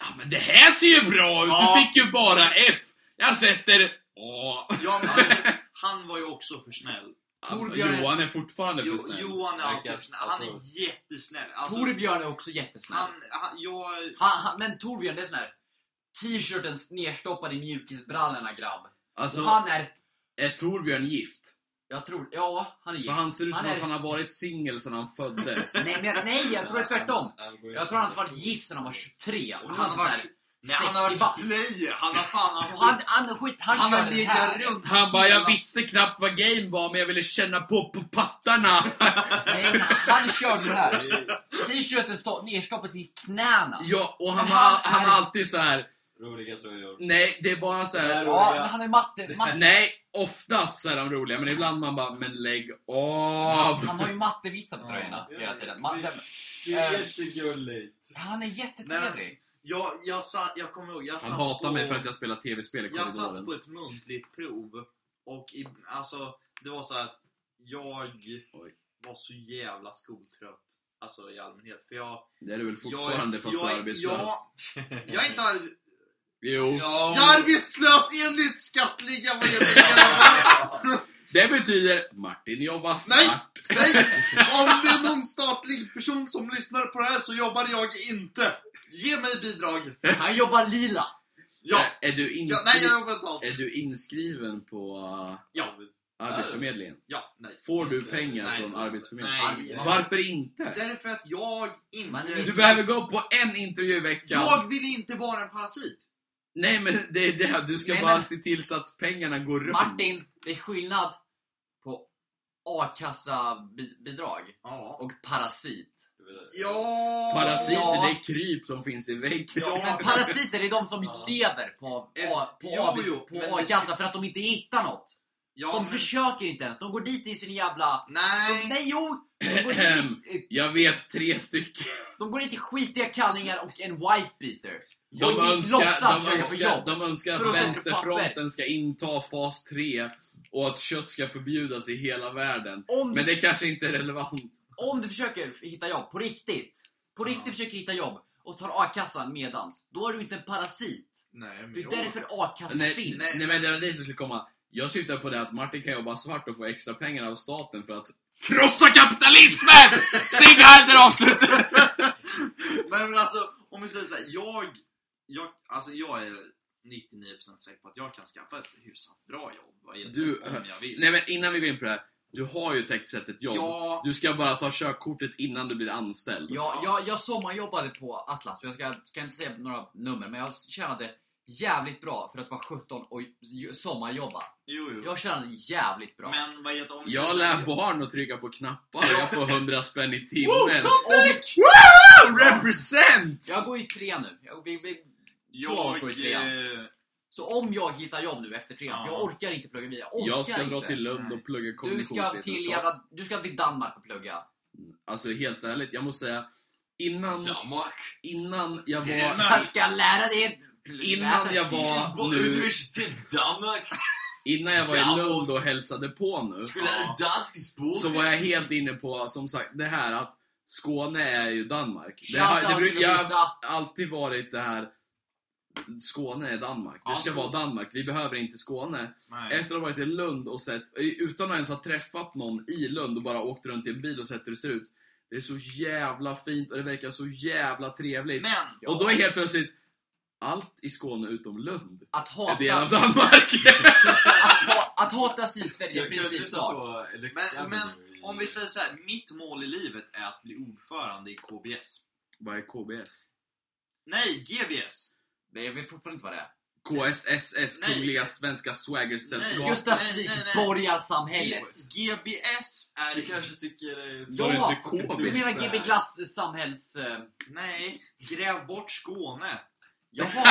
Speaker 3: Ja men det här ser ju bra ut!
Speaker 1: Ja.
Speaker 3: Du fick ju bara F! Jag sätter A.
Speaker 1: Ja, men alltså, han var ju också för snäll.
Speaker 5: Torbjörn-
Speaker 3: Johan är fortfarande för
Speaker 1: Jo,
Speaker 3: snäll.
Speaker 1: Johan är alltid
Speaker 4: Verkar-
Speaker 1: för snäll. Han
Speaker 4: alltså-
Speaker 1: är jättesnäll. Alltså,
Speaker 5: Torbjörn är också jättesnäll.
Speaker 1: han, han, jag,
Speaker 5: Han, han, men Torbjörn, det är sån här t-shirten nerstoppad i mjukisbrallorna grabb.
Speaker 3: Alltså,
Speaker 5: och han är,
Speaker 3: är Torbjörn gift?
Speaker 5: jag tror, ja, han är
Speaker 3: För
Speaker 5: gift.
Speaker 3: han ser ut som
Speaker 5: Han är-
Speaker 3: att han har varit singel sedan han föddes.
Speaker 5: <laughs> Nej, men, jag- nej, jag tror det är tvärtom.
Speaker 4: Han- han går ju
Speaker 5: Jag tror han
Speaker 4: som-
Speaker 5: har varit gift sedan han var 23. Och
Speaker 1: han
Speaker 5: han
Speaker 1: har
Speaker 5: var
Speaker 1: varit-
Speaker 5: såhär,
Speaker 6: Nej, han har
Speaker 5: 60
Speaker 6: varit
Speaker 5: baht.
Speaker 6: play. Han har fan...
Speaker 5: Så <laughs>
Speaker 6: Han,
Speaker 5: han, han, skit, han,
Speaker 6: han har
Speaker 5: kör det
Speaker 3: <laughs>
Speaker 5: här.
Speaker 6: legat runt
Speaker 3: Han bara, jag
Speaker 6: hela-
Speaker 3: visste knappt vad game var, men jag ville känna på, på pattarna.
Speaker 5: Nej, han kör det här. T-shirten står nerstoppad till knäna.
Speaker 3: ja, och han
Speaker 5: Men
Speaker 3: har
Speaker 5: han-
Speaker 3: han har alltid så här.
Speaker 4: Roliga tröjor.
Speaker 3: nej, det är bara så här.
Speaker 5: Ja, men han är matte... matte
Speaker 3: nej, oftast så är de roliga, men ibland man bara, men lägg av.
Speaker 5: han har ju mattevitsar på tröjorna
Speaker 4: Ja.
Speaker 5: hela tiden. Man,
Speaker 4: Det är
Speaker 5: Eh.
Speaker 4: jättegulligt.
Speaker 5: han är jättetrevlig.
Speaker 1: Jag, jag, satt, jag kommer ihåg, jag satt
Speaker 3: Han hatar
Speaker 1: på,
Speaker 3: mig för att jag spelar tv-spel i
Speaker 1: Jag satt
Speaker 3: korridoren.
Speaker 1: på ett muntligt prov och i, alltså, det var så här att jag
Speaker 3: Oj.
Speaker 1: var så jävla skoltrött. Alltså i allmänhet.
Speaker 3: <laughs>
Speaker 1: För jag...
Speaker 3: Det är du väl fortfarande,
Speaker 1: jag,
Speaker 3: fast du är arbetslös?
Speaker 1: Jag, jag är inte ar-
Speaker 3: Jo.
Speaker 1: jag är arbetslös enligt skattliga vad heter
Speaker 3: <laughs>
Speaker 1: det?
Speaker 3: Det betyder, Martin jobbar svart.
Speaker 1: Nej. Nej! Om det är någon statlig person som lyssnar på det här så jobbar jag inte. Ge mig bidrag.
Speaker 5: Han jobbar lila.
Speaker 1: Ja.
Speaker 3: Är, du
Speaker 1: ja
Speaker 3: inskri-
Speaker 1: nej, jag jobbar inte
Speaker 3: är
Speaker 1: alls.
Speaker 3: du inskriven på uh,
Speaker 1: Ja.
Speaker 3: Arbetsförmedlingen?
Speaker 1: Ja, nej.
Speaker 3: Får du pengar
Speaker 1: Nej.
Speaker 3: från Arbetsförmedlingen?
Speaker 1: Nej.
Speaker 3: Varför inte?
Speaker 1: Därför att jag
Speaker 5: Man
Speaker 1: inte...
Speaker 5: är-
Speaker 3: Du behöver gå på en intervju i veckan.
Speaker 1: Jag vill inte vara en parasit.
Speaker 3: Nej men det är det, här. du ska
Speaker 5: Nej,
Speaker 3: bara
Speaker 5: men-
Speaker 3: se till så att pengarna går runt.
Speaker 5: Martin, det är skillnad på a-kassabidrag
Speaker 1: Ja.
Speaker 5: och parasit.
Speaker 1: Ja.
Speaker 3: Parasiter,
Speaker 5: Ja.
Speaker 3: det är kryp som finns i väggen.
Speaker 1: Ja.
Speaker 5: Men parasiter är de som
Speaker 4: Ja.
Speaker 5: lever på,
Speaker 1: Efter-
Speaker 5: A- på,
Speaker 1: Jo,
Speaker 5: A-
Speaker 1: jo, men
Speaker 5: på
Speaker 1: det-
Speaker 5: a-kassa för att de inte hittar något.
Speaker 1: Ja,
Speaker 5: De
Speaker 1: men-
Speaker 5: försöker inte ens. De går dit i sin jävla... De,
Speaker 1: Nej.
Speaker 5: nej jo! De går, dit i,
Speaker 3: Jag vet tre stycken.
Speaker 5: de går dit i skitiga kallingar och en wife beater.
Speaker 3: De
Speaker 5: Och
Speaker 3: önskar,
Speaker 5: låtsas
Speaker 3: de
Speaker 5: försöka få
Speaker 3: önskar,
Speaker 5: jobb.
Speaker 3: de önskar
Speaker 5: För
Speaker 3: att
Speaker 5: att sätta
Speaker 3: vänsterfronten
Speaker 5: papper.
Speaker 3: ska inta fas 3 och att kött ska förbjudas i hela världen.
Speaker 5: Om
Speaker 3: Men
Speaker 5: du
Speaker 3: det kanske inte är relevant.
Speaker 5: Om du försöker hitta jobb på riktigt, på riktigt försöker hitta jobb och tar a-kassan medans, då är du inte en parasit.
Speaker 1: Nej, men
Speaker 5: Det är
Speaker 1: jag-
Speaker 5: därför a-kassan
Speaker 3: Nej,
Speaker 5: Alltså, finns.
Speaker 3: nej men det var det som skulle komma. Jag syftar på det att Martin kan jobba svart och få extra pengar av staten för att KROSSA
Speaker 5: <laughs>
Speaker 3: KAPITALISMEN! Sig Heider avslutar!
Speaker 1: Nej, men alltså, om vi säger såhär. Jag, jag, alltså, jag är 99% säker på att jag kan skaffa ett hyfsat bra jobb. Vad heter
Speaker 3: Du-
Speaker 1: det, om jag vill.
Speaker 3: Nej men innan vi går in på det här. Du har ju tekniskt sett ett jobb.
Speaker 1: Ja.
Speaker 3: Du ska bara ta körkortet innan du blir anställd.
Speaker 5: Jag, jag, jag sommarjobbade på Atlas, och jag ska, ska inte säga några nummer, men jag tjänade jävligt bra för att vara 17 och ju- sommarjobba.
Speaker 6: Jo, jo.
Speaker 5: Jag tjänade jävligt bra.
Speaker 6: Men vad heter om
Speaker 3: Jag lär barn att trycka på knappar och jag får 100 spänn i
Speaker 5: Woo,
Speaker 3: timmen.
Speaker 5: Dirk!
Speaker 3: Woo! Represent!
Speaker 5: Jag går i tre nu. Jag, vi, vi,
Speaker 6: Jag...
Speaker 5: Två år i
Speaker 6: eh,
Speaker 5: så om jag hittar jobb nu efter trean, för jag
Speaker 6: Ja.
Speaker 5: orkar inte plugga vidare. orkar
Speaker 3: Jag ska
Speaker 5: inte.
Speaker 3: dra till Lund och plugga
Speaker 5: du ska,
Speaker 3: kognitionsvetenskap.
Speaker 5: till jävla, du ska till Danmark och plugga.
Speaker 3: Alltså helt ärligt, jag måste säga. Innan, innan jag var...
Speaker 6: Danmark.
Speaker 5: Jag ska lära dig att läsa
Speaker 3: Innan jag var nu...
Speaker 4: Universitet Danmark
Speaker 3: Innan jag var i Lund och hälsade på nu.
Speaker 4: skulle ha dansk språk.
Speaker 3: Så var jag helt inne på, som sagt, det här att Skåne är ju Danmark. Det, har, det,
Speaker 5: Shoutout
Speaker 3: bru-
Speaker 5: till
Speaker 3: jag har
Speaker 5: Lovisa.
Speaker 3: alltid varit det här Skåne är Danmark. Det
Speaker 6: Ja,
Speaker 3: ska
Speaker 6: så.
Speaker 3: vara Danmark. Vi behöver inte Skåne.
Speaker 6: Nej.
Speaker 3: Efter att ha varit i Lund och sett, utan att ens ha träffat någon i Lund och bara åkt runt i en bil och sett hur det ser ut. Det är så jävla fint och det verkar så jävla trevligt.
Speaker 6: Men!
Speaker 3: Och då är helt plötsligt allt i Skåne utom Lund
Speaker 5: Att
Speaker 3: är del
Speaker 5: hata,
Speaker 3: av
Speaker 5: att,
Speaker 1: <laughs>
Speaker 3: Danmark.
Speaker 5: ha, att hata Sydsverige är i
Speaker 4: Jag kunde
Speaker 5: princip
Speaker 4: lyssna
Speaker 5: sak.
Speaker 4: på Electric
Speaker 1: Men,
Speaker 4: Avenue
Speaker 1: men
Speaker 4: i-
Speaker 1: om vi säger så här, mitt mål i livet är att bli ordförande i KBS.
Speaker 3: Vad är KBS?
Speaker 1: Nej, GBS!
Speaker 5: Nej, jag vet fortfarande inte vad det är.
Speaker 3: KSSS,
Speaker 1: Nej.
Speaker 3: Kungliga Svenska
Speaker 1: Ja,
Speaker 3: Swaggersällskap.
Speaker 5: Gustavsvik,
Speaker 1: nej, nej, nej.
Speaker 5: borgarsamhället.
Speaker 1: G- GBS är
Speaker 4: Du
Speaker 1: kanske...
Speaker 4: kanske tycker det är...
Speaker 3: Sa du
Speaker 5: Ja,
Speaker 3: inte KBS?
Speaker 5: Du menar GB Glass samhälls... eh,
Speaker 1: Nej, gräv bort Skåne.
Speaker 3: <laughs>
Speaker 5: Jaha!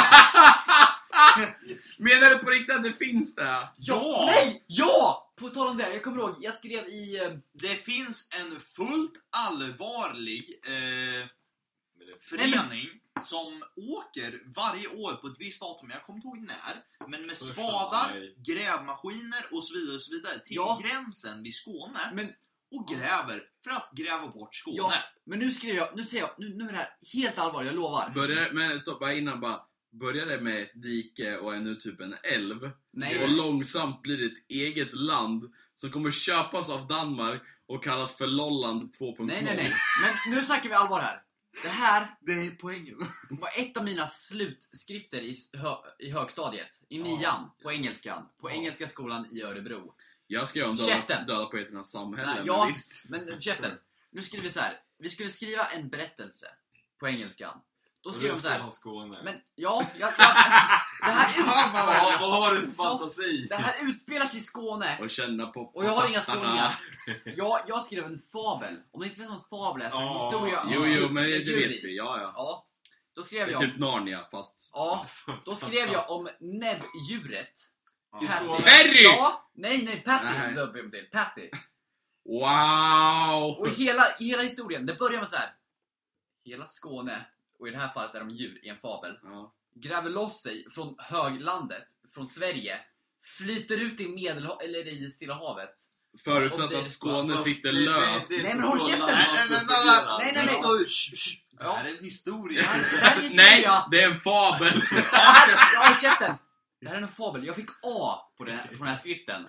Speaker 3: Menar du på riktigt att det finns det?
Speaker 1: Ja!
Speaker 5: Nej! Ja! På tal om det, jag kommer ihåg, jag skrev i... eh,
Speaker 1: Det finns en fullt allvarlig eh,
Speaker 5: Nej,
Speaker 1: förening som åker varje år på ett visst datum, jag kommer inte ihåg när, men med
Speaker 4: Första
Speaker 1: spadar,
Speaker 4: maj.
Speaker 1: grävmaskiner och så vidare, och så vidare till
Speaker 5: Ja.
Speaker 1: gränsen vid Skåne
Speaker 5: Men,
Speaker 1: och gräver för att gräva bort Skåne.
Speaker 5: ja, men nu skriver jag, nu säger jag, nu, nu är det här helt allvarligt, jag lovar.
Speaker 3: Börjar, men stopp, bara innan bara. Börjar det med ett dike och är nu typ en älv? Och
Speaker 5: Nej,
Speaker 3: långsamt blir det ett eget land som kommer köpas av Danmark och kallas för Lolland 2.0.
Speaker 5: nej, nej, nej. Men nu snackar vi allvar här. Det här
Speaker 1: Det är poängen.
Speaker 5: var ett av mina slutskrifter i, s- hö, i högstadiet, i
Speaker 1: Ja.
Speaker 5: nian, på engelskan. På
Speaker 1: Ja.
Speaker 5: Engelska skolan i Örebro.
Speaker 3: Jag ska göra en döda,
Speaker 5: Käften!
Speaker 3: döda poeternas samhälle,
Speaker 5: Nej,
Speaker 3: men
Speaker 5: jag-
Speaker 3: visst.
Speaker 5: Men käften, nu skriver vi så här. Vi skulle skriva en berättelse på engelskan. Då skrev de
Speaker 4: Röst
Speaker 5: så här.
Speaker 4: från Skåne.
Speaker 5: Men ja, jag, jag,
Speaker 1: <laughs>
Speaker 5: det, här
Speaker 4: Vad
Speaker 5: ut,
Speaker 4: vad har du för fantasi?
Speaker 5: det här utspelar sig i Skåne
Speaker 3: Och känna på
Speaker 5: och jag har inga
Speaker 3: pattarna. <laughs>
Speaker 5: skåningar. Jag, jag skrev en fabel. Om ni inte vet vad en fabel är, för en
Speaker 12: Ja.
Speaker 5: historia
Speaker 3: Jo, jo, men det
Speaker 5: djur i.
Speaker 3: vet vi. Ja, ja.
Speaker 5: Ja, då skrev
Speaker 3: Det är
Speaker 5: jag.
Speaker 3: typ Narnia, fast... <laughs>
Speaker 5: Ja, då skrev jag om näbbdjuret.
Speaker 12: I
Speaker 5: Patty.
Speaker 12: Skåne.
Speaker 3: Perry!
Speaker 5: Ja, nej, nej, Patty.
Speaker 3: Nej.
Speaker 5: Då ber jag om till. Patty.
Speaker 3: Wow!
Speaker 5: Och hela, hela historien, det börjar med så här. Hela Skåne, och i det här fallet är de djur i en fabel,
Speaker 3: Ja.
Speaker 5: gräver loss sig från höglandet, från Sverige, flyter ut i Medelhavet, eller i Stilla havet. Och
Speaker 3: Förutsatt
Speaker 5: det-
Speaker 3: att Skåne
Speaker 4: Fast
Speaker 3: sitter
Speaker 4: det- det-
Speaker 3: löst.
Speaker 4: det är
Speaker 5: Nej,
Speaker 4: inte
Speaker 5: men håll
Speaker 4: så
Speaker 5: käften!
Speaker 4: land
Speaker 5: Nej,
Speaker 1: nej, nej,
Speaker 4: som fungerar.
Speaker 5: nej, nej, nej.
Speaker 1: Vänta, shh, shh. Det här
Speaker 5: Ja.
Speaker 1: är en historia.
Speaker 5: Det här är en
Speaker 3: <laughs> Nej,
Speaker 5: historia!
Speaker 3: det är en fabel!
Speaker 5: Jag har käften! Det här är en fabel, jag fick A på, den på den här skriften.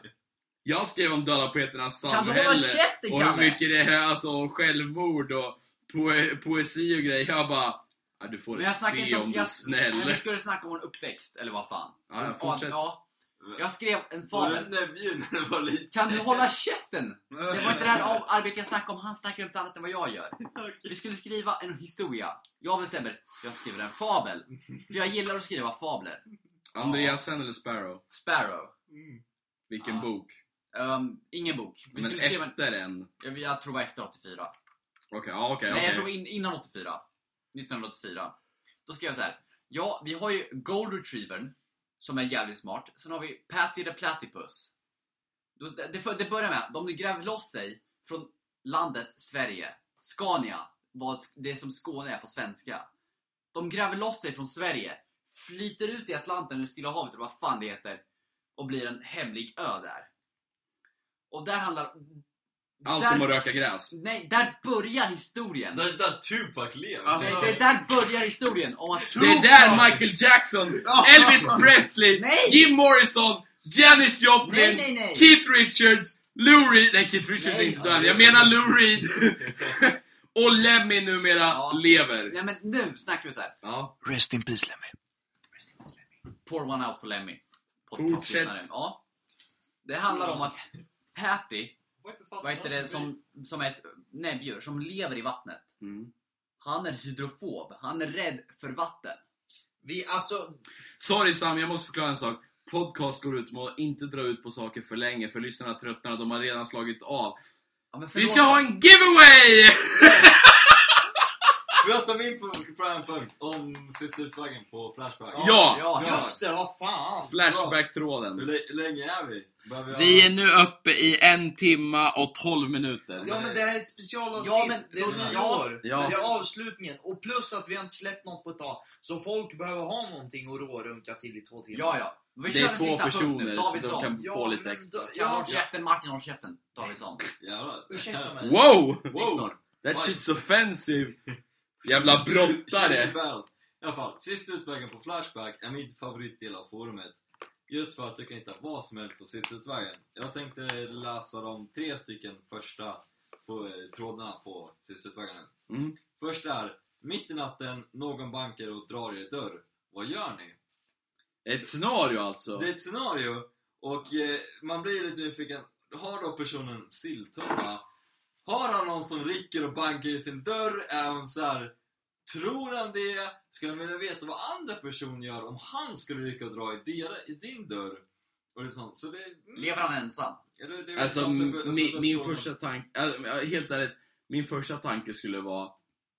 Speaker 3: Jag skrev om Dalapeternas
Speaker 5: Kan du
Speaker 3: samhälle.
Speaker 5: hålla käften
Speaker 3: och hur
Speaker 5: Kalle?
Speaker 3: mycket det är alltså självmord och poe- poesi och grejer. Jag bara... Ja, du får
Speaker 5: Men jag snackar
Speaker 3: se
Speaker 5: inte om-
Speaker 3: om du är
Speaker 5: jag-
Speaker 3: snäll.
Speaker 5: Eller skulle snacka om vår uppväxt, eller vad fan.
Speaker 3: <laughs> Ja, ja,
Speaker 5: Ja,
Speaker 3: fortsätt.
Speaker 5: ja. Jag skrev en
Speaker 4: Var det
Speaker 5: fabel.
Speaker 4: näbbdjur när du var liten?
Speaker 5: Kan du hålla käften? Det var inte
Speaker 3: <laughs>
Speaker 5: det här av- arbetet jag snackade om, han snackar om något annat än vad jag gör. Vi skulle skriva en historia. Jag bestämmer, jag skriver en fabel. För jag gillar att skriva fabler.
Speaker 3: Andreasen eller Sparrow?
Speaker 5: Sparrow.
Speaker 3: Vilken
Speaker 5: Ja.
Speaker 3: bok?
Speaker 5: Ehm, ingen bok. Vi
Speaker 3: Men
Speaker 5: skulle skriva
Speaker 3: efter en?
Speaker 5: en, jag tror det var efter 84.
Speaker 3: Okej, ja okej.
Speaker 5: Nej, jag
Speaker 3: okej.
Speaker 5: tror in, innan 84. 1984. Då skrev jag så här. Ja, vi har ju Gold Retrievern, som är jävligt smart. Sen har vi Patty the Platypus. Då- Det, det, för- det börjar med, de gräver loss sig från landet Sverige. Scania, vad, det som Skåne är på svenska. De gräver loss sig från Sverige, flyter ut i Atlanten eller Stilla havet eller vad fan det heter och blir en hemlig ö där. Och där handlar...
Speaker 3: Allt
Speaker 5: där,
Speaker 3: om att röka gräs.
Speaker 5: Nej, där börjar historien!
Speaker 4: Där, där Tupac lever.
Speaker 12: Alltså-
Speaker 5: Nej, det där börjar historien om att...
Speaker 3: Det är där Michael Jackson,
Speaker 1: Ja.
Speaker 3: Elvis Presley,
Speaker 5: Nej!
Speaker 3: Jim Morrison, Janis
Speaker 5: Nej,
Speaker 3: Joplin,
Speaker 5: nej, nej!
Speaker 3: Keith Richards, Lou Reed, nej Keith Richards
Speaker 5: Nej.
Speaker 3: är inte död, jag menar Lou
Speaker 5: <laughs>
Speaker 3: Reed och Lemmy numera
Speaker 5: Ja.
Speaker 3: lever.
Speaker 5: Nej men nu snackar vi så här.
Speaker 3: Ja.
Speaker 1: Rest in peace Lemmy.
Speaker 5: Pour one out for Lemmy.
Speaker 3: Fortsätt.
Speaker 5: Podcastlyssnaren. Ja. Det handlar om att Patty, vad heter det, som, som är ett näbbdjur, som lever i vattnet.
Speaker 3: Mm.
Speaker 5: Han är hydrofob, han är rädd för vatten.
Speaker 1: Vi, alltså...
Speaker 3: Sorry Sam, jag måste förklara en sak. Podcast går ut med att inte dra ut på saker för länge för lyssnarna tröttnar de har redan slagit av.
Speaker 5: Ja, men
Speaker 3: Vi
Speaker 5: förlåt.
Speaker 3: ska ha en giveaway!
Speaker 4: Vi har tagit in på, på en punkt om sista utfrågan på Flashback.
Speaker 3: Ja!
Speaker 5: Ja, kör.
Speaker 1: Just det, vad fan.
Speaker 4: Hur
Speaker 3: Flashback-tråden.
Speaker 4: lä- hur länge är vi? Behöver jag-
Speaker 3: Vi är nu uppe i en timma och 12 minuter.
Speaker 1: Ja men det här är ett specialavsnitt.
Speaker 5: Ja, men-
Speaker 1: det är
Speaker 5: ja.
Speaker 1: nyår.
Speaker 3: Ja.
Speaker 1: Men det är avslutningen. Och plus att vi har inte släppt något på ett tag. Så folk behöver ha någonting att rårunka till i två timmar.
Speaker 5: Ja, ja. Vi
Speaker 3: Det
Speaker 5: kör
Speaker 3: är
Speaker 5: en
Speaker 3: två
Speaker 5: sista punkt
Speaker 3: personer
Speaker 5: nu,
Speaker 3: så de
Speaker 5: Davidsson.
Speaker 3: kan
Speaker 1: Ja,
Speaker 3: få lite
Speaker 1: men
Speaker 3: extra.
Speaker 1: då-
Speaker 5: Ja, håll
Speaker 1: ja,
Speaker 5: käften Martin, håll käften. Davidsson.
Speaker 4: Jävlar.
Speaker 1: Ursäkta mig.
Speaker 3: Wow!
Speaker 5: Viktor.
Speaker 3: That
Speaker 5: Oj.
Speaker 3: shit's offensive! Jävla
Speaker 4: Chelsea
Speaker 3: brottare!
Speaker 4: Bells. I alla fall, sista utvägen på Flashback är min favoritdel av forumet. Just för att du kan hitta vad som helst på sista utvägen. Jag tänkte läsa de tre stycken första få- eh, trådarna på sista utvägen nu.
Speaker 3: Mm.
Speaker 4: Först är, mitt i natten, någon bankar och drar i er dörr. Vad gör ni?
Speaker 3: Ett scenario alltså.
Speaker 4: Det är ett scenario och eh, man blir lite nyfiken. Har då personen silltunna? Har han någon som rycker och bankar i sin dörr? Är hon så här, Tror han det? Skulle han vilja veta vad andra personer gör om han skulle rycka och dra i, dera, i din dörr? Och det är sånt. Så det är... mm.
Speaker 5: Lever han ensam?
Speaker 4: Eller, det är
Speaker 3: Alltså
Speaker 4: sant, det är-
Speaker 3: m-
Speaker 4: det är- det
Speaker 3: min,
Speaker 4: är-
Speaker 3: min
Speaker 4: frågan.
Speaker 3: första tanke, äh, helt ärligt, min första tanke skulle vara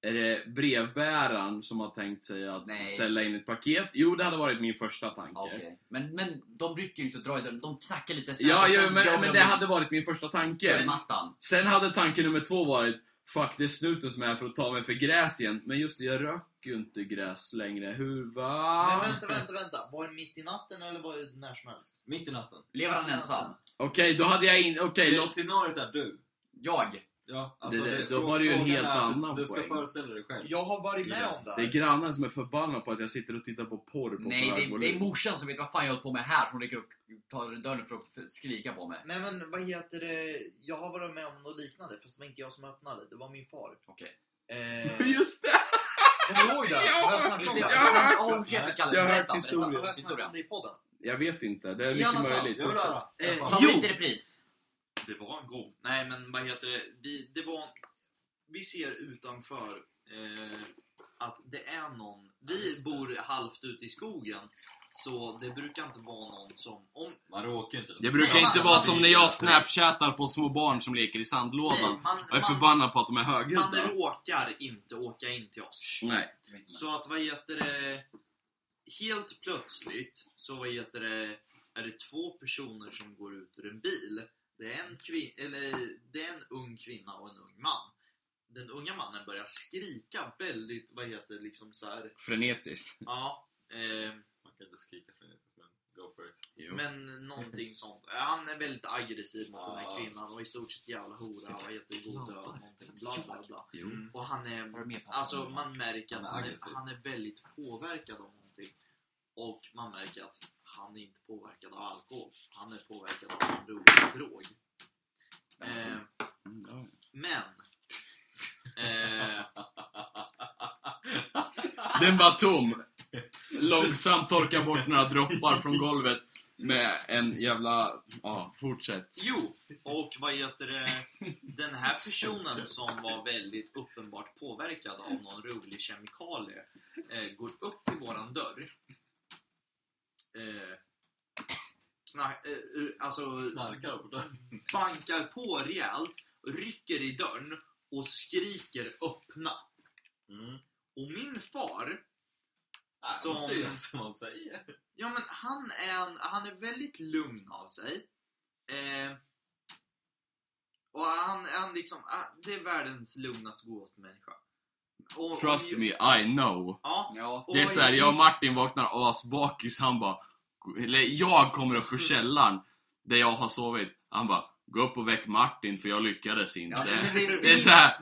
Speaker 3: är det brevbäraren som har tänkt sig att
Speaker 5: Nej.
Speaker 3: ställa in ett paket? Jo, det hade varit min första tanke.
Speaker 5: Okej. Men, men de rycker ju inte och drar i dörren, de knackar lite sen.
Speaker 3: Ja,
Speaker 5: Och
Speaker 3: ja
Speaker 5: sen gör
Speaker 3: men, men
Speaker 5: de
Speaker 3: det
Speaker 5: en-
Speaker 3: hade varit min första
Speaker 5: gör en
Speaker 3: tanke.
Speaker 5: Mattan.
Speaker 3: Sen hade tanke nummer två varit Fuck, det är snuten som är här för att ta mig för gräs igen. Men just det, jag röker ju inte gräs längre. Hur va?
Speaker 1: Men vänta, vänta, vänta. Var det mitt i natten eller var det när som helst?
Speaker 4: Mitt i natten.
Speaker 5: Lever han ensam?
Speaker 3: Okej, då hade jag in... Okej,
Speaker 4: Det-
Speaker 3: låt...
Speaker 4: Scenariot är du.
Speaker 5: Jag?
Speaker 4: Ja, alltså
Speaker 3: Det- det-
Speaker 4: är-
Speaker 3: då
Speaker 4: frå-
Speaker 3: var det ju en
Speaker 4: frågan
Speaker 3: helt
Speaker 4: är att du-
Speaker 3: annan
Speaker 4: Du ska
Speaker 3: poäng.
Speaker 4: föreställa dig själv.
Speaker 1: Jag har varit med
Speaker 4: Ja,
Speaker 1: om det
Speaker 3: Det är
Speaker 1: här.
Speaker 3: grannen som är förbannad på att jag sitter och tittar på porr på
Speaker 5: Nej, det,
Speaker 3: Polarvolym.
Speaker 5: det är morsan som vet vad fan jag håller på med här. Hon rycker upp tar dörren för att f- skrika på mig.
Speaker 1: Nej men vad heter det? Jag har varit med om något liknande fast det var inte jag som öppnade. Det var min far.
Speaker 5: Okej.
Speaker 1: Eh,
Speaker 3: <laughs> Just det!
Speaker 1: kommer du ihåg det? <laughs> Har jag snackat om
Speaker 5: Inte
Speaker 1: det?
Speaker 5: jag.
Speaker 3: Jag har hört-
Speaker 5: Ja, Håll käften Kalle.
Speaker 3: jag har hört
Speaker 5: Berätta.
Speaker 1: Har
Speaker 3: historien.
Speaker 5: berätta.
Speaker 1: jag snackat om det i podden?
Speaker 3: Jag vet inte, det är
Speaker 1: I
Speaker 3: mycket
Speaker 1: alla fall.
Speaker 3: möjligt.
Speaker 4: Jag vill höra.
Speaker 1: Eh,
Speaker 5: Favorit i repris.
Speaker 12: Det var en god.
Speaker 1: Nej, men vad heter det? Vi, det var, vi ser utanför eh, att det är någon... Vi bor halvt ute i skogen, så det brukar inte vara någon som... Om,
Speaker 4: Man råkar ju inte.
Speaker 3: Det brukar inte vara som när jag snapchattar på små barn som leker i sandlådan.
Speaker 1: nej, man,
Speaker 3: Jag är
Speaker 1: man,
Speaker 3: förbannad på att de är
Speaker 1: man
Speaker 3: högljudda.
Speaker 1: råkar inte åka in till oss.
Speaker 3: Nej.
Speaker 1: Så att vad heter det... Helt plötsligt så vad heter det, är det två personer som går ut ur en bil. Det är en, kvin- eller, det är en ung kvinna och en ung man. Den unga mannen börjar skrika väldigt, vad heter det, liksom så här,
Speaker 3: Frenetiskt.
Speaker 1: ja, eh,
Speaker 4: Man kan inte skrika för det, men go for it.
Speaker 1: men någonting sånt. Eh, Han är väldigt aggressiv mot den
Speaker 4: Ja.
Speaker 1: här kvinnan och i stort sett jävla hora, vad heter det, god död, någonting, bla bla bla.
Speaker 3: Jo.
Speaker 1: Och han är
Speaker 5: Var du med på
Speaker 1: Alltså man märker att
Speaker 4: Han är
Speaker 1: han
Speaker 4: aggressiv.
Speaker 1: är, han är väldigt påverkad av någonting. Och man märker att han är inte påverkad av alkohol. Han är påverkad av en rolig drog. Eh, men... Eh,
Speaker 3: Den var tom. Långsamt torkar bort några droppar från golvet med en jävla... Ja, fortsätt.
Speaker 1: jo, och vad heter det? Den
Speaker 4: <laughs>
Speaker 1: här personen som var väldigt uppenbart påverkad av någon rolig kemikalie eh, går upp till våran dörr. Eh, knack, eh, alltså
Speaker 4: Knarkar på dörren.
Speaker 1: bankar på rejält, rycker i dörren och skriker öppna.
Speaker 4: Mm.
Speaker 1: Och min far,
Speaker 4: Som...
Speaker 1: Som-
Speaker 4: Måste ju göra som man säger.
Speaker 1: ja men han är, en, han är väldigt lugn av sig. Eh, och han, han liksom, ah, det är världens lugnaste, godaste människa. Och,
Speaker 3: Trust
Speaker 1: och,
Speaker 3: me, I know.
Speaker 1: Ja,
Speaker 5: Ja.
Speaker 1: och
Speaker 3: Det är såhär, jag och Martin vaknar asbakis, han bara... Eller jag kommer upp ur källaren där jag har sovit. Han bara, gå upp och väck Martin för jag lyckades
Speaker 5: Ja,
Speaker 3: inte.
Speaker 5: men det,
Speaker 3: Det är såhär...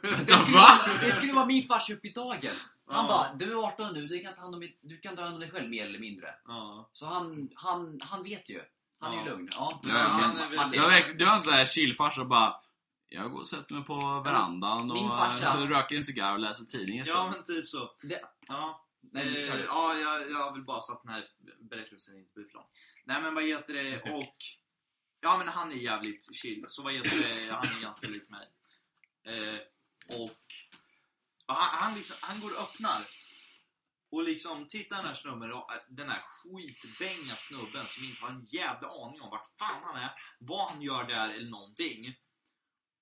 Speaker 5: det,
Speaker 3: Vänta,
Speaker 5: skulle
Speaker 3: va?
Speaker 5: vara- det skulle vara min fars upp i dagen. Han
Speaker 1: Ja.
Speaker 5: bara, du är 18 nu, du kan, ta hand om, ditt- du kan ta hand om dig själv mer eller mindre.
Speaker 1: Ja.
Speaker 5: Så han, han, han vet ju. Han är ju
Speaker 1: Ja.
Speaker 5: lugn. Ja,
Speaker 3: Ja,
Speaker 1: han är
Speaker 5: han
Speaker 1: väl-
Speaker 3: Det var, verkligen- det var en sån här chillfarsa bara... Jag går och sätter mig på verandan och
Speaker 5: Min farsa-
Speaker 3: eh, röker en cigarr och läser tidningen
Speaker 1: ja, men typ så.
Speaker 5: Det-
Speaker 1: Ja.
Speaker 5: Nej, nu kör
Speaker 1: eh,
Speaker 5: du.
Speaker 1: ja, jag, jag vill bara så att den här berättelsen inte blir för lång. Nej men vad heter det och... Ja men han är jävligt chill, så vad heter det, han är ganska lik mig. Eh, och... och han, han, liksom, han går och öppnar. Och liksom, titta den här snubben, och, eh, den här skitbänga snubben som inte har en jävla aning om vart fan han är, vad han gör där eller någonting.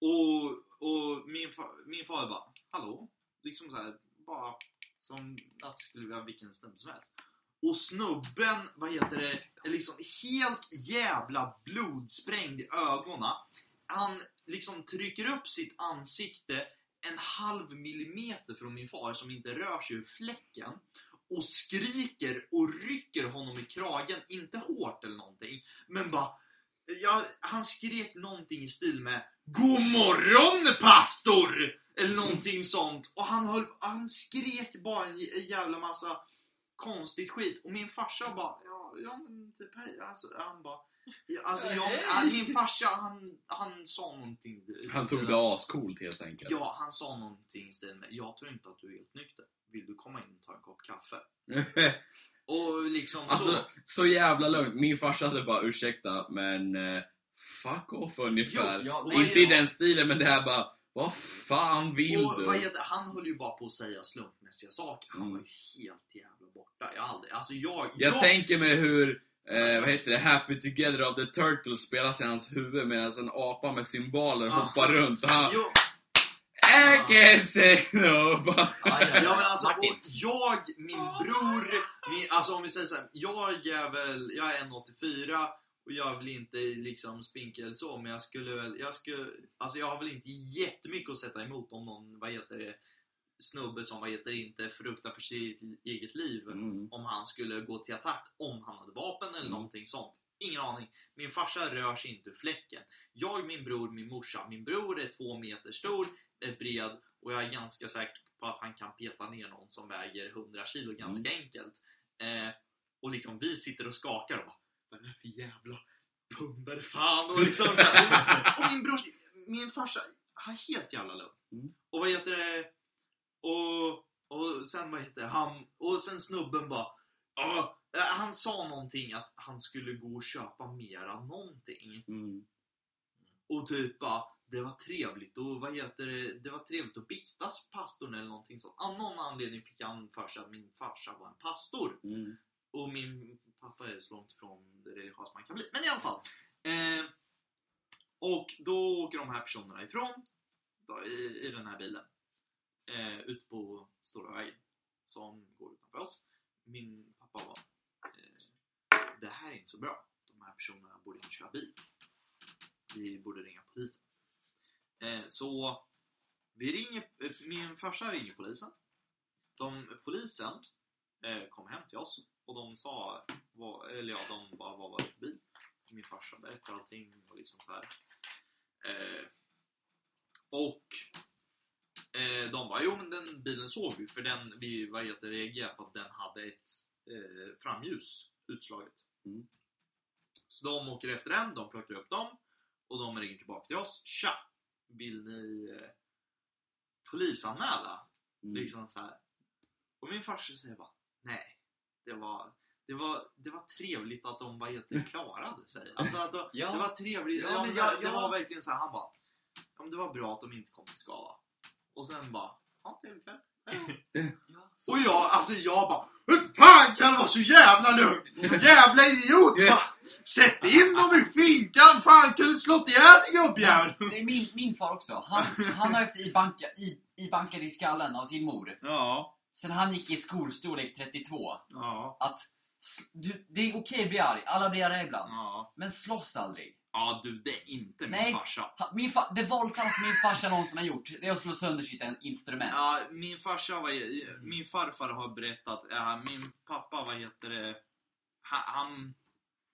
Speaker 1: Och, och min, fa, min far bara, hallå? Liksom så här, bara som att det skulle vara vilken snubbe som helst. Och snubben, vad heter det, är liksom helt jävla blodsprängd i ögonen. Han liksom trycker upp sitt ansikte en halv millimeter från min far som inte rör sig ur fläcken och skriker och rycker honom i kragen, inte hårt eller någonting, men bara ja, han skrek någonting i stil med God morgon pastor! Eller någonting sånt. Och han, höll, han skrek bara en j- jävla massa konstigt skit. Och min farsa bara, ja, ja men typ hej. Alltså, han bara, ja, alltså jag, han- min farsa han, han sa någonting.
Speaker 3: Han tog det ascoolt helt enkelt.
Speaker 1: Ja, han sa någonting i stil med, jag tror inte att du är helt nykter. Vill du komma in och ta en kopp kaffe? Och liksom så.
Speaker 3: <laughs> Alltså, så jävla lugnt. Min farsa hade bara ursäkta, men eh, fuck off ungefär.
Speaker 5: Jo, ja,
Speaker 1: nej,
Speaker 3: Inte i
Speaker 1: ja.
Speaker 3: den stilen, men det här bara, vad fan vill
Speaker 1: Och vad
Speaker 3: du?
Speaker 1: heter, han höll ju bara på att säga slumpmässiga saker. Han
Speaker 3: Mm.
Speaker 1: var ju helt jävla borta. Jag aldrig, alltså jag...
Speaker 3: Jag tänker mig hur, eh, vad heter det, Happy Together of the Turtles spelas i hans huvud medan en apa med symboler
Speaker 1: Ja.
Speaker 3: hoppar runt och han
Speaker 1: Jo,
Speaker 3: I can say no. Bara,
Speaker 5: Ja, ja,
Speaker 1: ja, men alltså,
Speaker 5: Martin.
Speaker 1: och jag, min bror, min, alltså om vi säger såhär, jag är väl, jag är 1,84 och jag är väl inte liksom spinkig eller så, men jag skulle väl, jag skulle, alltså jag har väl inte jättemycket att sätta emot om någon, vad heter det, snubbe som, vad heter det, inte fruktar för sitt eget liv.
Speaker 7: Liksom.
Speaker 3: Mm.
Speaker 1: om han skulle gå till attack om han hade vapen eller någonting sånt. Ingen aning. Min farsa rör sig inte ur fläcken. Jag, min bror, min morsa. Min bror är två meter stor, är bred och jag är ganska säker på att han kan peta ner någon som väger 100 kilo ganska
Speaker 3: Mm.
Speaker 1: enkelt. Eh, och liksom vi sitter och skakar och bara Vad är det för jävla pundare fan? Och liksom
Speaker 3: <laughs>
Speaker 1: så här, och, och min brors, min farsa, han är helt jävla lugn.
Speaker 3: Mm.
Speaker 1: Och vad heter det? Och och sen vad heter det? han? Och sen snubben bara... "Ah." Eh, Han sa någonting att han skulle gå och köpa mera någonting.
Speaker 3: Mm.
Speaker 1: Och typ bara... det var trevligt och vad heter det, det var trevligt att biktas pastorn eller någonting sånt. Av någon anledning fick han för sig att min farsa var en pastor.
Speaker 7: Mm.
Speaker 1: Och min pappa är så långt ifrån det religiösa man kan bli. Men i alla fall. Eh, och då åker de här personerna ifrån då, i, i den här bilen. Eh, ut på stora vägen som går utanför oss. Min pappa var eh, Det här är inte så bra. De här personerna borde inte köra bil. Vi borde ringa polisen. Eh, så vi ringer, eh, min farsa ringer polisen. De, polisen eh, kom hem till oss och de sa, vad, eller ja, de bara vad var det för bil? Min farsa berättade allting och liksom så här. Eh, och eh, de bara, jo men den bilen såg vi för den, vi var jättereagerade på att den hade ett eh, framljus utslaget.
Speaker 7: Mm.
Speaker 1: Så de åker efter den, de plockar upp dem och de ringer tillbaka till oss. Tja! Vill ni eh, polisanmäla?
Speaker 3: Mm.
Speaker 1: Liksom så här. Och min farsa säger bara Nej, det var, det var, det var trevligt att de var helt klarade sig. Alltså att de,
Speaker 5: Ja.
Speaker 1: det var trevligt.
Speaker 5: Ja,
Speaker 1: Ja,
Speaker 5: men
Speaker 1: men
Speaker 5: jag-
Speaker 1: det,
Speaker 5: jag-
Speaker 1: det var verkligen så här, han bara ja, men Det var bra att de inte kom till skada. Och sen bara Ja, trevlig kväll. <laughs> Ja, ja. Och jag, alltså jag bara Hur fan kan det vara så jävla lugnt? Jävla idiot! Bara, Sätt in dem i finkan! Fan, kunde slått ihjäl din gubbjävel!
Speaker 5: Det är min, min far också. Han, han har haft ibanka, i, ibankad i skallen av sin mor.
Speaker 6: Ja.
Speaker 5: Sen han gick i skolstorlek 32.
Speaker 6: Ja.
Speaker 5: Att sl- du, det är okej att bli arg, alla blir arga ibland.
Speaker 6: Ja.
Speaker 5: Men slåss aldrig.
Speaker 1: Ja du, det är inte min
Speaker 5: Nej.
Speaker 1: farsa.
Speaker 5: Han- Min fa- det våldsammaste min farsa någonsin har gjort, det är att slå sönder sitt en- instrument.
Speaker 1: Ja, min farsa var, min farfar har berättat, ja, min pappa, vad heter det, han, han,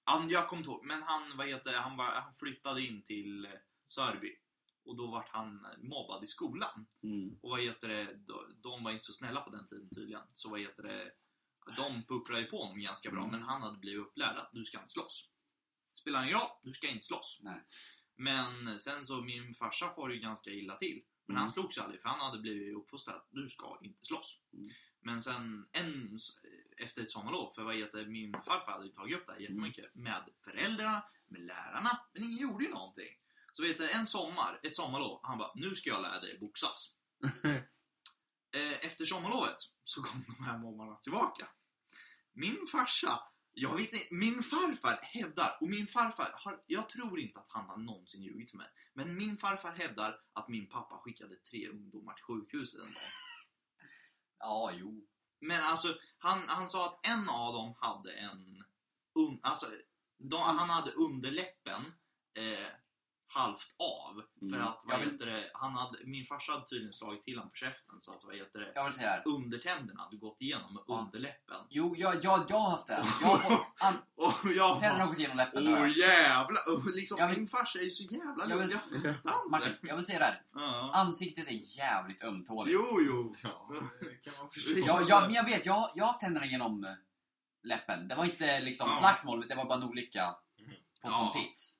Speaker 1: han jag kommer inte ihåg, men han, vad heter det, han, var, han flyttade in till eh, Sörby. Och då vart han mobbad i skolan.
Speaker 7: Mm.
Speaker 1: Och vad heter det, de- de var inte så snälla på den tiden tydligen. Så vad heter det, de pucklade ju på honom ganska
Speaker 7: Mm.
Speaker 1: bra, men han hade blivit upplärd att du ska inte slåss. Spelar ingen roll, du ska inte slåss.
Speaker 5: Nej.
Speaker 1: Men sen så, min farsa får ju ganska illa till. Men
Speaker 7: Mm.
Speaker 1: han slogs aldrig för han hade blivit uppfostrad, du ska inte slåss.
Speaker 7: Mm.
Speaker 1: Men sen en, efter ett sommarlov, för vad heter det, min farfar hade ju tagit upp det här
Speaker 7: Mm.
Speaker 1: jättemycket med föräldrarna, med lärarna, men ingen gjorde ju någonting. Så vet du, en sommar, ett sommarlov, han bara nu ska jag lära dig boxas. Eh, Efter sommarlovet så <laughs> kom de här mobbarna tillbaka. Min farsa, jag vet inte, min farfar hävdar, och min farfar, har, jag tror inte att han har någonsin ljugit för mig, men min farfar hävdar att min pappa skickade tre ungdomar till sjukhuset en dag.
Speaker 5: Ja, jo.
Speaker 1: Men alltså, han, han sa att en av dem hade en... Un, alltså, de,
Speaker 5: Mm.
Speaker 1: han hade underläppen eh, halvt av. För
Speaker 7: Mm.
Speaker 1: att, vad
Speaker 5: Ja, men-
Speaker 1: heter det, han hade, min farsa hade tydligen slagit till honom på käften så att, vad heter det,
Speaker 5: Jag vill säga det här.
Speaker 1: undertänderna hade gått igenom med
Speaker 5: Ja.
Speaker 1: underläppen.
Speaker 5: Jo, jag, jag, jag har haft det. Jag har fått... an-
Speaker 1: Och jag
Speaker 5: Tänderna
Speaker 1: bara,
Speaker 5: har gått igenom läppen. har
Speaker 1: åh
Speaker 5: jag.
Speaker 1: jävlar! Och liksom,
Speaker 5: Jag vill-
Speaker 1: min farsa är ju så jävla
Speaker 5: Jag
Speaker 1: lugn,
Speaker 5: vill-
Speaker 1: jag fattar inte.
Speaker 5: Martin, jag vill säga det här.
Speaker 6: Ja.
Speaker 5: Ansiktet är jävligt ömtåligt.
Speaker 1: Jo, jo. Liksom
Speaker 4: Ja, det kan man
Speaker 1: Ja,
Speaker 4: förstå.
Speaker 5: Ja, ja, men jag vet, jag, jag har haft tänderna genom eh, läppen. Det var inte liksom
Speaker 1: Ja.
Speaker 5: slagsmål, men det var bara en olycka på
Speaker 1: Ja.
Speaker 5: ja. tits.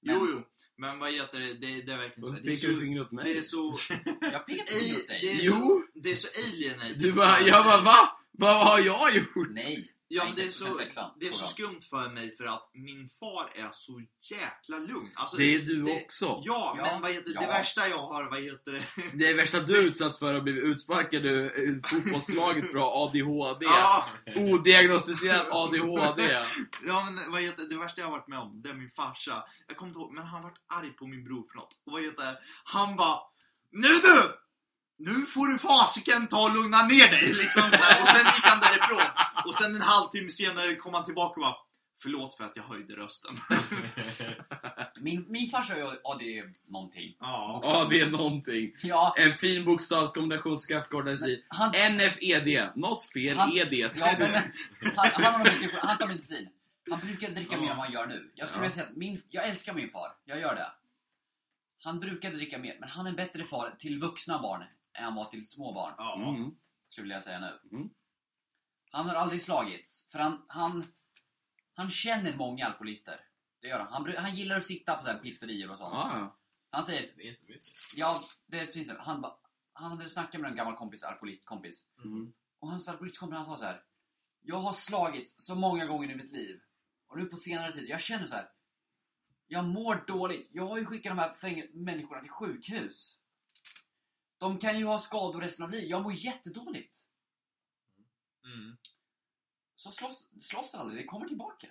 Speaker 5: Men
Speaker 1: Jo, jo. Men vad heter det, det, det är verkligen
Speaker 7: Och
Speaker 1: så
Speaker 7: så
Speaker 1: här, det är
Speaker 7: pekar du
Speaker 1: så...
Speaker 7: fingret åt
Speaker 1: Det är
Speaker 7: mig.
Speaker 1: så...
Speaker 5: jag pekar inte finger åt
Speaker 1: Det
Speaker 5: dig.
Speaker 1: är
Speaker 7: Jo!
Speaker 1: så, det är så alienating.
Speaker 7: Du bara, jag bara va? Vad har jag gjort?
Speaker 5: Nej.
Speaker 1: Ja,
Speaker 5: Nej,
Speaker 1: men det är
Speaker 5: inte
Speaker 1: så,
Speaker 5: för sexan,
Speaker 1: det är så
Speaker 5: frågan.
Speaker 1: skumt för mig för att min far är så jäkla lugn. Alltså,
Speaker 7: Det är du
Speaker 1: det-
Speaker 7: också.
Speaker 1: Ja,
Speaker 5: Ja,
Speaker 1: men vad heter, det
Speaker 5: ja.
Speaker 1: värsta jag har, vad heter det?
Speaker 7: Det är värsta du utsatts för att blivit utsparkad ur ur fotbollslaget för att ha ADHD.
Speaker 1: Ja,
Speaker 7: Odiagnostiserad ADHD.
Speaker 1: ja, men vad heter, det värsta jag har varit med om, det är min farsa. Jag kommer inte ihåg, men han vart arg på min bror för något. Och vad heter det? Han bara Nu du! Nu får du fasiken ta och lugna ner dig! Liksom så här. Och sen gick han därifrån. Och sen en halvtimme senare kom han tillbaka och bara Förlåt för att jag höjde rösten.
Speaker 5: Min, min farsa har ju AD någonting.
Speaker 1: Ja.
Speaker 7: Ja, det är någonting.
Speaker 5: Ja,
Speaker 7: En fin bokstavskombination ska förkortas i
Speaker 5: han,
Speaker 7: NFED. E Något fel E
Speaker 5: Han-
Speaker 7: är det.
Speaker 5: ja, men, han, han, har medicin, han tar medicin. Han brukar dricka mer än vad han gör nu. Jag skulle vilja säga att min, jag älskar min far. Jag gör det. Han brukade dricka mer, men han är en bättre far till vuxna barn än han var till små barn.
Speaker 7: Mm.
Speaker 5: skulle jag säga nu.
Speaker 7: Mm.
Speaker 5: Han har aldrig slagits, för han, han, han känner många alkoholister. Det gör han. Han, bru- han gillar att sitta på så här pizzerior och sånt.
Speaker 7: Ja,
Speaker 5: Han säger,
Speaker 4: Det är inte mysigt.
Speaker 5: ja, det finns det. Han, ba, han hade snackat med en gammal kompis, alkoholistkompis.
Speaker 7: Mm.
Speaker 5: Och hans alkoholistkompis han sa så här. Jag har slagits så många gånger i mitt liv. Och nu på senare tid, jag känner så här. Jag mår dåligt. Jag har ju skickat de här fäng- människorna till sjukhus. De kan ju ha skador resten av livet. Jag mår jättedåligt.
Speaker 6: Mm.
Speaker 5: Så slåss, slåss aldrig, det kommer tillbaka.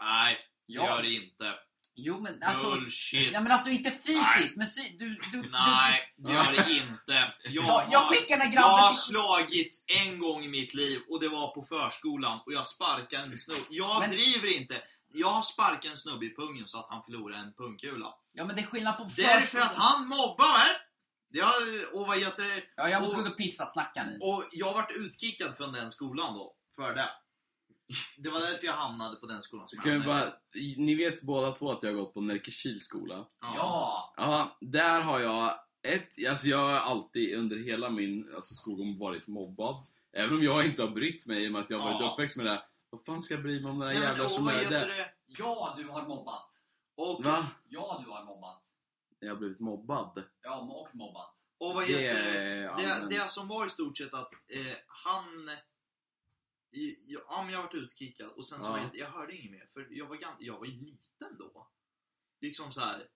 Speaker 1: Nej, det
Speaker 5: Ja.
Speaker 1: gör det inte.
Speaker 5: Jo men alltså...
Speaker 1: Bullshit.
Speaker 5: Ja, men alltså inte fysiskt, men sy- du, du, du,
Speaker 1: Nej, det gör det inte. Jag,
Speaker 5: du, jag, jag
Speaker 1: har,
Speaker 5: skickar den här
Speaker 1: jag har
Speaker 5: grabben till...
Speaker 1: slagits en gång i mitt liv och det var på förskolan och jag sparkade en snubbe. Jag
Speaker 5: Men-
Speaker 1: driver inte. Jag har sparkat en snubbe i pungen så att han förlorade en pungkula.
Speaker 5: Ja men det är skillnad på
Speaker 1: Därför
Speaker 5: förskolan.
Speaker 1: att han mobbar mig! Jag, och vad heter det?
Speaker 5: Ja, jag måste
Speaker 1: och-
Speaker 5: gå och pissa, snackar ni.
Speaker 1: Och jag vart utkickad från den skolan då, för det. Det var därför jag hamnade på den skolan som
Speaker 3: Ska
Speaker 1: jag
Speaker 3: vi
Speaker 1: hamnade.
Speaker 3: bara, ni vet båda två att jag har gått på Närkeskils skola.
Speaker 5: Ja!
Speaker 3: Ja, där har jag ett, alltså jag har alltid under hela min alltså skolgång varit mobbad. Även om jag inte har brytt mig i och med att jag har varit
Speaker 1: Ja.
Speaker 3: uppväxt med det här. Vad fan ska jag bry mig om den här
Speaker 1: Nej, men,
Speaker 3: jävlar
Speaker 1: och
Speaker 3: som
Speaker 1: vad
Speaker 3: är
Speaker 1: heter
Speaker 3: där?
Speaker 1: det?
Speaker 5: Ja, du har mobbat.
Speaker 1: Och,
Speaker 3: Va?
Speaker 5: Ja, du har mobbat.
Speaker 3: Jag har blivit mobbad.
Speaker 5: Ja, och mobbat.
Speaker 1: och vad
Speaker 3: Det
Speaker 1: heter det?
Speaker 3: är
Speaker 1: Det,
Speaker 3: allmän-
Speaker 1: det som var i stort sett att eh, han... i- Ja, ja, men jag vart utkickad och sen så
Speaker 3: Ja.
Speaker 1: var jag, jag hörde inget mer för jag var, gan- jag var ju liten då. Liksom så här.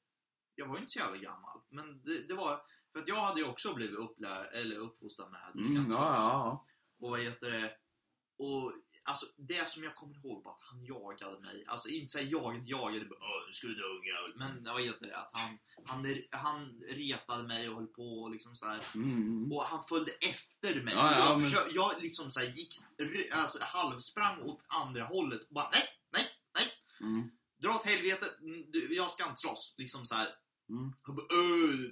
Speaker 1: Jag var ju inte så jävla gammal. Men det, det var... För att jag hade ju också blivit upplär, eller uppfostrad med du ska
Speaker 3: Mm,
Speaker 1: inte
Speaker 3: ja,
Speaker 1: slåss.
Speaker 3: ja,
Speaker 1: Och vad heter det? Och alltså det som jag kommer ihåg var att han jagade mig. Alltså inte såhär jagade, jagade, bara, "Åh, nu ska du dö ungjävel." Men vad heter det? Att han, han, han retade mig och höll på och liksom så här.
Speaker 3: ja. Mm.
Speaker 1: Och han följde efter mig.
Speaker 3: Ja, ja,
Speaker 1: jag,
Speaker 3: men-
Speaker 1: försö- jag liksom så här gick, ry- alltså halvsprang åt andra hållet och bara nej, nej, nej.
Speaker 3: Mm.
Speaker 1: Dra åt helvete, Mm, du, jag ska inte slåss. Liksom såhär.
Speaker 3: Mm.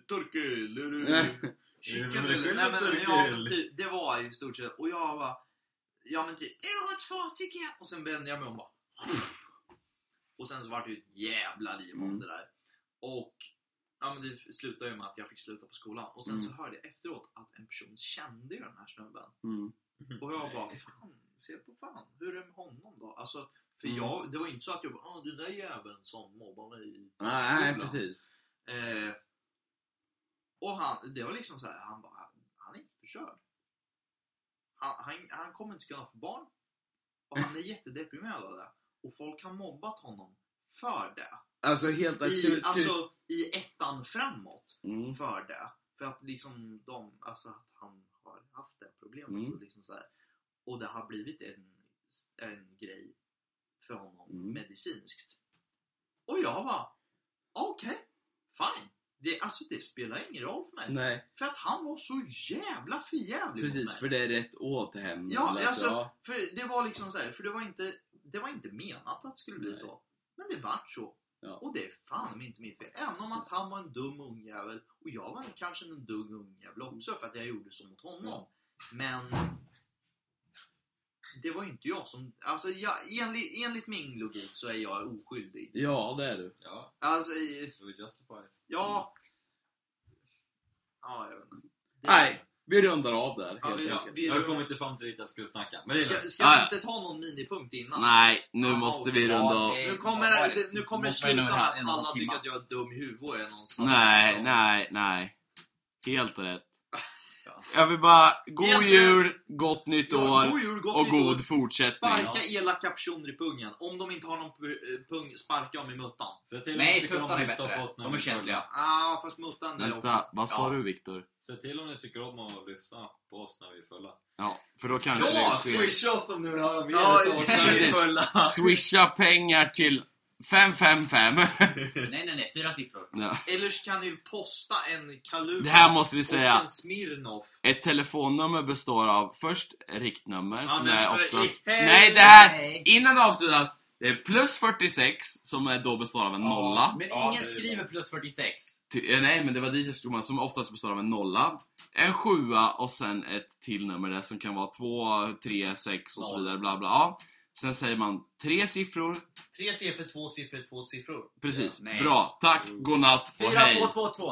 Speaker 1: Turkel, är du-
Speaker 3: Nej.
Speaker 4: Ja,
Speaker 1: chicken
Speaker 4: men det
Speaker 1: eller?
Speaker 4: skiljer
Speaker 1: Nej, men,
Speaker 4: turkel.
Speaker 1: ja, men typ, det var i stort sett. Och jag bara, ja men typ, jag har två stycken. Och sen vände jag mig om bara. Och sen så var det ju ett jävla liv om
Speaker 3: Mm.
Speaker 1: det där. Och ja, men det slutade ju med att jag fick sluta på skolan. Och sen så hörde jag efteråt att en person kände ju den här snubben.
Speaker 3: Mm.
Speaker 1: Och jag bara, fan, se på fan, hur är det med honom då? Alltså, för
Speaker 3: Mm.
Speaker 1: jag, det var ju inte så att jag bara, "Ah, den där jäveln som mobbar mig i
Speaker 3: Nej, nej,
Speaker 1: skolan."
Speaker 3: precis.
Speaker 1: Eh, och han, det var liksom så här, han bara, han är inte förkörd. Han, han, han kommer inte kunna få barn. Och han är jättedeprimerad av det. Och folk har mobbat honom för det.
Speaker 3: Alltså helt
Speaker 1: I,
Speaker 3: akut.
Speaker 1: alltså, i ettan framåt
Speaker 3: mm.
Speaker 1: för det. För att liksom de, alltså att han har haft det problemet.
Speaker 3: Mm.
Speaker 1: Och, liksom så här. och det har blivit en, en grej för honom
Speaker 3: Mm.
Speaker 1: medicinskt. Och jag bara, okej, fine. Det, alltså det spelar ingen roll för mig.
Speaker 3: Nej,
Speaker 1: För att han var så jävla förjävlig mot mig.
Speaker 3: precis. För det är rätt åt hem.
Speaker 1: Ja, alltså-
Speaker 3: ja.
Speaker 1: För det var liksom så här, för det var inte, det var inte menat att det skulle bli
Speaker 3: Nej.
Speaker 1: så. Men det vart så.
Speaker 3: Ja.
Speaker 1: Och det är fan inte mitt fel. Även om att han var en dum ungjävel och jag var kanske en dum ungjävel också för att jag gjorde så mot honom. Men det var ju inte jag som... Alltså jag, enligt, enligt min logik så är jag oskyldig.
Speaker 3: ja, det är du.
Speaker 4: Ja,
Speaker 1: Alltså,
Speaker 4: det var Justify.
Speaker 1: ja...
Speaker 3: Mm.
Speaker 1: Ja, jag vet inte. Det-
Speaker 3: Nej, vi rundar av där.
Speaker 1: Ja,
Speaker 3: helt
Speaker 1: vi,
Speaker 3: enkelt.
Speaker 1: vi,
Speaker 4: Jag har kommit till fram till dit jag skulle snacka. Men det är
Speaker 1: ska,
Speaker 4: lugnt.
Speaker 1: ska vi
Speaker 3: Ja, ja.
Speaker 1: inte ta någon minipunkt innan?
Speaker 3: Nej, nu
Speaker 1: Ja,
Speaker 3: måste
Speaker 1: okej.
Speaker 3: vi runda av.
Speaker 5: Ja,
Speaker 1: Nu
Speaker 5: det-
Speaker 1: kommer
Speaker 5: vad-
Speaker 1: det, nu kommer det
Speaker 5: måste vara
Speaker 1: sluta
Speaker 5: en och
Speaker 1: med
Speaker 5: en
Speaker 1: att
Speaker 5: halv
Speaker 1: alla
Speaker 5: timma.
Speaker 1: tycker att jag är dum i huvudet och är någon som-
Speaker 7: Nej,
Speaker 1: som-
Speaker 7: nej, nej. Helt rätt. Jag vill bara, god
Speaker 1: Helt
Speaker 7: jul, gott nytt
Speaker 1: Ja,
Speaker 7: år
Speaker 1: god jul, gott
Speaker 7: och
Speaker 1: nytt år.
Speaker 7: god fortsättning.
Speaker 1: Sparka elaka personer i pungen. Om de inte har någon pu- eh, pung, sparka dem i muttan.
Speaker 4: Se till om ni
Speaker 5: Nej,
Speaker 4: tycker om
Speaker 5: tuttarna är
Speaker 4: att lyssna på
Speaker 5: bättre.
Speaker 4: oss när
Speaker 5: De är
Speaker 4: ni följer.
Speaker 5: känsliga.
Speaker 1: Ah, fast muttan det är också.
Speaker 7: Vänta, vad sa
Speaker 5: Ja.
Speaker 7: du Viktor?
Speaker 4: Se till om ni tycker om att lyssna på oss när vi är fulla.
Speaker 7: Ja, för då kanske
Speaker 1: Ja,
Speaker 7: det sker.
Speaker 4: Swisha oss om ni vill höra mer
Speaker 1: Ja,
Speaker 4: av oss när vi är
Speaker 7: precis.
Speaker 4: fulla.
Speaker 7: Swisha pengar till 555.
Speaker 5: Nej, nej, nej, fyra siffror.
Speaker 7: Ja.
Speaker 1: Eller så kan ni posta en
Speaker 7: <laughs> Det
Speaker 1: Kaluga
Speaker 7: här måste vi
Speaker 1: och
Speaker 7: säga.
Speaker 1: en Smirnoff.
Speaker 7: Ett telefonnummer består av först riktnummer
Speaker 1: Ja,
Speaker 7: som
Speaker 1: men
Speaker 7: är
Speaker 1: för
Speaker 7: oftast...
Speaker 1: i helvete!
Speaker 7: Nej, det här! Innan det avslutas, det är plus 46 som är då består av en nolla.
Speaker 5: Men
Speaker 4: Ja,
Speaker 5: ingen
Speaker 4: det är
Speaker 5: skriver plus 46.
Speaker 7: Ty- eh, Nej, men det var dit jag skulle komma, som oftast består av en nolla, en sjua och sen ett till nummer där som kan vara två, tre, sex och så
Speaker 5: Ja.
Speaker 7: vidare. Bla, bla. Ja. Sen säger man tre siffror.
Speaker 1: Tre siffror, två siffror, två siffror.
Speaker 7: Precis.
Speaker 5: Ja, nej. Mm.
Speaker 7: Bra. Tack, godnatt och hej.
Speaker 5: 4222.